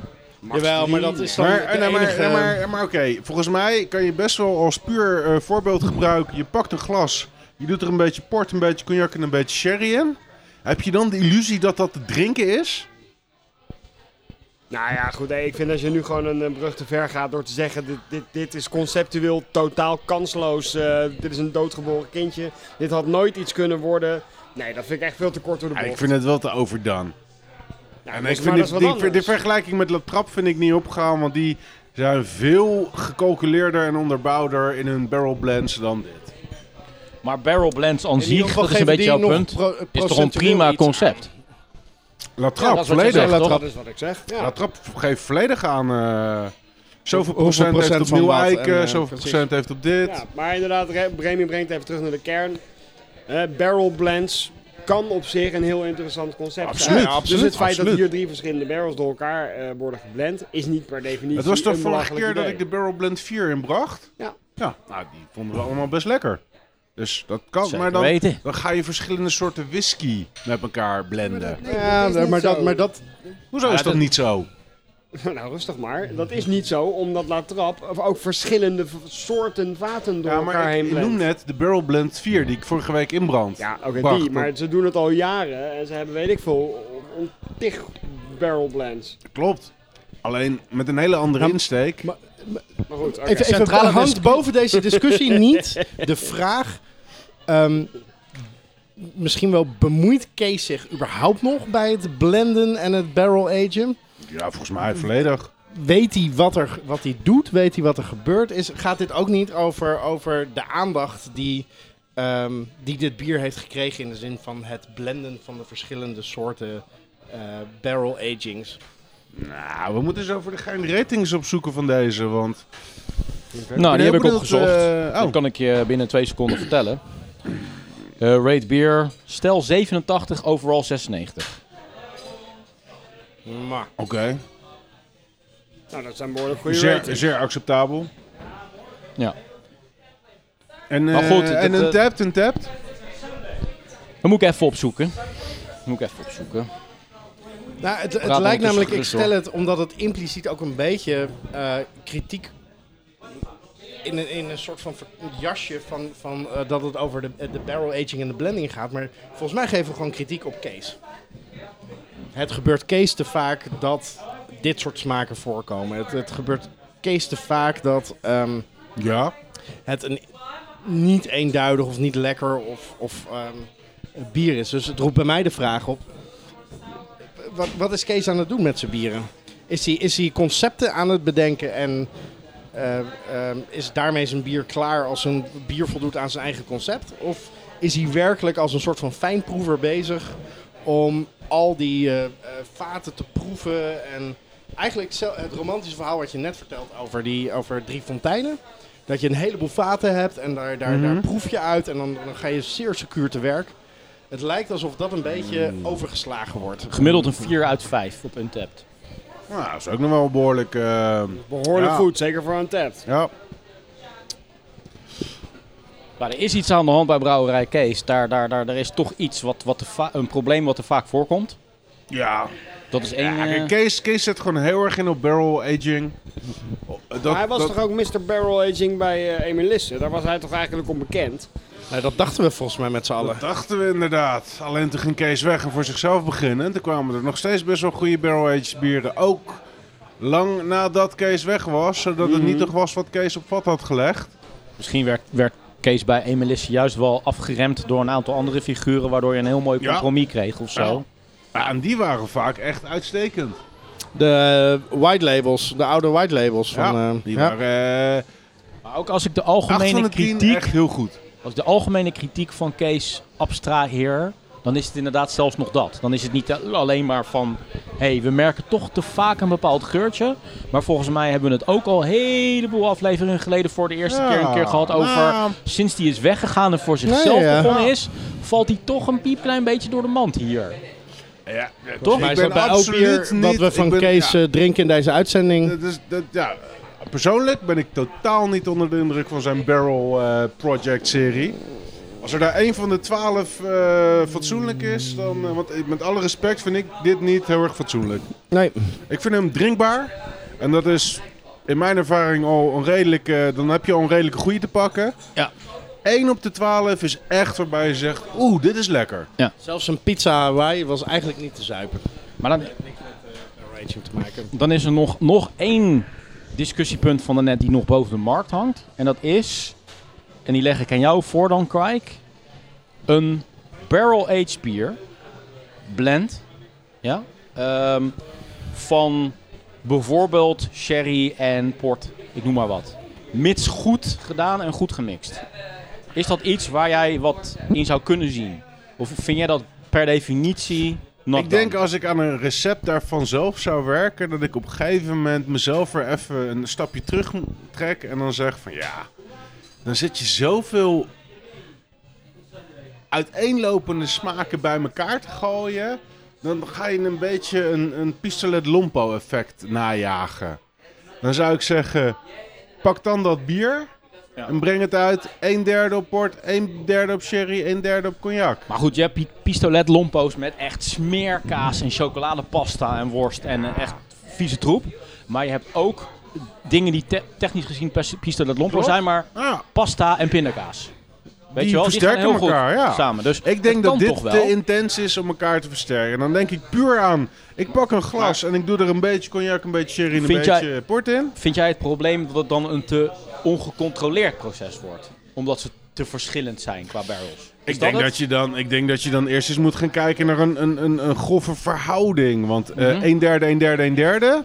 Speaker 5: Jawel, maar dat is dan
Speaker 2: Maar,
Speaker 5: de
Speaker 2: eh, nee, maar,
Speaker 5: enige-
Speaker 2: nee, maar, maar oké, volgens mij kan je best wel als puur eh, voorbeeld gebruiken. Je pakt een glas, je doet er een beetje port, een beetje cognac en een beetje sherry in. Heb je dan de illusie dat dat te drinken is?
Speaker 4: Nou ja, goed, hey, ik vind als je nu gewoon een, eh, brug te ver gaat door te zeggen... dit, dit, dit is conceptueel totaal kansloos, eh, dit is een doodgeboren kindje... dit had nooit iets kunnen worden... Nee, dat vind ik echt veel te kort door de
Speaker 2: Ja,
Speaker 4: bocht.
Speaker 2: ik vind het wel te overdaan.
Speaker 4: Nou,
Speaker 2: En ik
Speaker 4: dat is- maar
Speaker 2: vind
Speaker 4: dat
Speaker 2: die,
Speaker 4: is wat
Speaker 2: die- die
Speaker 4: anders.
Speaker 2: vergelijking met Latrap vind ik niet opgegaan, want die zijn veel gecalculeerder en onderbouwder in hun barrel blends dan dit.
Speaker 1: Maar barrel blends aan
Speaker 5: ieder
Speaker 1: zich,
Speaker 5: geval
Speaker 1: dat is een
Speaker 5: geven
Speaker 1: beetje jouw
Speaker 5: die nog
Speaker 1: punt,
Speaker 5: pro-
Speaker 1: is toch een
Speaker 5: procentueel
Speaker 1: prima
Speaker 5: iets
Speaker 1: concept?
Speaker 2: Latrap,
Speaker 1: dat is wat je
Speaker 2: volledig.
Speaker 1: zegt.
Speaker 5: Latrap.
Speaker 4: Dat is wat ik zeg, ja.
Speaker 2: Latrap geeft volledig aan. eh, zoveel
Speaker 5: Hoeveel
Speaker 2: procent,
Speaker 5: procent
Speaker 2: heeft op
Speaker 5: van wat
Speaker 2: Nieuwijk,
Speaker 5: en,
Speaker 2: eh,
Speaker 5: eh,
Speaker 2: zoveel
Speaker 5: precies.
Speaker 2: procent heeft op dit.
Speaker 4: Ja, maar inderdaad, Re- Bremi brengt even terug naar de kern. Eh, barrel blends kan op zich een heel interessant concept
Speaker 2: Absoluut,
Speaker 4: zijn.
Speaker 2: absoluut,
Speaker 4: dus het feit
Speaker 2: absoluut.
Speaker 4: dat hier drie verschillende barrels door elkaar eh, worden geblend, is niet per definitie
Speaker 2: Het was toch
Speaker 4: een
Speaker 2: vorige
Speaker 4: belachelijk
Speaker 2: keer dat
Speaker 4: idee.
Speaker 2: ik de barrel blend 4 inbracht?
Speaker 4: Ja.
Speaker 2: Ja, nou, die vonden we allemaal best lekker. Dus dat kan,
Speaker 1: Zeker
Speaker 2: maar dan,
Speaker 1: weten.
Speaker 2: dan ga je verschillende soorten whisky met elkaar blenden.
Speaker 5: Ja,
Speaker 4: dat is niet
Speaker 5: maar dat,
Speaker 4: zo.
Speaker 5: maar dat...
Speaker 2: Hoezo
Speaker 1: Ja,
Speaker 2: is dat
Speaker 1: dat-
Speaker 2: niet zo?
Speaker 4: (laughs) nou, rustig maar. Dat is niet zo, omdat Latrap of ook verschillende v- soorten vaten door
Speaker 2: Ja,
Speaker 4: elkaar
Speaker 2: maar
Speaker 4: heen
Speaker 2: ik, ik
Speaker 4: blendt.
Speaker 2: noem net de Barrel Blend 4 die ik vorige week inbrand.
Speaker 4: Ja, oké,
Speaker 2: Prachtig.
Speaker 4: die. Maar ze doen het al jaren en ze hebben, weet ik veel, ontig barrel blends.
Speaker 2: Klopt. Alleen met een hele andere
Speaker 5: Ja,
Speaker 2: insteek.
Speaker 5: maar-
Speaker 4: Nou, Maar goed, oké.
Speaker 5: Even, even
Speaker 1: Centrale
Speaker 5: hangt
Speaker 1: discu-
Speaker 5: boven deze discussie niet de vraag... ehm, misschien wel bemoeit Kees zich überhaupt nog bij het blenden en het barrel agen?
Speaker 2: Ja, volgens mij volledig.
Speaker 5: weet hij wat, er, wat hij doet, weet hij wat er gebeurd is. Gaat dit ook niet over, over de aandacht die, ehm, die dit bier heeft gekregen in de zin van het blenden van de verschillende soorten eh, barrel agings?
Speaker 2: Nou, we moeten zo voor de gein ratings opzoeken van deze, want...
Speaker 1: Nou, die heb ik opgezocht.
Speaker 2: eh,
Speaker 1: Dat
Speaker 2: oh,
Speaker 1: kan ik je binnen twee seconden vertellen. Eh rate beer, stel 87, overal 96.
Speaker 5: Maar.
Speaker 2: oké.
Speaker 4: Nou, dat zijn behoorlijk goede
Speaker 2: Zeer,
Speaker 4: ratings.
Speaker 2: zeer acceptabel.
Speaker 1: Ja.
Speaker 2: En,
Speaker 1: Maar
Speaker 2: eh,
Speaker 1: goed,
Speaker 2: en
Speaker 1: dat, eh,
Speaker 2: een tapt, een tapt.
Speaker 1: Dat moet ik even opzoeken. Dat moet ik even opzoeken.
Speaker 5: Nou, het
Speaker 1: maar
Speaker 5: het lijkt namelijk, ik
Speaker 1: gerust,
Speaker 5: stel het omdat het impliciet ook een beetje eh, kritiek in een, in een soort van ver- jasje van, van eh, dat het over de, de barrel aging en de blending gaat. Maar volgens mij geven we gewoon kritiek op Kees. Het gebeurt Kees te vaak dat dit soort smaken voorkomen. Het, het gebeurt Kees te vaak dat... ehm,
Speaker 2: Ja.
Speaker 5: het een, niet eenduidig of niet lekker of, of ehm, een bier is. Dus het roept bij mij de vraag op. Wat, wat is Kees aan het doen met zijn bieren? Is hij, is hij concepten aan het bedenken en eh, ehm, is daarmee zijn bier klaar als een bier voldoet aan zijn eigen concept? Of is hij werkelijk als een soort van fijnproever bezig om al die eh, eh, vaten te proeven en eigenlijk zo- het romantische verhaal wat je net vertelt over, die, over drie fonteinen? Dat je een heleboel vaten hebt en daar, daar, daar proef je uit en dan, dan ga je zeer secuur te werk. Het lijkt alsof dat een beetje overgeslagen wordt.
Speaker 1: Gemiddeld een 4 uit 5 op Untapped.
Speaker 2: Nou, dat is ook nog wel behoorlijk... eh,
Speaker 4: Behoorlijk
Speaker 2: Ja.
Speaker 4: goed, zeker voor een tap.
Speaker 2: ja.
Speaker 1: Maar er is iets aan de hand bij Brouwerij Kees. Daar, daar, daar, daar is toch iets, wat, wat te va- een probleem wat er vaak voorkomt.
Speaker 2: Ja.
Speaker 1: Dat is één...
Speaker 2: Ja,
Speaker 1: eh,
Speaker 2: kijk, Kees, Kees zet gewoon heel erg in op barrel aging. Dat,
Speaker 4: maar hij was
Speaker 2: dat-
Speaker 4: toch ook Mr. Barrel Aging bij eh Emilisse? Daar was hij toch eigenlijk onbekend?
Speaker 5: Nou, dat dachten we volgens mij met z'n allen.
Speaker 2: Dat dachten we inderdaad. Alleen toen ging Kees weg en voor zichzelf beginnen. En toen kwamen er nog steeds best wel goede barrel-aged bieren. Ook lang nadat Kees weg was. Zodat het niet toch was wat Kees op vat had gelegd.
Speaker 1: Misschien werd, werd Kees bij Emelisse juist wel afgeremd door een aantal andere figuren, waardoor je een heel mooi
Speaker 2: Ja.
Speaker 1: compromis kreeg of zo.
Speaker 2: Ja, en die waren vaak echt uitstekend.
Speaker 5: De eh, white labels, de oude white labels. Van,
Speaker 2: ja,
Speaker 5: eh,
Speaker 2: die
Speaker 5: ja.
Speaker 2: waren eh
Speaker 1: Maar ook als ik de
Speaker 2: 8 van
Speaker 1: algemene
Speaker 2: de 10
Speaker 1: kritiek,
Speaker 2: echt heel goed.
Speaker 1: als ik de algemene kritiek van Kees abstraheer, dan is het inderdaad zelfs nog dat. Dan is het niet alleen maar van, hé, hey, we merken toch te vaak een bepaald geurtje. Maar volgens mij hebben we het ook al een heleboel afleveringen geleden voor de eerste
Speaker 2: Ja.
Speaker 1: keer een keer gehad over,
Speaker 2: Nou.
Speaker 1: sinds die is weggegaan en voor zichzelf
Speaker 5: ja.
Speaker 1: begonnen is, valt hij toch een piepklein beetje door de mand hier.
Speaker 2: Ja,
Speaker 1: Toch?
Speaker 5: Maar
Speaker 2: ik
Speaker 5: is dat
Speaker 2: ben
Speaker 5: bij elk
Speaker 2: absoluut
Speaker 5: bier
Speaker 2: niet...
Speaker 5: wat we van
Speaker 2: ik ben-
Speaker 5: Kees
Speaker 2: ja,
Speaker 5: eh, drinken in deze uitzending.
Speaker 2: dat is- dat- ja, persoonlijk ben ik totaal niet onder de indruk van zijn Barrel eh, Project serie. Als er daar één van de twaalf eh, fatsoenlijk is, dan... eh, want ik- met alle respect vind ik dit niet heel erg fatsoenlijk.
Speaker 5: Nee,
Speaker 2: Ik vind hem drinkbaar. En dat is in mijn ervaring al onredelijk. eh, dan heb je al een redelijke goede te pakken.
Speaker 1: Ja.
Speaker 2: 1 op de 12 is echt waarbij je zegt: Oeh, dit is lekker.
Speaker 5: zelfs een pizza Hawaii was eigenlijk niet te zuipen.
Speaker 1: Maar dan,
Speaker 5: Raging te maken.
Speaker 1: Dan is er nog, nog één discussiepunt van daarnet die nog boven de markt hangt. En dat is, en die leg ik aan jou voor dan, Krijk. Een barrel-aged bier, blend, ja, ehm, van bijvoorbeeld sherry en port, ik noem maar wat. Mits goed gedaan en goed gemixt. Is dat iets waar jij wat in zou kunnen zien? Of vind jij dat per definitie not
Speaker 2: ik denk
Speaker 1: done?
Speaker 2: als ik aan een recept daarvan zelf zou werken, dat ik op een gegeven moment mezelf weer even een stapje terug m- trek. En dan zeg: van ja, dan zet je zoveel uiteenlopende smaken bij elkaar te gooien. Dan ga je een beetje een, een pistolet lompo effect najagen. Dan zou ik zeggen, pak dan dat bier
Speaker 1: Ja.
Speaker 2: en breng het uit. Een derde op port, een derde op sherry, een derde op cognac.
Speaker 1: Maar goed, je hebt pi- pistolet lompo's met echt smeerkaas en chocoladepasta en worst en eh, echt vieze troep. Maar je hebt ook dingen die te- technisch gezien pes- pistolet lompo
Speaker 2: Klopt.
Speaker 1: zijn, maar
Speaker 2: Ja,
Speaker 1: pasta en pindakaas. Weet
Speaker 2: Die
Speaker 1: je wel,
Speaker 2: versterken
Speaker 1: die gaan heel
Speaker 2: elkaar,
Speaker 1: goed
Speaker 2: ja.
Speaker 1: samen. Dus
Speaker 2: ik denk
Speaker 1: het
Speaker 2: dat
Speaker 1: kan
Speaker 2: dit
Speaker 1: toch wel.
Speaker 2: te intens is om elkaar te versterken. Dan denk ik puur aan, ik pak een glas en ik doe er een beetje cognac, een beetje sherry en een
Speaker 1: Vind
Speaker 2: beetje
Speaker 1: jij-
Speaker 2: port in.
Speaker 1: Vind jij het probleem dat het dan een te ongecontroleerd proces wordt? Omdat ze te verschillend zijn qua barrels. Is
Speaker 2: Ik denk,
Speaker 1: het?
Speaker 2: dat je dan, ik denk dat je dan eerst eens moet gaan kijken naar een, een, een, een grove verhouding. Want eh
Speaker 1: Mhm.
Speaker 2: een derde, een derde, een derde.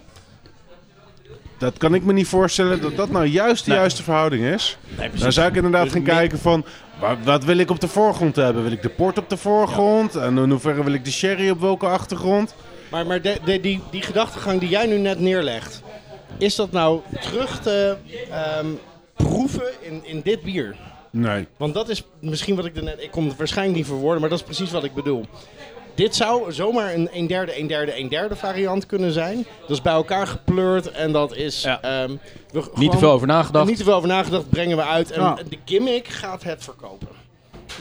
Speaker 2: Dat kan ik me niet voorstellen dat dat nou juist de
Speaker 1: Nee.
Speaker 2: juiste verhouding is.
Speaker 1: Nee, precies.
Speaker 2: Dan zou ik inderdaad
Speaker 1: Dus
Speaker 2: gaan
Speaker 1: min-
Speaker 2: kijken van... Wat, wat wil ik op de voorgrond hebben? Wil ik de port op de voorgrond? En in hoeverre wil ik de sherry op welke achtergrond?
Speaker 5: Maar, maar de, de- die, die gedachtegang die jij nu net neerlegt, is dat nou terug te ehm, proeven in, in dit bier?
Speaker 2: Nee.
Speaker 5: Want dat is misschien wat ik er net. Ik kon het waarschijnlijk niet verwoorden, maar dat is precies wat ik bedoel. Dit zou zomaar een 1 derde, 1 derde, 1 derde variant kunnen zijn. Dat is bij elkaar gepleurd en dat is.
Speaker 1: Ja.
Speaker 5: ehm, we gewoon-
Speaker 1: Niet te veel over nagedacht.
Speaker 5: Niet te veel over nagedacht, brengen we uit. En
Speaker 2: Ja.
Speaker 5: de gimmick gaat het verkopen.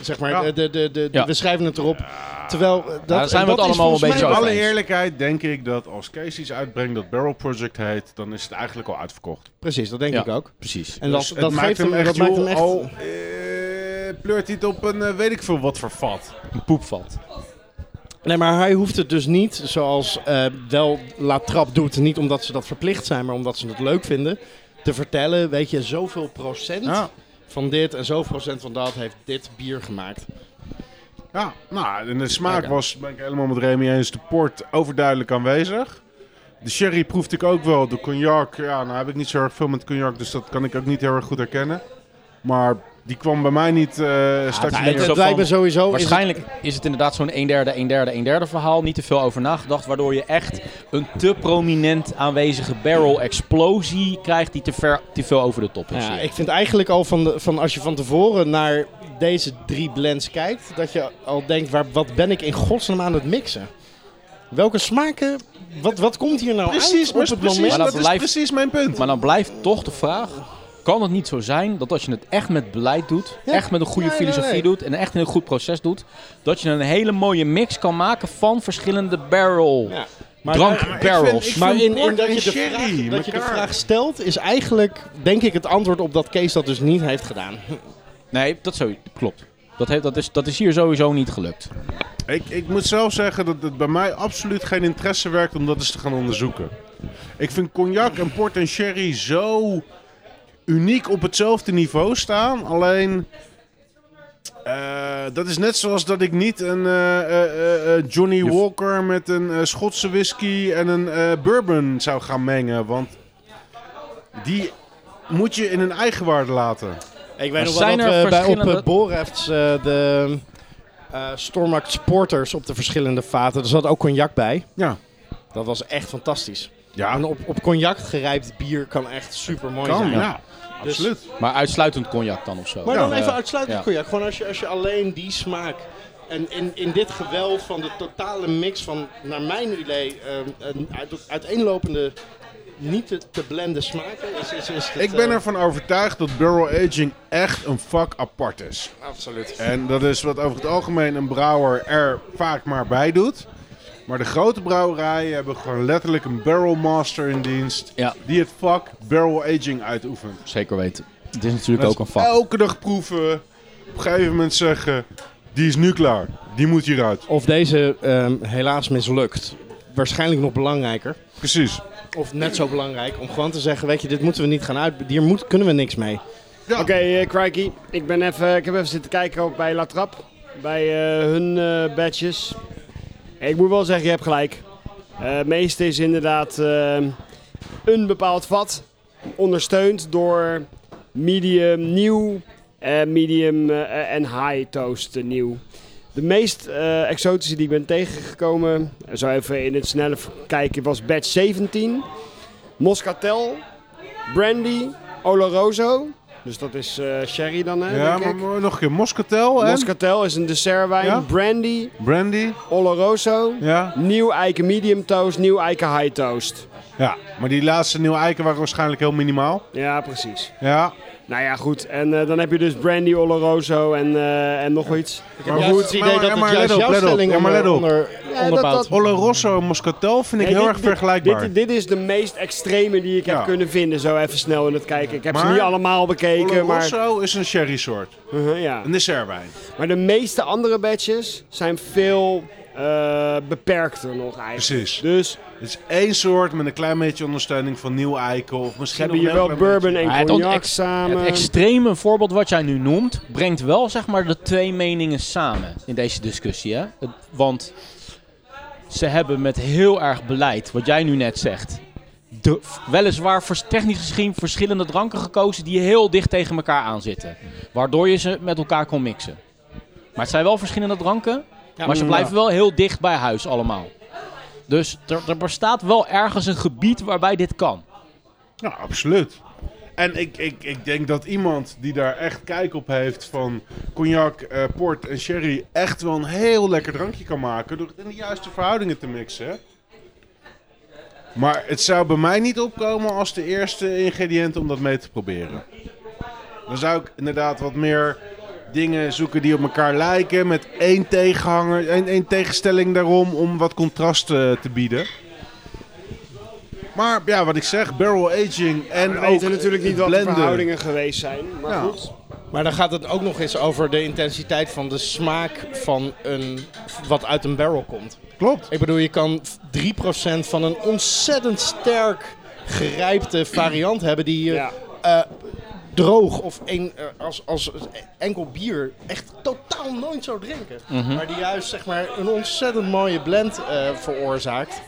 Speaker 5: Zeg maar,
Speaker 2: Ja.
Speaker 5: de, de, de, de-
Speaker 1: Ja.
Speaker 5: we schrijven het erop. Terwijl eh, dat,
Speaker 1: daar zijn we
Speaker 5: dat
Speaker 1: het
Speaker 5: is
Speaker 1: allemaal
Speaker 5: volgens
Speaker 1: een
Speaker 5: mij
Speaker 1: beetje
Speaker 5: wel-
Speaker 1: over
Speaker 2: alle
Speaker 1: eens.
Speaker 2: eerlijkheid denk ik dat als Kees iets uitbrengt dat Barrel Project heet, dan is het eigenlijk al uitverkocht.
Speaker 5: Precies, dat denk
Speaker 1: Ja.
Speaker 5: ik ook.
Speaker 1: Precies.
Speaker 5: En
Speaker 2: Dus
Speaker 5: dat, dat
Speaker 2: maakt
Speaker 5: geeft hem, dat
Speaker 2: joh,
Speaker 5: maakt hem echt.
Speaker 2: al eh, pleurt hij het op een eh, weet ik veel wat voor vat.
Speaker 1: Een poepvat.
Speaker 5: Nee, maar hij hoeft het dus niet, zoals eh, wel La Trap doet, niet omdat ze dat verplicht zijn, maar omdat ze het leuk vinden, te vertellen, weet je, zoveel procent
Speaker 2: Ja.
Speaker 5: van dit en zoveel procent van dat heeft dit bier gemaakt.
Speaker 2: Ja, nou, en de smaak was, ben ik helemaal met Remy eens, de port overduidelijk aanwezig. De sherry proefde ik ook wel, de cognac, ja, nou heb ik niet zo erg veel met cognac, dus dat kan ik ook niet heel erg goed herkennen. Maar die kwam bij mij niet eh straks
Speaker 1: het
Speaker 2: meer.
Speaker 1: is
Speaker 5: Ah, Het
Speaker 1: ook
Speaker 5: lijkt me
Speaker 1: van-
Speaker 5: sowieso... is het-
Speaker 1: Waarschijnlijk is het inderdaad zo'n 1 derde, 1 derde, 1 derde verhaal. Niet te veel over nagedacht, waardoor je echt een te prominent aanwezige barrel-explosie krijgt die te, ver, te veel over de top is.
Speaker 5: ja,
Speaker 1: hier.
Speaker 5: ik vind eigenlijk al van, de, van als je van tevoren naar deze drie blends kijkt, dat je al denkt, waar, wat ben ik in godsnaam aan het mixen? Welke smaken, wat, wat komt hier nou
Speaker 2: Precies,
Speaker 5: uit op
Speaker 2: maar
Speaker 5: het
Speaker 2: precies,
Speaker 5: moment?
Speaker 1: Maar dat
Speaker 2: dat is
Speaker 1: blijft-
Speaker 2: precies mijn punt.
Speaker 1: Maar dan blijft toch de vraag: kan het niet zo zijn dat als je het echt met beleid doet,
Speaker 5: Ja.
Speaker 1: echt met een goede
Speaker 5: Nee, nee,
Speaker 1: filosofie
Speaker 5: nee.
Speaker 1: doet en echt in een goed proces doet, dat je een hele mooie mix kan maken van verschillende barrel
Speaker 5: Ja.
Speaker 1: drank barrels?
Speaker 2: ik
Speaker 5: Maar
Speaker 2: vind
Speaker 5: in, in
Speaker 2: port
Speaker 5: dat,
Speaker 2: en
Speaker 5: je de
Speaker 2: sherry
Speaker 5: vraag, dat je de
Speaker 2: elkaar.
Speaker 5: vraag stelt, is eigenlijk denk ik het antwoord op dat Kees dat dus niet heeft (laughs) gedaan.
Speaker 1: Nee, dat zo, klopt. Dat, heeft, dat, is, dat is hier sowieso niet gelukt.
Speaker 2: Ik, ik moet zelf zeggen dat het bij mij absoluut geen interesse werkt om dat eens te gaan onderzoeken. Ik vind cognac en port en sherry zo uniek op hetzelfde niveau staan. Alleen, eh, dat is net zoals dat ik niet een eh, eh, eh, eh, Johnny
Speaker 1: Je v-
Speaker 2: Walker met een eh, Schotse whisky en een eh, bourbon zou gaan mengen. Want die moet je in hun eigen waarde laten.
Speaker 5: Ik weet
Speaker 1: Maar
Speaker 5: nog wel
Speaker 1: zijn
Speaker 5: dat
Speaker 1: er
Speaker 5: we bij op
Speaker 1: verschillende-
Speaker 5: eh, Borefts eh, de eh Stormact Sporters op de verschillende vaten, er zat ook cognac bij.
Speaker 2: Ja.
Speaker 5: Dat was echt fantastisch.
Speaker 2: Ja,
Speaker 5: En op, op cognac gerijpt bier kan echt super mooi
Speaker 2: kan.
Speaker 5: zijn.
Speaker 2: Ja,
Speaker 5: Dus-
Speaker 2: absoluut.
Speaker 1: Maar uitsluitend cognac dan of zo.
Speaker 5: Maar dan
Speaker 1: Ja.
Speaker 5: even uitsluitend
Speaker 1: ja.
Speaker 5: cognac. Gewoon als je, als je alleen die smaak. En in, in dit geweld van de totale mix van, naar mijn idee, ehm, een uit- uiteenlopende, niet te, te blenden smaken. Is, is, is dit,
Speaker 2: Ik ben
Speaker 5: eh,
Speaker 2: ervan overtuigd dat barrel aging echt een vak apart is.
Speaker 5: Absoluut.
Speaker 2: En dat is wat over het algemeen een brouwer er vaak maar bij doet. Maar de grote brouwerijen hebben gewoon letterlijk een barrel master in dienst.
Speaker 1: Ja.
Speaker 2: Die het vak barrel aging uitoefent.
Speaker 1: Zeker weten. Dit is natuurlijk ook een
Speaker 2: Mensen
Speaker 1: vak.
Speaker 2: Elke dag proeven. Op een gegeven moment zeggen, die is nu klaar. Die moet hieruit.
Speaker 5: Of deze ehm, helaas mislukt. Waarschijnlijk nog belangrijker.
Speaker 2: Precies.
Speaker 5: Of net zo belangrijk. Om gewoon te zeggen, weet je, dit moeten we niet gaan uit. Hier moet, kunnen we niks mee.
Speaker 4: Oké, eh, crikey. Ik, ben even, ik heb even zitten kijken ook bij La Trappe. Bij eh, hun eh, badges. En ik moet wel zeggen, je hebt gelijk. Eh, Het meeste is inderdaad eh, een bepaald vat. Ondersteund door medium nieuw, eh, medium eh, en high toast eh, nieuw. De meest eh, exotische die ik ben tegengekomen, eh, zo even in het snelle kijken, was batch 17. Moscatel, Brandy, Oloroso. Dus dat is eh, sherry dan, hè,
Speaker 2: Ja,
Speaker 4: denk
Speaker 2: maar
Speaker 4: ik.
Speaker 2: maar nog een keer Moscatel en
Speaker 4: Moscatel is een dessertwijn.
Speaker 2: Ja?
Speaker 4: Brandy,
Speaker 2: brandy.
Speaker 4: Oloroso.
Speaker 2: Ja.
Speaker 4: Nieuw eiken medium toast, nieuw eiken high toast.
Speaker 2: ja, maar die laatste nieuwe eiken waren waarschijnlijk heel minimaal.
Speaker 4: Ja, precies.
Speaker 2: Ja,
Speaker 4: Nou ja, goed. En eh, dan heb je dus Brandy, Oloroso en, eh, en nog wel iets.
Speaker 5: Maar
Speaker 2: goed,
Speaker 5: het idee
Speaker 2: maar-
Speaker 5: dat
Speaker 2: maar
Speaker 5: het juist
Speaker 2: let op,
Speaker 5: jouw
Speaker 2: let op.
Speaker 5: stelling
Speaker 2: Ja, maar
Speaker 5: onder,
Speaker 2: let op.
Speaker 5: onder,
Speaker 4: dat-
Speaker 5: onderbouwt.
Speaker 4: dat-
Speaker 2: Oloroso en Moscatel vind ik
Speaker 4: Nee,
Speaker 2: heel
Speaker 4: dit-
Speaker 2: erg
Speaker 4: dit-
Speaker 2: vergelijkbaar.
Speaker 4: Dit, dit is de meest extreme die ik
Speaker 2: Ja.
Speaker 4: heb kunnen vinden, zo even snel in het kijken. Ik heb ze
Speaker 2: Maar-
Speaker 4: niet allemaal bekeken, maar,
Speaker 2: Oloroso is een sherry soort.
Speaker 4: Uh-huh, ja.
Speaker 2: Een dessertwijn.
Speaker 4: maar de meeste andere badges zijn veel eh, beperkter nog eigenlijk.
Speaker 2: Precies.
Speaker 4: Dus
Speaker 2: Het is één soort met een klein beetje ondersteuning van nieuw eiken. Of
Speaker 4: ze
Speaker 2: misschien
Speaker 4: hebben
Speaker 2: nog
Speaker 4: hier
Speaker 2: een heel
Speaker 4: wel
Speaker 2: klein
Speaker 4: bourbon
Speaker 1: Maar
Speaker 4: en
Speaker 1: het
Speaker 4: cognac
Speaker 1: onex-
Speaker 4: samen.
Speaker 1: Het extreme voorbeeld wat jij nu noemt, brengt wel zeg maar de twee meningen samen in deze discussie. Hè? Het- Want ze hebben met heel erg beleid, wat jij nu net zegt, de, weliswaar vers- technisch gezien verschillende dranken gekozen die heel dicht tegen elkaar aanzitten. Waardoor je ze met elkaar kon mixen. Maar het zijn wel verschillende dranken, maar ze blijven wel heel dicht bij huis allemaal. Dus er, er bestaat wel ergens een gebied waarbij dit kan.
Speaker 2: Ja, absoluut. En ik, ik, ik denk dat iemand die daar echt kijk op heeft van cognac, eh, port en sherry echt wel een heel lekker drankje kan maken door het in de juiste verhoudingen te mixen. hè. Maar het zou bij mij niet opkomen als de eerste ingrediënt om dat mee te proberen. Dan zou ik inderdaad wat meer dingen zoeken die op elkaar lijken met één tegenhanger, één, één tegenstelling daarom om wat contrast eh, te bieden. Maar ja, wat ik zeg, barrel aging en
Speaker 4: We
Speaker 2: ook eh,
Speaker 4: weten natuurlijk niet wat de
Speaker 2: blenden.
Speaker 4: verhoudingen geweest zijn. Maar
Speaker 2: Ja.
Speaker 4: goed.
Speaker 5: Maar dan gaat het ook nog eens over de intensiteit van de smaak van een, wat uit een barrel komt.
Speaker 2: Klopt.
Speaker 5: Ik bedoel, je kan 3% van een ontzettend sterk gerijpte variant hebben die je
Speaker 4: Ja.
Speaker 5: eh, droog of een, eh, als, als enkel bier echt totaal nooit zou drinken. Maar die juist zeg maar, een ontzettend mooie blend eh, veroorzaakt.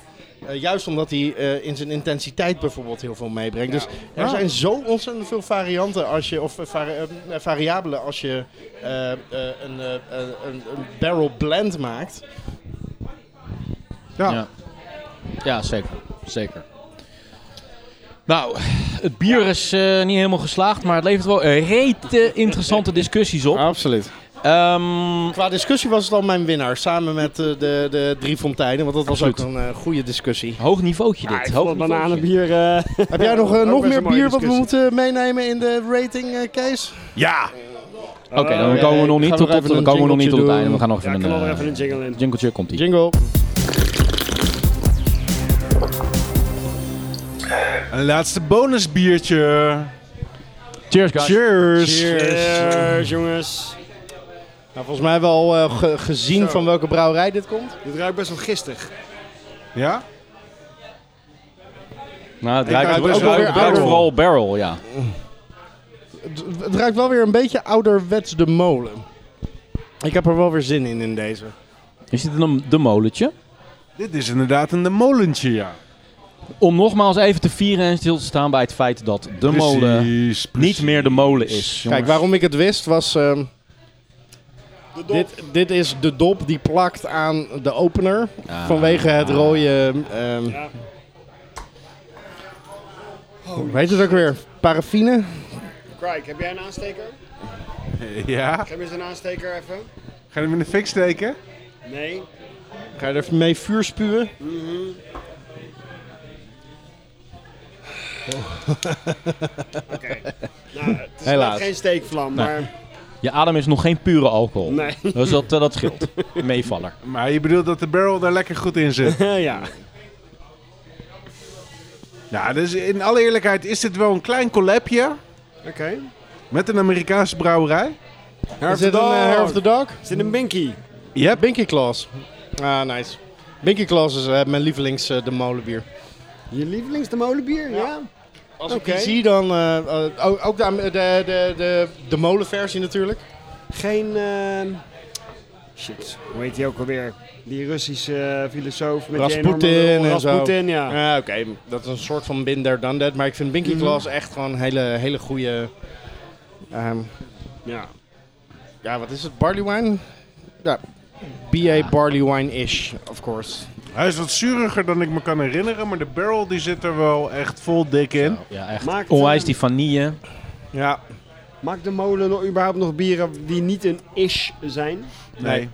Speaker 5: Eh, juist omdat hij eh, in zijn intensiteit bijvoorbeeld heel veel meebrengt. Dus er
Speaker 2: Ja.
Speaker 5: zijn zo ontzettend veel varianten als je, of eh, vari- eh, variabelen als je eh, eh, een, eh, eh, een, een barrel blend maakt.
Speaker 2: Ja.
Speaker 1: Ja, ja zeker. zeker. Nou, het bier is eh, niet helemaal geslaagd, maar het levert wel een rete interessante discussies op.
Speaker 5: Absoluut.
Speaker 1: Ehm,
Speaker 5: Qua discussie was het al mijn winnaar, samen met eh, de, de Drie Fonteinen, want dat was ook een
Speaker 1: Absoluut.
Speaker 5: eh, goede discussie.
Speaker 1: hoog niveautje dit.
Speaker 4: Ja, ik
Speaker 1: hoog
Speaker 4: vond het
Speaker 1: niveautje.
Speaker 4: bananenbier... eh,
Speaker 5: Heb jij nog, eh,
Speaker 4: Ook
Speaker 5: nog
Speaker 4: best
Speaker 5: meer
Speaker 4: een mooie
Speaker 5: bier wat we
Speaker 4: discussie.
Speaker 5: moeten meenemen in de rating, eh, Kees?
Speaker 2: Ja,
Speaker 1: Oké, dan
Speaker 5: Eh,
Speaker 1: komen we
Speaker 5: ik
Speaker 1: nog
Speaker 5: ga
Speaker 1: niet
Speaker 5: nog
Speaker 1: tot,
Speaker 5: even
Speaker 1: tot, dan
Speaker 5: een
Speaker 1: komen we nog niet tot het
Speaker 5: jingletje
Speaker 1: einde. We
Speaker 5: doen.
Speaker 1: gaan nog
Speaker 4: ja, ik
Speaker 1: even
Speaker 4: kan er
Speaker 1: een
Speaker 4: even een jingle in.
Speaker 1: eh, jingletje komt ie.
Speaker 5: Jingle.
Speaker 2: een laatste bonusbiertje.
Speaker 1: Cheers, guys.
Speaker 2: Cheers.
Speaker 4: Cheers, jongens.
Speaker 5: Nou, volgens mij wel eh, ge- gezien
Speaker 4: Zo.
Speaker 5: van welke brouwerij dit komt.
Speaker 4: Dit ruikt best wel gistig.
Speaker 2: Ja?
Speaker 1: Nou, het
Speaker 2: Ik
Speaker 1: ruikt,
Speaker 2: ruik
Speaker 1: het
Speaker 2: best
Speaker 1: ruikt-
Speaker 5: wel weer
Speaker 1: het ruikt
Speaker 5: ouder.
Speaker 1: vooral barrel, ja.
Speaker 5: Het, het ruikt wel weer een beetje ouderwets de molen. Ik heb er wel weer zin in, in deze.
Speaker 1: Is dit een de molentje?
Speaker 2: Dit is inderdaad een de molentje, ja.
Speaker 1: Om nogmaals even te vieren en stil te staan bij het feit dat de molen
Speaker 2: Precies,
Speaker 1: niet
Speaker 2: precies.
Speaker 1: meer de molen is. jongens.
Speaker 5: Kijk, waarom ik het wist was... ehm,
Speaker 4: De dop.
Speaker 5: dit, dit is de dop die plakt aan de opener
Speaker 1: Ah.
Speaker 5: vanwege het rode... ehm,
Speaker 4: Ja.
Speaker 5: Hoe heet het ook weer? Paraffine?
Speaker 4: Krijk, heb jij een aansteker?
Speaker 2: Ja?
Speaker 4: Geef me eens een aansteker even.
Speaker 2: Ga je hem in de fik steken?
Speaker 4: Nee.
Speaker 5: Ga je er mee vuur spuwen?
Speaker 4: Oké. nou, het is
Speaker 5: Helaas.
Speaker 4: net geen steekvlam,
Speaker 1: Nee.
Speaker 4: maar...
Speaker 1: Je adem is nog geen pure alcohol.
Speaker 4: Nee. (laughs)
Speaker 1: Dus dat, eh, dat scheelt. Meevaller.
Speaker 2: Maar je bedoelt dat de barrel daar lekker goed in
Speaker 1: (laughs)
Speaker 2: zit.
Speaker 4: ja.
Speaker 2: ja, dus in alle eerlijkheid is dit wel een klein collabje
Speaker 4: Oké.
Speaker 2: met een Amerikaanse brouwerij.
Speaker 5: Is dit een eh, Hair of the Dog?
Speaker 4: Is dit een binky?
Speaker 2: Yep.
Speaker 5: Binky Claus. Ah, nice. Binky Claus is eh, mijn lievelings eh, de molenbier.
Speaker 4: Je lievelings de molenbier? Ja.
Speaker 5: Als
Speaker 4: ik die
Speaker 5: ik zie dan... eh, ook ook de, de, de, de, de molenversie natuurlijk.
Speaker 4: Geen... ehm, Shit, hoe heet die ook alweer? Die Russische eh, filosoof met die
Speaker 5: Rasputin
Speaker 4: enorme...
Speaker 5: en zo.
Speaker 4: Rasputin, ja.
Speaker 5: Ja, oké. Dat is een soort van binder dan dat. Maar ik vind Binky Claus echt gewoon een hele, hele goede... ehm,
Speaker 4: ja.
Speaker 5: ja, wat is het? Barley wine? Ja. BA barley wine-ish, of course.
Speaker 2: Hij is wat zuriger dan ik me kan herinneren, maar de barrel die zit er wel echt vol dik in.
Speaker 1: Oh, Ja, echt.
Speaker 4: Maakt,
Speaker 1: Onwijs
Speaker 4: eh,
Speaker 1: die vanille.
Speaker 5: Ja.
Speaker 4: Maakt de molen nog überhaupt nog bieren die niet een ish zijn?
Speaker 2: Nee.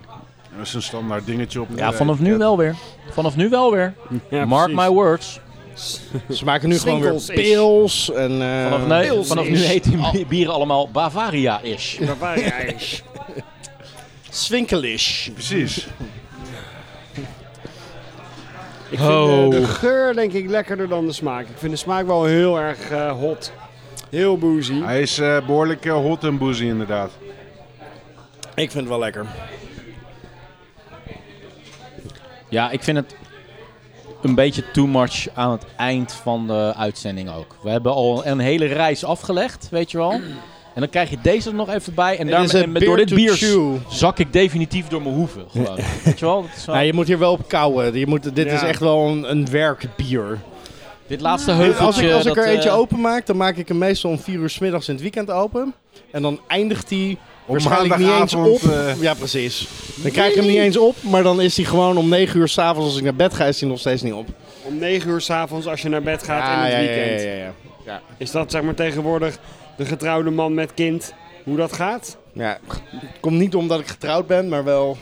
Speaker 2: Dat is een standaard dingetje op.
Speaker 1: Ja, vanaf nu wel weer. Vanaf nu wel weer.
Speaker 4: Ja,
Speaker 1: Mark my (laughs) words.
Speaker 5: Ze maken nu gewoon weer
Speaker 4: Swinkels-ish.
Speaker 5: pils en... eh,
Speaker 1: Vanaf, nu,
Speaker 4: pils
Speaker 1: vanaf nu
Speaker 4: is-
Speaker 1: heet die bi- bieren allemaal Bavaria-ish.
Speaker 4: Bavaria-ish.
Speaker 5: Swinkelish.
Speaker 2: Precies.
Speaker 4: Ik vind eh, de, geur denk ik lekkerder dan de smaak. Ik vind de smaak wel heel erg eh, hot. Heel boozy.
Speaker 2: Hij is eh, behoorlijk eh, hot en boozy inderdaad.
Speaker 5: Ik vind het wel lekker.
Speaker 1: Ja, ik vind het een beetje too much aan het eind van de uitzending ook. We hebben al een hele reis afgelegd, weet je wel. En dan krijg je deze er nog even bij. En, daarmee,
Speaker 5: is een
Speaker 1: en met- door
Speaker 5: beer
Speaker 1: dit
Speaker 5: to
Speaker 1: bier
Speaker 5: chew.
Speaker 1: zak ik definitief door mijn hoeven. Gewoon. (laughs) weet je wel? Dat is wel-
Speaker 5: je moet hier wel op kouwen. Je moet, dit
Speaker 4: Ja.
Speaker 5: is echt wel een, een werkbier.
Speaker 1: Dit laatste
Speaker 5: Dit-
Speaker 1: heuveltje...
Speaker 5: Als ik, als ik
Speaker 1: dat,
Speaker 5: er eentje
Speaker 1: eh,
Speaker 5: open maak, dan maak ik hem meestal om vier uur 's middags in het weekend open. En dan eindigt hij waarschijnlijk niet eens op.
Speaker 2: maandagavond, eh.
Speaker 5: ja, precies. Dan krijg ik hem niet eens op, maar dan is hij gewoon om negen uur s'avonds als ik naar bed ga, is hij nog steeds niet op.
Speaker 4: Om 9 uur s'avonds als je naar bed gaat in het
Speaker 5: Ah, ja,
Speaker 4: weekend.
Speaker 5: ja, ja, ja, ja.
Speaker 4: Is dat zeg maar tegenwoordig de getrouwde man met kind, hoe dat gaat? (laughs)
Speaker 5: Ja, het komt niet omdat ik getrouwd ben, maar wel...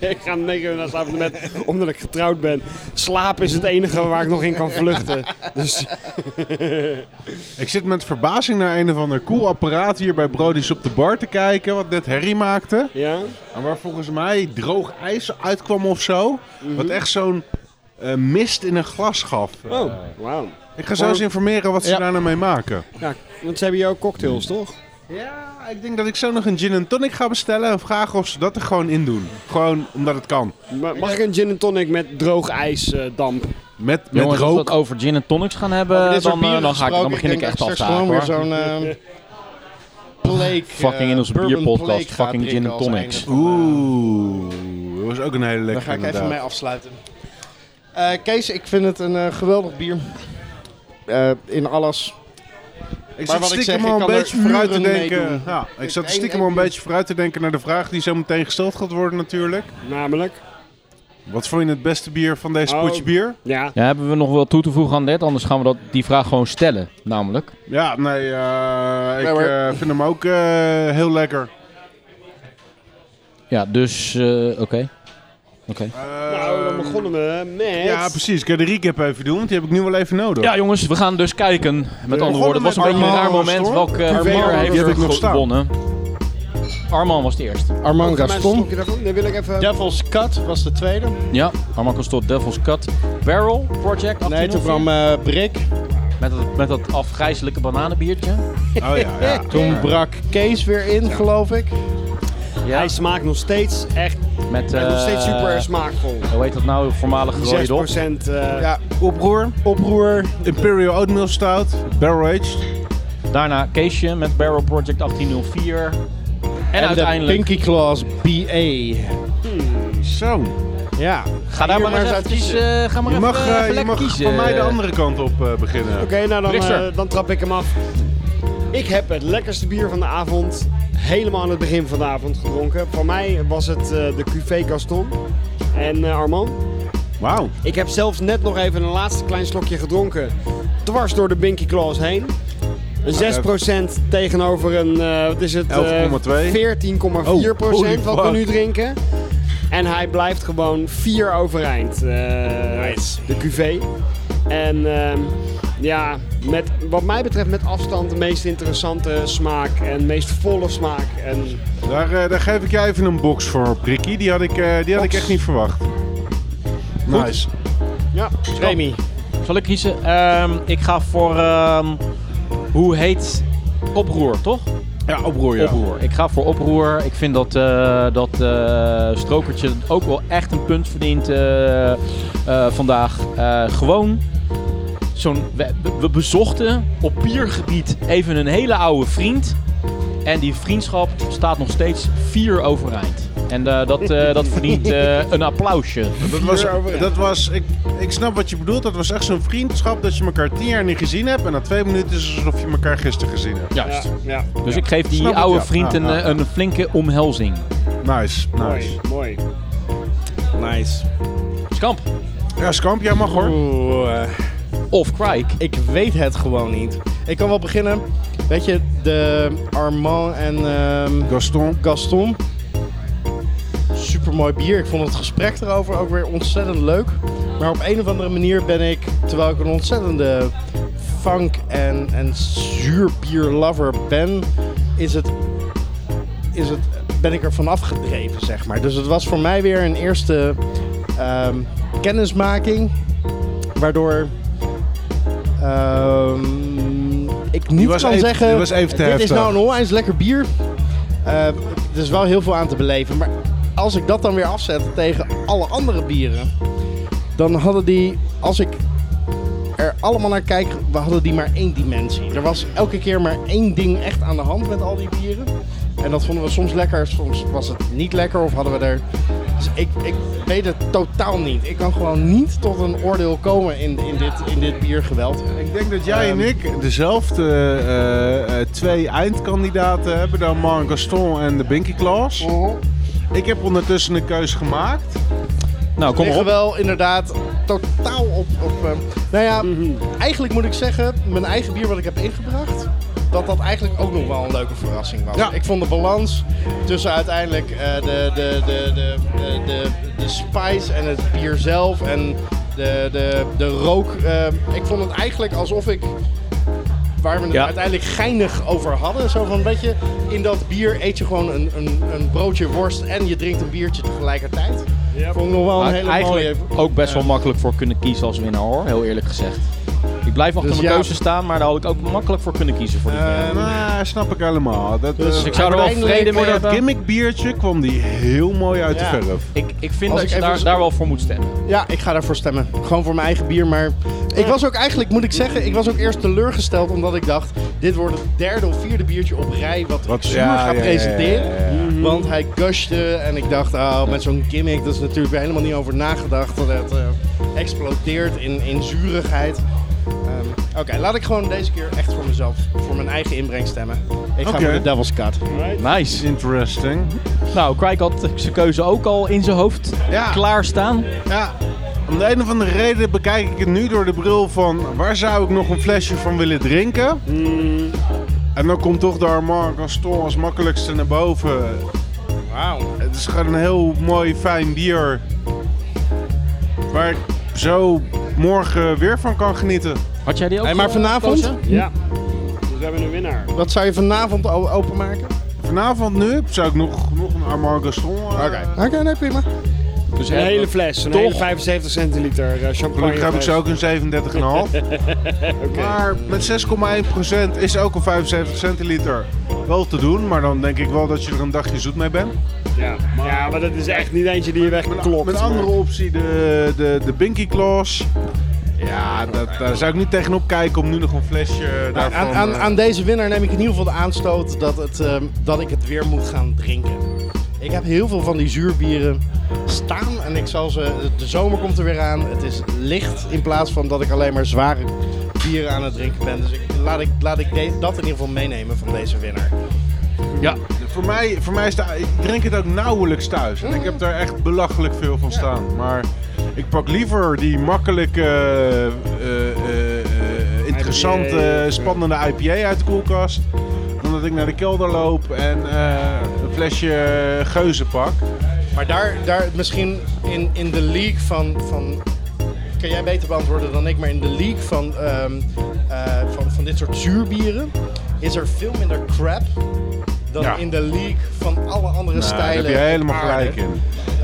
Speaker 4: ik ga om 9 uur naar slapen naar bed omdat ik getrouwd ben. Slaap is het enige waar ik nog in kan vluchten. Dus
Speaker 2: Ik zit met verbazing naar een of ander cool apparaat hier bij Brody's op de bar te kijken, wat net herrie maakte.
Speaker 4: ja,
Speaker 2: En waar volgens mij droog ijs uitkwam of zo. Wat echt zo'n eh, mist in een glas gaf.
Speaker 4: oh, wauw.
Speaker 2: Ik ga zo eens informeren wat ze
Speaker 5: Ja.
Speaker 2: daar nou mee maken.
Speaker 4: Ja, want ze hebben jou ook cocktails, toch?
Speaker 2: Ja, ik denk dat ik zo nog een gin en tonic ga bestellen en vragen of ze dat er gewoon in doen. Gewoon omdat het kan.
Speaker 4: Ma- Mag ik een gin en tonic met droog eh, ijsdamp?
Speaker 2: Met, met
Speaker 1: Jongens, als we
Speaker 2: rook.
Speaker 1: het over gin en tonics gaan hebben,
Speaker 5: Over dit soort
Speaker 1: dan, eh,
Speaker 5: bieren
Speaker 1: dan, ga ik, dan
Speaker 5: gesproken,
Speaker 1: begin ik,
Speaker 5: denk
Speaker 1: echt
Speaker 5: dat
Speaker 1: af te
Speaker 5: straks gewoon weer
Speaker 1: haken. hoor.
Speaker 5: zo'n... eh, Blake,
Speaker 1: Fucking in onze bierpodcast, fucking gin and tonics.
Speaker 2: Oeh, dat was ook een hele
Speaker 5: Daar
Speaker 2: lekkere
Speaker 5: ga ik even
Speaker 2: inderdaad.
Speaker 5: mee afsluiten. Eh, Kees, ik vind het een eh, geweldig bier. Eh, in alles.
Speaker 2: Ik
Speaker 5: Maar
Speaker 2: zit
Speaker 5: wat ik
Speaker 2: stiekem
Speaker 5: zeg,
Speaker 2: al
Speaker 5: ik
Speaker 2: een
Speaker 5: kan
Speaker 2: beetje
Speaker 5: er
Speaker 2: vooruit te
Speaker 5: uren mee
Speaker 2: denken.
Speaker 5: doen.
Speaker 2: Ja, ik
Speaker 5: is
Speaker 2: zat
Speaker 5: één
Speaker 2: stiekem al een
Speaker 5: enkele-
Speaker 2: beetje vooruit te denken naar de vraag die zo meteen gesteld gaat worden natuurlijk.
Speaker 4: Namelijk?
Speaker 2: Wat vond je het beste bier van deze
Speaker 4: Oh.
Speaker 2: potje bier?
Speaker 4: Ja.
Speaker 1: Ja, hebben we nog wel toe te voegen aan dit? Anders gaan we dat, die vraag gewoon stellen, namelijk.
Speaker 2: Ja, nee, eh, ik
Speaker 5: Ja, maar-
Speaker 2: eh, vind hem ook eh, heel lekker.
Speaker 1: Ja, dus... eh, Oké. Oké.
Speaker 2: Eh,
Speaker 4: Nou, dan begonnen we met...
Speaker 2: Ja, precies. Kun je de recap even doen? Want die heb ik nu wel even nodig.
Speaker 1: Ja, jongens, we gaan dus kijken. Met andere woorden, het was een
Speaker 2: met
Speaker 1: beetje een raar
Speaker 2: Armand
Speaker 1: moment.
Speaker 2: Storm.
Speaker 1: Welke
Speaker 2: Armand,
Speaker 1: bier heeft
Speaker 2: die heb
Speaker 1: er
Speaker 2: ik nog staan.
Speaker 1: gewonnen? Arman was de eerste.
Speaker 5: Armand
Speaker 4: Mijn
Speaker 5: Gaston.
Speaker 4: stokje daarvan, Dan wil ik even...
Speaker 5: Devil's Cut was de tweede.
Speaker 1: Ja, Arman tot Devil's Cut. Barrel Project.
Speaker 5: Nee,
Speaker 1: 1804.
Speaker 5: toen kwam eh Brik.
Speaker 1: Met dat, met dat afgrijzelijke bananenbiertje.
Speaker 2: Oh ja, ja.
Speaker 5: Toen brak Kees weer in, geloof ik.
Speaker 1: Ja.
Speaker 4: Hij smaakt nog steeds echt...
Speaker 1: Met,
Speaker 4: en nog steeds
Speaker 1: eh,
Speaker 4: super smaakvol.
Speaker 1: Hoe heet dat nou? Voormalig rode
Speaker 4: 6
Speaker 1: dop.
Speaker 4: procent... eh,
Speaker 5: Ja,
Speaker 2: Oproer.
Speaker 5: oproer.
Speaker 2: Imperial Oatmeal Stout. Barrel Aged.
Speaker 1: Daarna Keesje met Barrel Project 1804. En,
Speaker 5: En,
Speaker 1: uiteindelijk...
Speaker 5: de Pinky Claws BA.
Speaker 2: Zo.
Speaker 5: Ja.
Speaker 1: Ga daar
Speaker 5: Hier
Speaker 1: maar eens
Speaker 5: maar
Speaker 1: uit
Speaker 5: eens
Speaker 1: kiezen. Ga maar
Speaker 2: Je
Speaker 1: even,
Speaker 2: mag,
Speaker 1: eh,
Speaker 2: eh,
Speaker 1: even
Speaker 2: je
Speaker 1: lekker
Speaker 2: mag
Speaker 1: kiezen.
Speaker 2: van mij de andere kant op eh, beginnen.
Speaker 4: Oké, nou dan,
Speaker 1: Richter.
Speaker 4: eh, dan trap ik hem af. Ik heb het lekkerste bier van de avond helemaal aan het begin van de avond gedronken. Voor mij was het eh, de Cuvée Gaston en eh, Armand.
Speaker 2: Wauw.
Speaker 4: Ik heb zelfs net nog even een laatste klein slokje gedronken. Dwars door de Binky Claws heen. Een 6% tegenover een, eh, wat is het? eh,
Speaker 2: 11,2.
Speaker 4: 14,4%
Speaker 2: Oh, holy
Speaker 4: wat we
Speaker 2: fuck.
Speaker 4: nu drinken. En hij blijft gewoon 4 overeind. eh, De QV. En ehm, ja, met, wat mij betreft met afstand de meest interessante smaak. En meest volle smaak. En
Speaker 2: Daar, eh, daar geef ik jou even een box voor, Prikkie. Die had ik, eh, die had ik echt niet verwacht. Nice.
Speaker 4: ja,
Speaker 5: Remy.
Speaker 1: Zal ik kiezen? Ehm, ik ga voor... ehm, hoe heet... Oproer, toch?
Speaker 2: Ja, oproer, ja.
Speaker 1: Oproer. Ik ga voor oproer. Ik vind dat, eh, dat eh, strokertje ook wel echt een punt verdient eh, eh, vandaag. Eh, gewoon. Zo'n, we, we bezochten op piergebied even een hele oude vriend. En die vriendschap staat nog steeds vier overeind. En eh, dat, eh, dat verdient eh, een applausje.
Speaker 2: Dat was, dat was ik, ik snap wat je bedoelt. Dat was echt zo'n vriendschap dat je elkaar tien jaar niet gezien hebt. En na twee minuten is het alsof je elkaar gisteren gezien hebt.
Speaker 1: Juist.
Speaker 4: ja.
Speaker 1: Dus ik geef die
Speaker 2: Snap ik,
Speaker 1: oude
Speaker 2: ja.
Speaker 1: vriend
Speaker 2: Ja,
Speaker 1: een,
Speaker 2: ja,
Speaker 1: eh, een flinke omhelzing.
Speaker 2: Nice, nice.
Speaker 4: mooi, mooi.
Speaker 5: Nice.
Speaker 1: Skamp.
Speaker 2: Ja, Skamp, jij mag hoor.
Speaker 5: Oeh. eh.
Speaker 1: Of Krijk.
Speaker 5: Ik weet het gewoon niet. Ik kan wel beginnen. Weet je, de Armand en ehm,
Speaker 2: Gaston.
Speaker 5: Gaston. Supermooi bier. Ik vond het gesprek erover ook weer ontzettend leuk. Maar op een of andere manier ben ik, terwijl ik een ontzettende funk- en, en zuurbierlover ben, is het, is het, ben ik er vanaf gedreven, zeg maar. Dus het was voor mij weer een eerste ehm, kennismaking, waardoor ehm, ik niet
Speaker 2: was
Speaker 5: kan
Speaker 2: even-
Speaker 5: zeggen,
Speaker 2: die was even te
Speaker 5: dit is
Speaker 2: heftig."
Speaker 5: nou een onwijs lekker bier. Eh, er is wel heel veel aan te beleven. Maar als ik dat dan weer afzet tegen alle andere bieren. Dan hadden die, als ik er allemaal naar kijk, we hadden die maar één dimensie. Er was elke keer maar één ding echt aan de hand met al die bieren. En dat vonden we soms lekker, soms was het niet lekker. Of hadden we er Dus ik, ik weet het totaal niet. Ik kan gewoon niet tot een oordeel komen in, in, dit, in dit biergeweld.
Speaker 2: Ik denk dat jij en ik dezelfde eh, eh, twee eindkandidaten hebben. Dan Marc Gaston en de Binky Claus. Ik heb ondertussen een keus gemaakt.
Speaker 1: Nou, kom maar
Speaker 5: liggen
Speaker 1: op.
Speaker 5: wel inderdaad totaal op. op ehm, nou ja,
Speaker 1: Mhm.
Speaker 5: eigenlijk moet ik zeggen, mijn eigen bier wat ik heb ingebracht, dat dat eigenlijk ook nog wel een leuke verrassing was.
Speaker 2: Ja.
Speaker 5: Ik vond de balans tussen uiteindelijk eh, de, de, de, de, de, de, de spice en het bier zelf en de, de, de rook. eh, ik vond het eigenlijk alsof ik. Waar we het
Speaker 1: Ja.
Speaker 5: uiteindelijk geinig over hadden. Zo van, weet je, in dat bier eet je gewoon een, een, een broodje worst en je drinkt een biertje tegelijkertijd. Vond ik nog wel een
Speaker 1: Had ik
Speaker 5: hele
Speaker 1: eigenlijk
Speaker 5: mooie...
Speaker 1: ook best wel makkelijk voor kunnen kiezen als winnaar hoor, heel eerlijk gezegd. Ik blijf achter
Speaker 5: Dus
Speaker 1: mijn
Speaker 5: ja.
Speaker 1: keuze staan, maar daar had ik ook makkelijk voor kunnen kiezen voor die winnaar.
Speaker 2: Eh nou, snap ik helemaal. Dat, eh,
Speaker 1: Dus ik zou er wel
Speaker 5: uiteindelijk
Speaker 1: vrede mee
Speaker 2: voor dat
Speaker 1: hebben.
Speaker 2: gimmick biertje kwam die heel mooi uit
Speaker 5: Ja.
Speaker 2: de verf.
Speaker 1: Ik, ik vind
Speaker 5: Als
Speaker 1: dat je
Speaker 5: ik even
Speaker 1: daar,
Speaker 5: zo-
Speaker 1: daar wel voor moet stemmen.
Speaker 5: Ja, ik ga daarvoor stemmen. Gewoon voor mijn eigen bier. Maar ik was ook eigenlijk, moet ik zeggen, ik was ook eerst teleurgesteld. Omdat ik dacht, dit wordt het derde of vierde biertje op rij wat,
Speaker 2: Wat
Speaker 5: ik zuur
Speaker 2: ja,
Speaker 5: ga
Speaker 2: ja, Mhm. ja,
Speaker 5: presenteren.
Speaker 2: ja, ja, ja.
Speaker 5: Want hij gushte en ik dacht, oh, met zo'n gimmick, dat is natuurlijk weer helemaal niet over nagedacht. Dat het eh, explodeert in, in zurigheid. Ehm, Oké, laat ik gewoon deze keer echt voor mezelf, voor mijn eigen inbreng stemmen. Ik ga
Speaker 2: Oké.
Speaker 5: voor de Devil's Cut.
Speaker 1: Nice.
Speaker 2: Interesting.
Speaker 1: Nou, Krijk had zijn keuze ook al in zijn hoofd
Speaker 2: Ja.
Speaker 1: klaarstaan.
Speaker 2: Ja, om de een of andere reden bekijk ik het nu door de bril van waar zou ik nog een flesje van willen drinken?
Speaker 5: Hmm.
Speaker 2: En dan komt toch de Armand Gaston als makkelijkste naar boven.
Speaker 5: Wauw.
Speaker 2: Het is gewoon een heel mooi, fijn bier. Waar ik zo morgen weer van kan genieten.
Speaker 1: Had jij die ook
Speaker 5: Hey, maar
Speaker 1: eh,
Speaker 5: vanavond?
Speaker 1: gekozen?
Speaker 4: Ja. Dus we hebben een winnaar.
Speaker 5: Wat zou je vanavond o- openmaken?
Speaker 2: Vanavond nu zou ik nog, nog een Armand Gaston... eh,
Speaker 5: Oké, oké, nee, prima.
Speaker 1: Dus
Speaker 4: Een
Speaker 1: hè,
Speaker 4: hele fles, een
Speaker 1: Toch?
Speaker 4: hele 75 centiliter eh, champagne.
Speaker 2: Gelukkig heb ik
Speaker 4: fles.
Speaker 2: ze ook een 37,5. (laughs) Maar met 6,1% is ook een 75 centiliter wel te doen. Maar dan denk ik wel dat je er een dagje zoet mee bent.
Speaker 4: Ja, maar, ja, maar dat is echt niet eentje die je wegklopt.
Speaker 2: Met andere optie de, de, de Binky Claws. Ja, dat, daar zou ik niet tegenop kijken om nu nog een flesje daarvan...
Speaker 5: Aan, aan,
Speaker 2: eh,
Speaker 5: aan deze winnaar neem ik in ieder geval de aanstoot dat, het, ehm, dat ik het weer moet gaan drinken. Ik heb heel veel van die zuurbieren staan en ik zal ze. De zomer komt er weer aan. Het is licht in plaats van dat ik alleen maar zware bieren aan het drinken ben. Dus ik, laat ik, laat ik de- dat in ieder geval meenemen van deze winnaar.
Speaker 1: Ja,
Speaker 2: Voor mij, voor mij is de, ik drink het ook nauwelijks thuis. En ik heb daar echt belachelijk veel van staan. Maar ik pak liever die makkelijke, eh, eh, eh, eh, interessante,
Speaker 4: IPA.
Speaker 2: spannende IPA uit de koelkast. Dan dat ik naar de kelder loop en eh, een flesje geuzen pak.
Speaker 5: Maar daar, daar misschien in, in de league van, van. Kan jij beter beantwoorden dan ik, maar in de league van, ehm, eh, van, van dit soort zuurbieren is er veel minder crap dan
Speaker 2: Ja.
Speaker 5: in de league van alle andere
Speaker 2: Nou, daar
Speaker 5: stijlen.
Speaker 2: heb je helemaal
Speaker 5: op aarde. Ehm,
Speaker 2: gelijk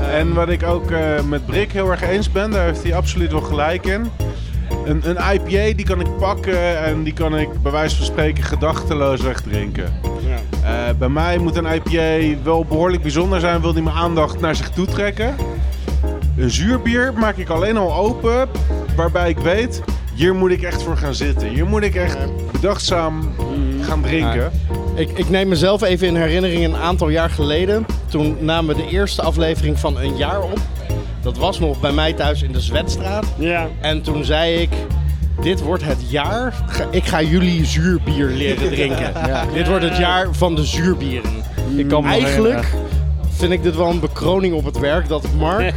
Speaker 2: in. En wat ik ook eh, met Brik heel erg eens ben, daar heeft hij absoluut wel gelijk in. Een, een IPA die kan ik pakken en die kan ik bij wijze van spreken gedachteloos wegdrinken.
Speaker 4: Ja.
Speaker 2: Eh, bij mij moet een IPA wel behoorlijk bijzonder zijn, wil die mijn aandacht naar zich toe trekken. Een zuurbier maak ik alleen al open, waarbij ik weet, hier moet ik echt voor gaan zitten. Hier moet ik echt bedachtzaam
Speaker 5: Mhm.
Speaker 2: gaan drinken.
Speaker 5: Ik, ik neem mezelf even in herinnering een aantal jaar geleden. Toen namen we de eerste aflevering van een jaar op. Dat was nog bij mij thuis in de Zwetstraat.
Speaker 4: Ja.
Speaker 5: En toen zei ik, dit wordt het jaar, Ga- ik ga jullie zuurbier leren drinken. Dit wordt het jaar van de zuurbieren.
Speaker 1: ik kan me nog
Speaker 5: Eigenlijk vind ik dit wel een bekroning op het werk dat Mark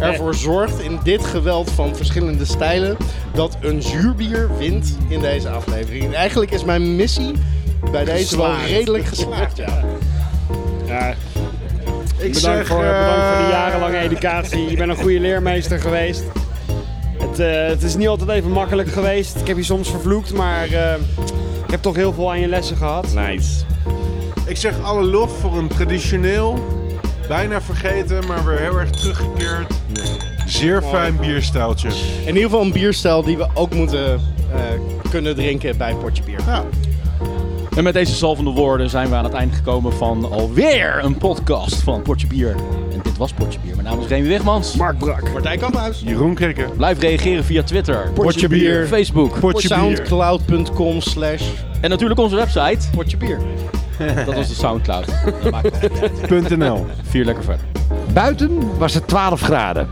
Speaker 5: ervoor zorgt in dit geweld van verschillende stijlen dat een zuurbier wint in deze aflevering. Eigenlijk is mijn missie bij deze
Speaker 4: Geslaagd.
Speaker 5: wel redelijk geslaagd, ja.
Speaker 4: ja.
Speaker 2: Ik
Speaker 4: Bedankt, voor,
Speaker 2: eh,
Speaker 4: bedankt voor de jarenlange educatie. Je bent een goede leermeester geweest. Het, eh, het is niet altijd even makkelijk geweest. Ik heb je soms vervloekt, maar eh, ik heb toch heel veel aan je lessen gehad.
Speaker 5: Nice.
Speaker 2: Ik zeg alle lof voor een traditioneel, bijna vergeten, maar weer heel erg teruggekeerd. Zeer fijn bierstijltje.
Speaker 5: In ieder geval een bierstijl die we ook moeten eh, kunnen drinken bij Potje Bier.
Speaker 2: Ja.
Speaker 1: En met deze zalvende woorden zijn we aan het eind gekomen van alweer een podcast van Potje Bier. En dit was Potje Bier. Mijn naam is Remy Wigmans.
Speaker 4: Mark Brak.
Speaker 5: Martijn Kamphuis.
Speaker 2: Jeroen Krikke.
Speaker 1: Blijf reageren via Twitter,
Speaker 5: Potje Bier.
Speaker 1: Facebook
Speaker 2: Potje bier.
Speaker 5: Soundcloud.com slash
Speaker 1: en natuurlijk onze website.
Speaker 5: potjebier.
Speaker 1: Dat was de Soundcloud. Dat maakt wel uit.
Speaker 2: Punt NL.
Speaker 1: Vier lekker verder.
Speaker 7: Buiten was het 12 graden.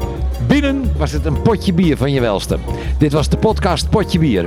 Speaker 7: Binnen was het een potje bier van je welste. Dit was de podcast Potje Bier.